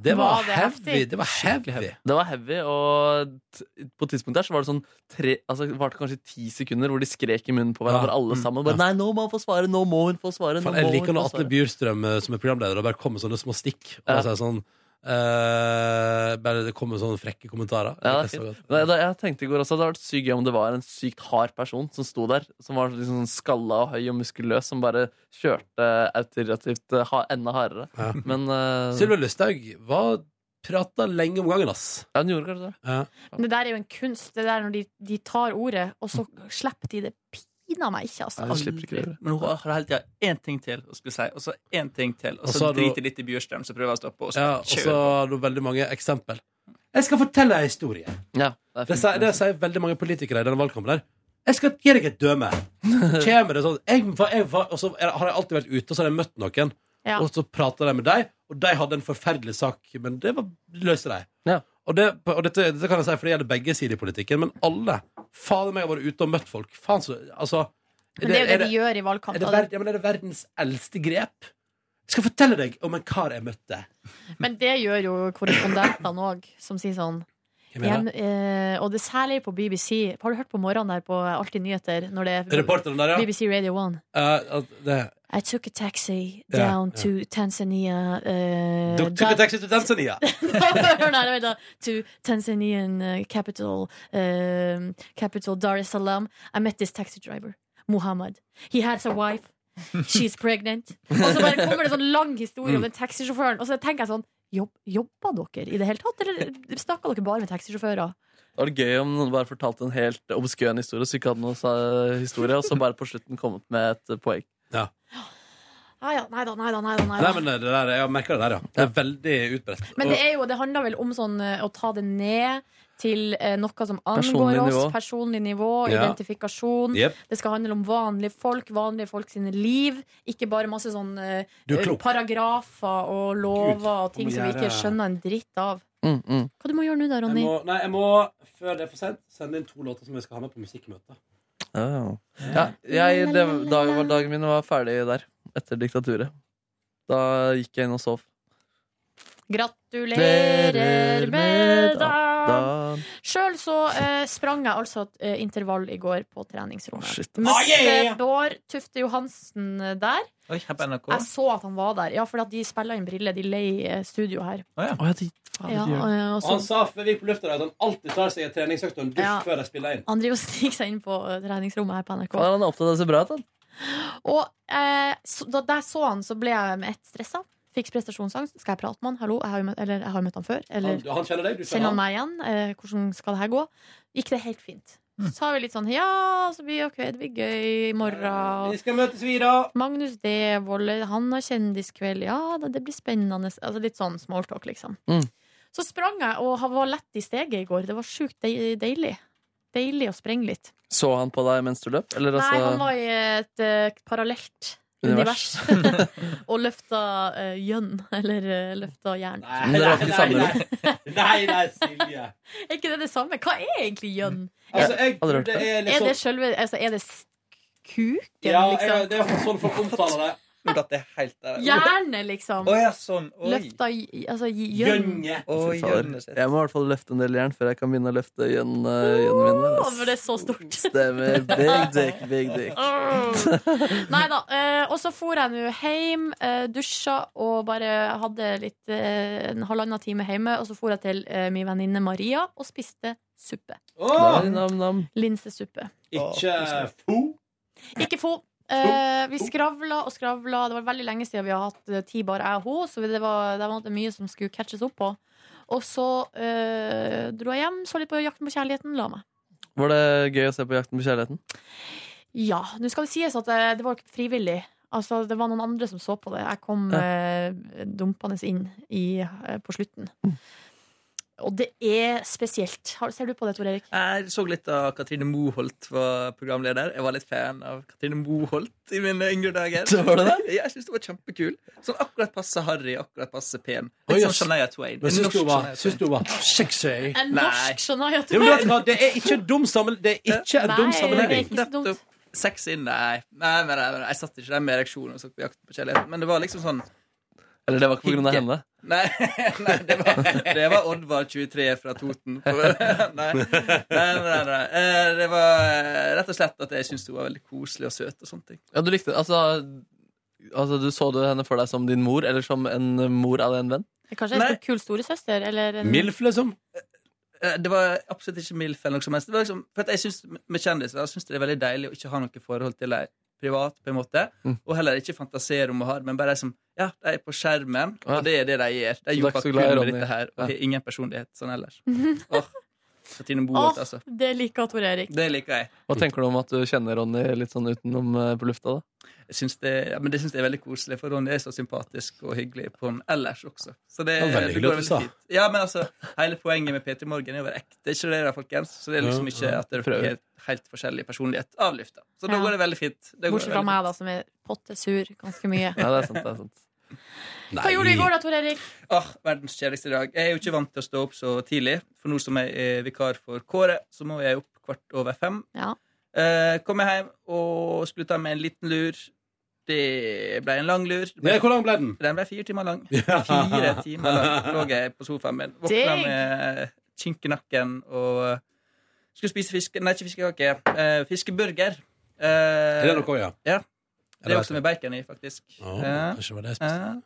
A: Det var,
C: Var det
A: heavy.
C: heftig?
A: Det var heavy.
C: Det var heavy, og t- på et tidspunkt der så var det sånn tre, altså det varte kanskje ti sekunder hvor de skrek i munnen på hverandre,
A: Ja.
C: alle
A: Mm.
C: sammen. Bare,
A: Ja.
C: Nei, nå må han få svare! Nå må hun få svare! Nå
A: Faen,
C: må
A: jeg
C: hun
A: liker
C: få
A: når Atle
C: svare.
A: Bjurstrøm eh, som er programleder og bare kommer med sånne små stikk. Og
C: Ja.
A: så er det sånn eh, Bare det kommer sånne frekke kommentarer.
C: Ja,
A: Jeg
C: det er
A: så godt.
C: fint. Nei, da, jeg tenkte i går også at det hadde vært sykt gøy om det var en sykt hard person som sto der, som var liksom sånn skalla og høy og muskuløs, som bare kjørte autorativt eh, ha, enda hardere.
A: Ja.
C: Men
B: Mm.
C: eh,
A: Sylvi Listhaug var- prata lenge om gangen, ass.
C: Ja, hun gjorde kanskje det.
A: Ja.
B: Men det der er jo en kunst. Det der når de, de tar ordet, og så slipper de det pinadø meg ikke, altså.
O: Men hun har hele tida én ting til å skulle si, og så én ting til, og
A: Og så
O: så
A: har du-
O: driter litt i Bjørstrøm, så prøver jeg å stoppe, og så
A: Ja, og så
O: kjører.
A: har du veldig mange eksempel. Jeg skal fortelle en historie.
C: det,
A: det, sier, det sier veldig mange politikere i denne valgkampen der. Jeg skal gi deg et døme. Så kommer det sånn jeg, var- jeg, var- Og så er- har jeg alltid vært ute, og så har jeg møtt noen.
B: Ja.
A: Og så prater jeg med dem, og de hadde en forferdelig sak, men det var, løste de. Og, det, og dette, dette kan jeg si, for det gjelder begge sider i politikken, men alle. Fader meg, jeg har vært ute og møtt folk. Faen så Altså.
B: Men det er jo det,
A: er
B: de gjør i
A: er det
B: valgkamp.
A: ver- ja, men er det verdens eldste grep? Jeg skal fortelle deg om en kar jeg møtte.
B: Men det gjør jo korrespondentene òg, som sier sånn
A: Hvem er det?
B: Igjen, eh, og det er særlig på BBC. Har du hørt på morgenen der på Alltid nyheter? Når det er
A: Reporteren der, ja.
B: BBC Radio 1.
A: Eh, at det,
B: I took a taxi
A: Ja,
B: down
A: ja.
B: to Tanzania eh,
A: Dere tok
B: da-
A: en taxi til Tanzania.
B: Hør nå, vent da. To Tanzanian eh, capital, eh, capital Dar es Salaam. I met this taxi driver, Muhammad. He has a wife. She's pregnant. Og så bare kommer det sånn lang historie om den taxisjåføren. Og så tenker jeg sånn jobb, Jobba dere i det hele tatt, eller snakka dere bare med taxisjåfører?
C: Det var gøy om noen bare fortalte en helt obskøn historie, så ikke hadde noen sa- historie, og så bare på slutten kommet med et eh, poeng.
B: Ah, ja, nei da, nei da, nei da. Nei
A: Nei,
B: da.
A: men eh, det der, jeg merker det der, ja. Det er veldig utbredt.
B: Men det, er jo, det handler vel om sånn, eh, å ta det ned til eh, noe som angår
A: Personlig
B: oss.
A: nivå.
B: Personlig nivå,
A: Ja.
B: identifikasjon.
A: Jep.
B: Det skal handle om vanlige folk, vanlige folk sine liv. Ikke bare masse sånn eh,
A: Du er klok.
B: paragrafer og lover og ting
A: må
B: som vi ikke
A: gjøre-
B: skjønner en dritt av.
C: Mm, mm.
B: Hva du må gjøre nå da,
A: Jeg
B: Ronny?
A: må, nei, jeg må, før det er for sent, sende inn to låter som jeg skal ha med på musikkmøtet.
C: Ah. Ja, jeg, det, dag, var- dagen min var ferdig der, etter diktaturet. Da gikk jeg inn og sov.
B: Gratulerer med dagen!
C: Da,
B: Sjøl så eh, sprang jeg altså et eh, intervall i går på treningsrommet.
O: shit.
B: Møtte
O: Ah, yeah, yeah.
B: Bård Tufte Johansen eh, der.
O: Oi, her på NRK.
B: Jeg så at han var der. Ja, fordi at de spiller inn Brille. De leier eh, studio her. Ja, eh, og
A: og
B: så-
A: han sa før vi gikk på lufta der at han alltid tar seg en treningsøkt og en dusj
B: Ja.
A: før de spiller inn.
B: Han driver og sniker seg inn på eh, treningsrommet her på NRK.
C: Faen, han er opptatt av å se bra ut, han.
B: Og eh, så, da da jeg så han, så ble jeg med ett stressa. Fikk prestasjonsangst. Skal jeg prate med han? Hallo, jeg har jo møtt, eller, jeg har jo møtt han før. Eller,
A: Han- han kjenner deg, du
B: han
A: kjenner han.
B: meg igjen? Eh, hvordan skal det her gå? Gikk det helt fint.
A: Mm.
B: Så sa vi litt sånn ja, så blir, ok, det blir gøy i morgen.
A: Eh, Vi skal møtes vi, da.
B: Magnus Devold, eh, han har kjendiskveld. Ja, det, det blir spennende. Altså litt sånn smalltalk, liksom.
A: Mm.
B: Så sprang jeg, og han var lett i steget i går. Det var sjukt dei- deilig. Deilig å sprenge litt.
C: Så han på deg mens du løp? Eller,
B: Nei, han
C: altså,
B: var i et eh, parallelt univers.
C: Univers.
B: og løfta eh, gjønn, eller eh, løfta jern.
A: Nei, Men dere var ikke nei, sammen, nei. Nei, nei, Silje.
B: er ikke det det samme? Hva er egentlig gjønn?
A: Altså, jeg tror det er litt
B: Er det
A: sånn-
B: sjølve altså, Er det s- kuken,
A: Ja, jeg,
B: liksom?
A: det er iallfall sånn folk omtaler det.
O: At det er helt der.
B: Jernet, liksom.
O: Å ja, sånn. Oi.
B: Løfta i- altså, i gjønn.
O: Oi,
C: Fy fader.
O: gjønne
C: jeg må i hvert fall løfte en del jern før jeg kan begynne å løfte gjønn- eh, gjønnen min.
B: Å,
C: ass.
B: men det er så stort.
C: Stemmer. Big dick, big dick.
B: Nei da. eh, og så for jeg nå hjem, eh, dusja og bare hadde litt eh, en halvannen time hjemme. Og så for jeg til eh, min venninne Maria og spiste suppe.
A: Åh!
C: Nam, nam, nam.
B: Linsesuppe.
A: Ikke fo.
B: Ikke få. Eh, vi skravla og skravla. Det var veldig lenge siden vi har hatt eh, ti bar, jeg og hun. Så det var, det var mye som skulle catches opp på. Og så eh, dro jeg hjem, så litt på Jakten på kjærligheten, la meg.
C: Var det gøy å se på Jakten på kjærligheten?
B: Ja, nå skal det sies at eh, det var jo ikke frivillig. Altså, det var noen andre som så på det. Jeg kom
C: Ja.
B: eh, dumpende inn i, eh, på slutten. Og det er spesielt. Har, ser du på det, Tor Erik?
O: Jeg så litt av Katrine Moholt var programleder. Jeg var litt fan av Katrine Moholt i mine yngre dager.
C: Det var det det?
O: Ja, Jeg synes det var kjempekul. Sånn akkurat passe harry, akkurat passe pen.
A: Oi,
O: Litt sånn
A: ass.
O: Shania Twain.
A: Men
O: En
A: syns
O: norsk
A: du hun var,
O: Shania
A: syns du hun var sexy?
B: En norsk sånn, Shania
A: Jo, men vet du
B: Twain.
A: hva, det er ikke en dum sammenligning. Det er ikke en dum sammenligning.
O: Nettopp. Sex inn, nei. Nei, men, nei, men Jeg satt ikke der med ereksjon og så på jakt på kjærligheten. Men det var liksom sånn
C: Eller det var ikke på grunn av henne?
O: Nei, nei det var, det var Oddvar 23 fra Toten. Nei, nei, nei, nei. Eh, Det var eh, rett og slett at jeg syntes hun var veldig koselig og søt. og sånne ting
C: Ja, du likte Altså, altså du så du henne for deg som din mor, eller som en mor av en venn?
B: Kanskje en kul storesøster? Eller en
A: liksom?
O: Eh, Det var absolutt ikke MILF eller noe som helst. Det var liksom, for at jeg synes, med kjendiser jeg synes det er veldig deilig å ikke ha noe forhold til dem privat, på en måte. Og heller ikke fantasere om å ha det, men bare de som Ja, de er på skjermen, og det er det de gjør. De
C: Du er
O: gjorde
C: ikke så
O: bare
C: glad i
O: kun med
C: Ronny.
O: dette her, og
C: Ja.
O: har ingen personlighet sånn ellers. Åh, Katrine Boholt,
B: Åh,
O: altså.
B: det liker Tor Erik.
O: Det liker jeg.
C: Hva tenker du om at du kjenner Ronny litt sånn utenom eh, på lufta, da?
O: Jeg synes det, ja, men det syns jeg er veldig koselig, for Ronny er så sympatisk og hyggelig på han ellers også. Så det,
A: Det var veldig
O: det
A: hyggelig
O: går
A: at du sa.
O: veldig fint. Ja, men altså, Hele poenget med P3 Morgen er å være ekte, ikke det da, folkens? Så det er liksom
A: Ja,
O: ikke
A: ja.
O: at dere får helt, helt forskjellig personlighet av lufta. Så da
B: Ja.
O: går det veldig fint. Det går
B: Bortsett fra
O: veldig
B: meg, da, som er pottesur ganske mye.
O: Ja, det er sant, det er sant.
B: Hva gjorde du i går, da, Tor Erik?
O: Åh, Verdens kjedeligste dag. Jeg er jo ikke vant til å stå opp så tidlig, for nå som jeg er vikar for Kåre, så må jeg opp kvart over fem.
B: Ja.
O: Eh, kom jeg hjem og skulle ta med en liten lur. Det ble en lang lur. Det
A: Nei, hvor lang ble den?
O: Den ble fire timer lang. Fire timer lang lå jeg på sofaen min. Våkna
B: Digg.
O: med kink i nakken og eh, skulle spise fiske... Nei, ikke fiskekake. eh, fiskeburger. Eh,
A: Er det noe, ja?
O: Ja. Det
A: det
O: er også med bacon i, faktisk.
A: Å,
O: Ja.
A: kanskje det var det jeg spiste.
O: Ja.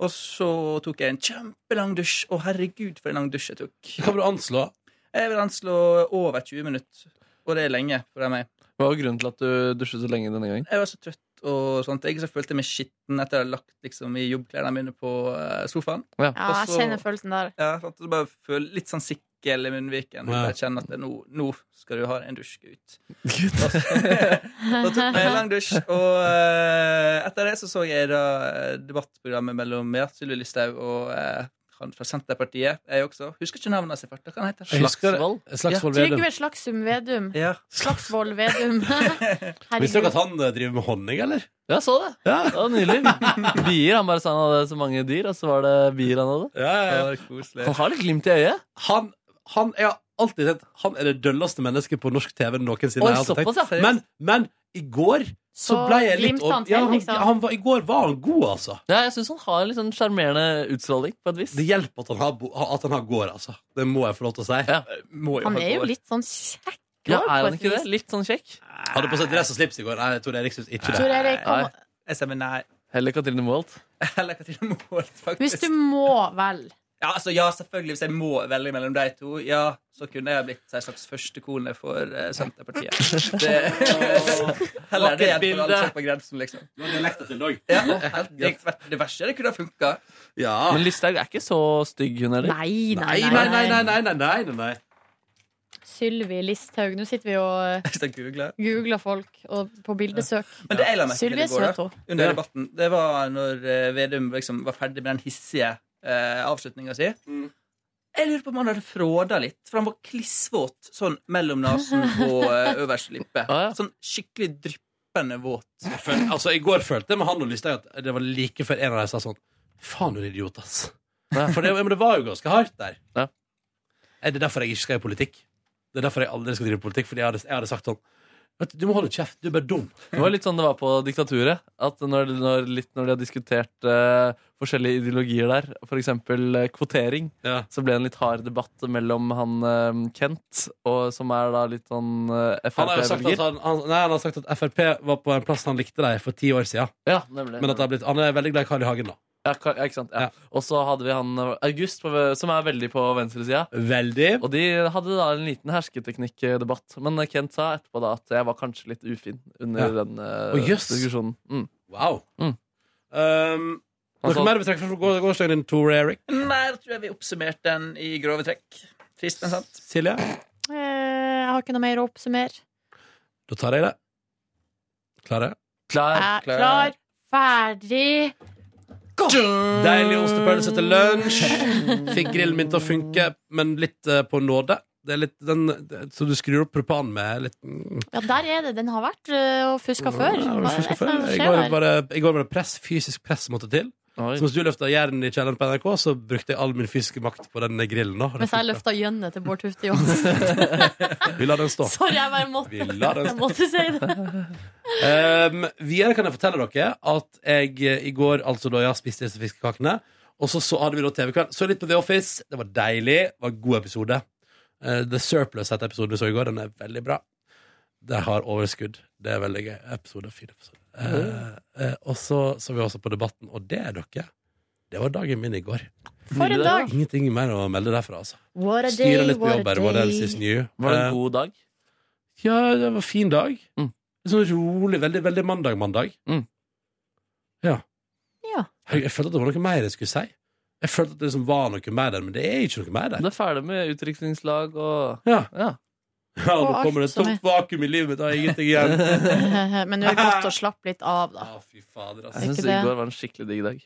O: Og så tok jeg en kjempelang dusj. Å, herregud, for en lang dusj jeg tok.
A: Hva vil du anslå?
O: Jeg vil anslå over 20 minutter. Og det er lenge for meg.
C: Hva var grunnen til at du dusjet så lenge denne gangen?
O: Jeg var så trøtt og sånt. Jeg så følte meg skitten etter å ha lagt liksom, i jobbklærne mine på eh, sofaen.
C: Ja.
B: Ja, jeg kjenner følelsen der.
O: Ja, sant? Og så bare føl- litt sånn sikkel i munnviken.
C: Ja.
O: Jeg kjenner at det, nå, nå skal du ha en dusj, gutt. Og så- og tok meg en lang dusj. Og eh, etter det så så jeg da eh, debattprogrammet mellom ja, Sylvi Listhaug og eh, han fra Senterpartiet. Jeg også. Husker ikke navnet hans i farta. Hva han heter
A: Jeg husker-
O: Slagsvold?
A: Slagsvold
O: Ja.
B: Trygve Slagsum Vedum.
O: Ja.
B: Slagsvold Vedum.
A: Visste
B: Herregud.
A: dere at han eh, driver med honning, eller?
C: Ja, så det. Det var nydelig. Bier. Han bare sa han hadde så mange dyr, og så var det bier han hadde.
A: ja,
O: Det var koselig.
C: Han har litt glimt i øyet.
A: Eh, Han, han, jeg har alltid tenkt Han er det dølleste mennesket på norsk TV noensinne.
C: Oi,
A: jeg har alltid tenkt.
C: såpass, ja.
A: men, men i går så,
C: Så
A: ble jeg litt
C: glimtet han til,
A: ja, han,
C: liksom.
A: han var, I går var han god, altså.
C: Ja, jeg syns han har en litt sånn sjarmerende utstråling, på et vis.
A: Det hjelper at han har, bo- at han har gård, altså. Det må jeg få lov til å si. Må
B: Han er jo litt sånn kjekk.
A: Ja,
B: også,
A: er
B: på
A: han
B: et
A: ikke det?
B: vis.
C: Litt sånn kjekk.
A: Hadde på seg dress og slips i går. Nei, Tor Erik syns ikke det.
B: Tor Erik, kom. Nei.
O: Jeg stemmer nei.
C: Heller Katrine Moholt.
O: Heller Katrine Moholt, faktisk.
B: Hvis du må velge
O: Ja, altså, ja, selvfølgelig. Hvis jeg må velge mellom de to, ja, så kunne jeg blitt en slags førstekone for eh, Senterpartiet. Det, heller det enn for alle som er på grensen, liksom.
A: Du har dialekta til dog.
O: Ja, og helt, det, det verste er det kunne ha funka.
C: Men Listhaug er ikke så stygg, hun heller.
B: Nei,
A: Ah. Nei, nei, nei, nei, nei, nei, nei, nei, nei.
B: Sylvi Listhaug Nå sitter vi og
O: Hvis jeg googler.
B: googler folk og på bildesøk.
O: Men det jeg la merke til
B: Sylvi
O: i
B: er
O: går,
B: søt
O: da,
B: òg.
O: under debatten, det var når eh, Vedum liksom var ferdig med den hissige eh, avslutninga si.
A: Mm.
O: Jeg lurer på om han hadde fråda litt, for han var klissvåt sånn mellom nesen og eh, øverste lippe. Sånn skikkelig dryppende våt.
A: Jeg føl- altså, I går følte jeg med han og Lysthaug at det var like før en av dem sa sånn Faen, du er en idiot, ass. For det, men det var jo ganske hardt der. Er det derfor jeg ikke skal i politikk? Det er derfor jeg aldri skal drive politikk, fordi jeg hadde, jeg hadde sagt sånn Vet du, du må holde kjeft, du er bare dum.
C: Det var litt sånn det var på diktaturet. At når, når, litt når de har diskutert eh, forskjellige ideologier der, f.eks. Uh, kvotering, så ble det en litt hard debatt mellom han eh, Kent, og, som er da litt sånn eh,
A: Han har jo sagt at,
C: Frp-velger.
A: han, han, nei, han har sagt at Frp var på en plass han likte deg for ti år siden.
C: Ja, nemlig.
A: Men at det har blitt, han er veldig glad i Carl I. Hagen, da.
C: Ja, ka- ja, ikke sant? Ja. Og så hadde vi han eh, August, på, som er veldig på venstresida.
A: Veldig.
C: Og de hadde da en liten hersketeknikkdebatt. Men eh, Kent sa etterpå da at jeg var kanskje litt ufin under
A: Ja.
C: den eh,
A: Å, jøss.
C: diskusjonen. Mm.
A: Wow.
C: Mm.
A: Um, noe
C: Altså-
A: mer vi trekker fra går- gårsdagen din, Tor Erik?
O: Nei, da Mm, tror jeg vi oppsummerte den i grove trekk. Trist, men sant.
A: Silje?
B: Eh, Jeg har ikke noe mer å oppsummere.
A: Da tar jeg det. Klare?
B: Jeg er klar, ferdig
A: Deilig ostepølse til lunsj. Fikk grillen min til å funke, men litt eh, på nåde. Det er litt den, det- så du skrur opp propan med litt mm,
B: Ja, der er det. Den har vært øh, og fuska før.
A: ja,
B: Hva er det
A: fuska
B: som
A: før. I
B: skjer
A: går
B: der?
A: var det- I går var det press, fysisk press måtte til. Så mens du løfta jern i kjelleren på NRK, så brukte jeg all min fysiske makt på den grillen. Da.
B: Mens jeg løfta gjønnet til Bård Tufte Johansen.
A: Vi lar den stå.
B: Sorry, jeg bare måtte,
A: Vi lar den
B: jeg
A: stå.
B: måtte si det.
A: Um, videre kan jeg fortelle dere at jeg eh, i går altså da jeg spiste disse fiskekakene, og så, så hadde vi da TV-kveld. Så litt på The Office. Det var deilig. Det var en god episode. Eh, The Surplus het episoden vi så i går. Den er veldig bra. Det har overskudd. Det er veldig gøy. Episode fin episode. Eh, eh, og så så vi også på Debatten, og det er dere. Det var dagen min i går.
B: For en dag.
A: Ingenting mer å melde derfra, altså.
B: What a day,
A: Styre litt på
B: what a
A: jobb her. What else is
B: day.
A: new?
C: Var det
A: Eh,
C: en god Mm. dag?
A: ja, det var en fin dag. En Sånn rolig, veldig, veldig mandag-mandag. Ja.
B: Ja.
A: Jeg, jeg følte at det var noe mer jeg skulle si. Jeg følte at det liksom var noe mer der, men det er ikke noe mer der.
C: Det er ferdig med utrykningslag og
A: Ja.
C: ja.
A: Ja,
B: Og
A: nå
B: alt
A: kommer det et
B: som
A: tomt vakuum i livet mitt, jeg har ingenting igjen.
B: Men nå er det godt å slappe litt av, da.
A: Fy fader,
B: altså.
C: Jeg syns
B: Ikke det.
C: i går var en skikkelig digg dag.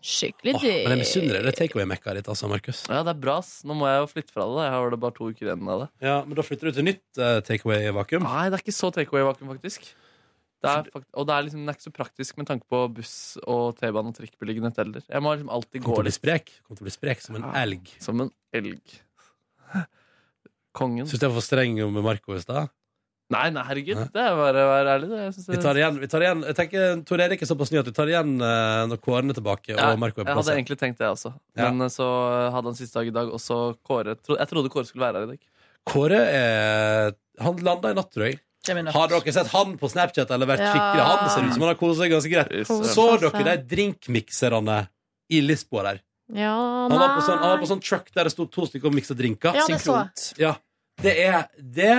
B: Skikkelig
A: Åh, men jeg misunner deg det takeaway-mekka ditt, altså, Markus.
C: Ja, det er bra. ass. Nå må jeg jo flytte fra det. da. Jeg har det bare to uker igjen av det.
A: Ja, men da flytter du til nytt eh, takeaway-vakuum.
C: Nei, det er ikke så takeaway-vakuum, faktisk. Det er fakt og det er liksom det er ikke så praktisk med tanke på buss og T-bane og trikkbeliggenhet heller. Jeg må liksom alltid
A: Kommer til å bli
C: gå litt
A: sprek. Kommer til å bli sprek som en
C: Ja,
A: elg.
C: Som en elg. Kongen.
A: Syns du jeg var for streng med Marco i stad?
C: Nei, nei, herregud. Det er bare å være ærlig. Det. Jeg synes
A: Vi tar igjen. vi tar igjen Jeg tenker Tor Erik er såpass ny at vi tar igjen eh, når Kåren er tilbake.
C: Ja,
A: og Marco er
C: jeg
A: på plass.
C: hadde egentlig tenkt det også,
A: Ja.
C: men eh, så hadde han siste dag i dag. Og så Kåre tro, Jeg trodde Kåre skulle være her i dag.
A: Kåre er Han landa i natt, tror jeg.
O: Kjem i natt.
A: Har dere sett han på Snapchat eller vært
O: Ja.
A: skikkelig han? Ser ut som han har koset seg ganske greit.
B: Koset
A: Så
B: seg.
A: dere de drinkmikserne i Lisboa der?
B: Ja,
A: Han var på sånn, han var
B: nei.
A: på sånn truck der det sto to stykker og miksa drinker.
B: Ja, det så jeg.
A: Synkront. Ja. Det er det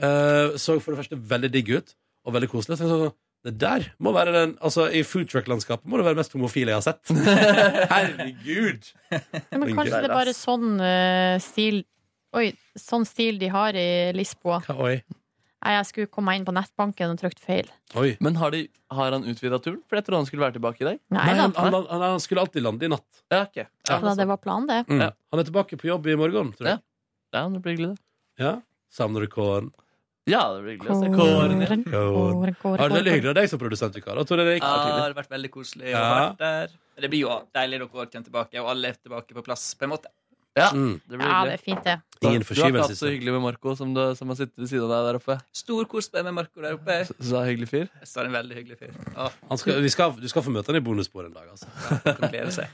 A: eh, så for det første veldig digg ut, og veldig koselig. Så jeg tenkte sånn, det der må være den Altså, I foodtruck-landskapet må det være det mest homofile jeg har sett. Herregud!
B: Men kanskje det er bare sånn eh, stil Oi, sånn stil de har i Lisboa.
A: Oi.
B: Nei, jeg skulle komme inn på nettbanken og trykt feil.
C: Men har, de, har han utvida turen? For jeg trodde han skulle være tilbake i dag.
B: Nei Nei, da.
A: han- han- skulle alltid lande i natt.
C: Ja, ok. Ja,
B: Da det var planen, det.
A: Mm. Han er tilbake på jobb i morgen, tror jeg.
C: Ja, det blir hyggelig,
A: det. Ja. Savner du Kåren?
C: Ja, det blir hyggelig å se
A: Kåren,
C: Kåren.
A: Kåren, Kåren, Kåren. Ja, det er veldig hyggelig av deg som produsentvikar. da, Tor Erik.
O: Ja, det har vært veldig koselig å ha
A: Ja.
O: vært der. Det blir jo deilig dere også kommer tilbake, og alle er tilbake på plass, på en måte.
C: Ja,
A: Mm.
C: det blir
B: Ah, Ja, det
C: hyggelig.
B: er fint, det.
A: Ingen
C: Du har ikke
A: forskyvelse.
C: hatt så hyggelig med Marco som, du, som har sittet ved siden av deg der oppe?
O: Stor kos på meg med Marco der
B: Eh.
O: oppe.
C: Så så er det hyggelig fyr?
O: Jeg står en veldig hyggelig fyr. Ja.
A: Han skal, vi skal, du skal få møte han i bonusbord en dag, altså.
O: kan glede seg.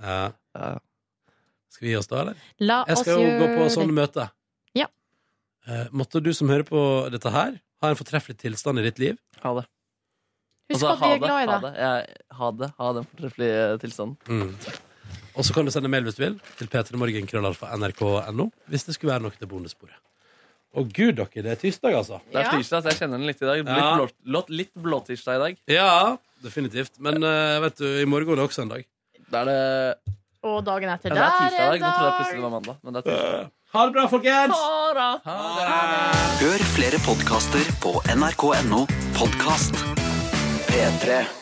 A: Ja. Skal vi gi oss da, eller?
B: La
A: Jeg skal
B: oss
A: jo gå
B: gjøre
A: på
B: Altså, det.
C: sånn
A: sånne møter.
B: Ja.
A: Eh, måtte du som hører på dette her, ha en fortreffelig tilstand i ditt liv.
C: Ha det.
B: Husk
C: Altså,
B: at vi
C: ha
B: er glad i
C: ha
B: deg.
C: det. Jeg, ha det. Ha den fortreffelige tilstanden.
A: Mm. Og så kan du sende mail hvis du vil, til p3morgen.nrk.no, hvis det skulle være noe til bonusbordet. Å gud, dere, det er tirsdag, altså.
C: Det er tirsdag, så jeg kjenner den litt i dag. Litt,
A: Ja.
C: blå, låt- litt blåtirsdag i dag.
A: Ja, definitivt. Men eh, vet du, i morgen er det også en dag.
C: Da er det
B: Og dagen etter der
C: ja, Det er tirsdag i
B: er
C: dag. Nå trodde jeg
B: dag.
C: plutselig det var mandag. Men det er tirsdag.
A: Ha det bra, folkens!
B: Ha det.
P: Hør flere podkaster på nrk.no podkast. P3.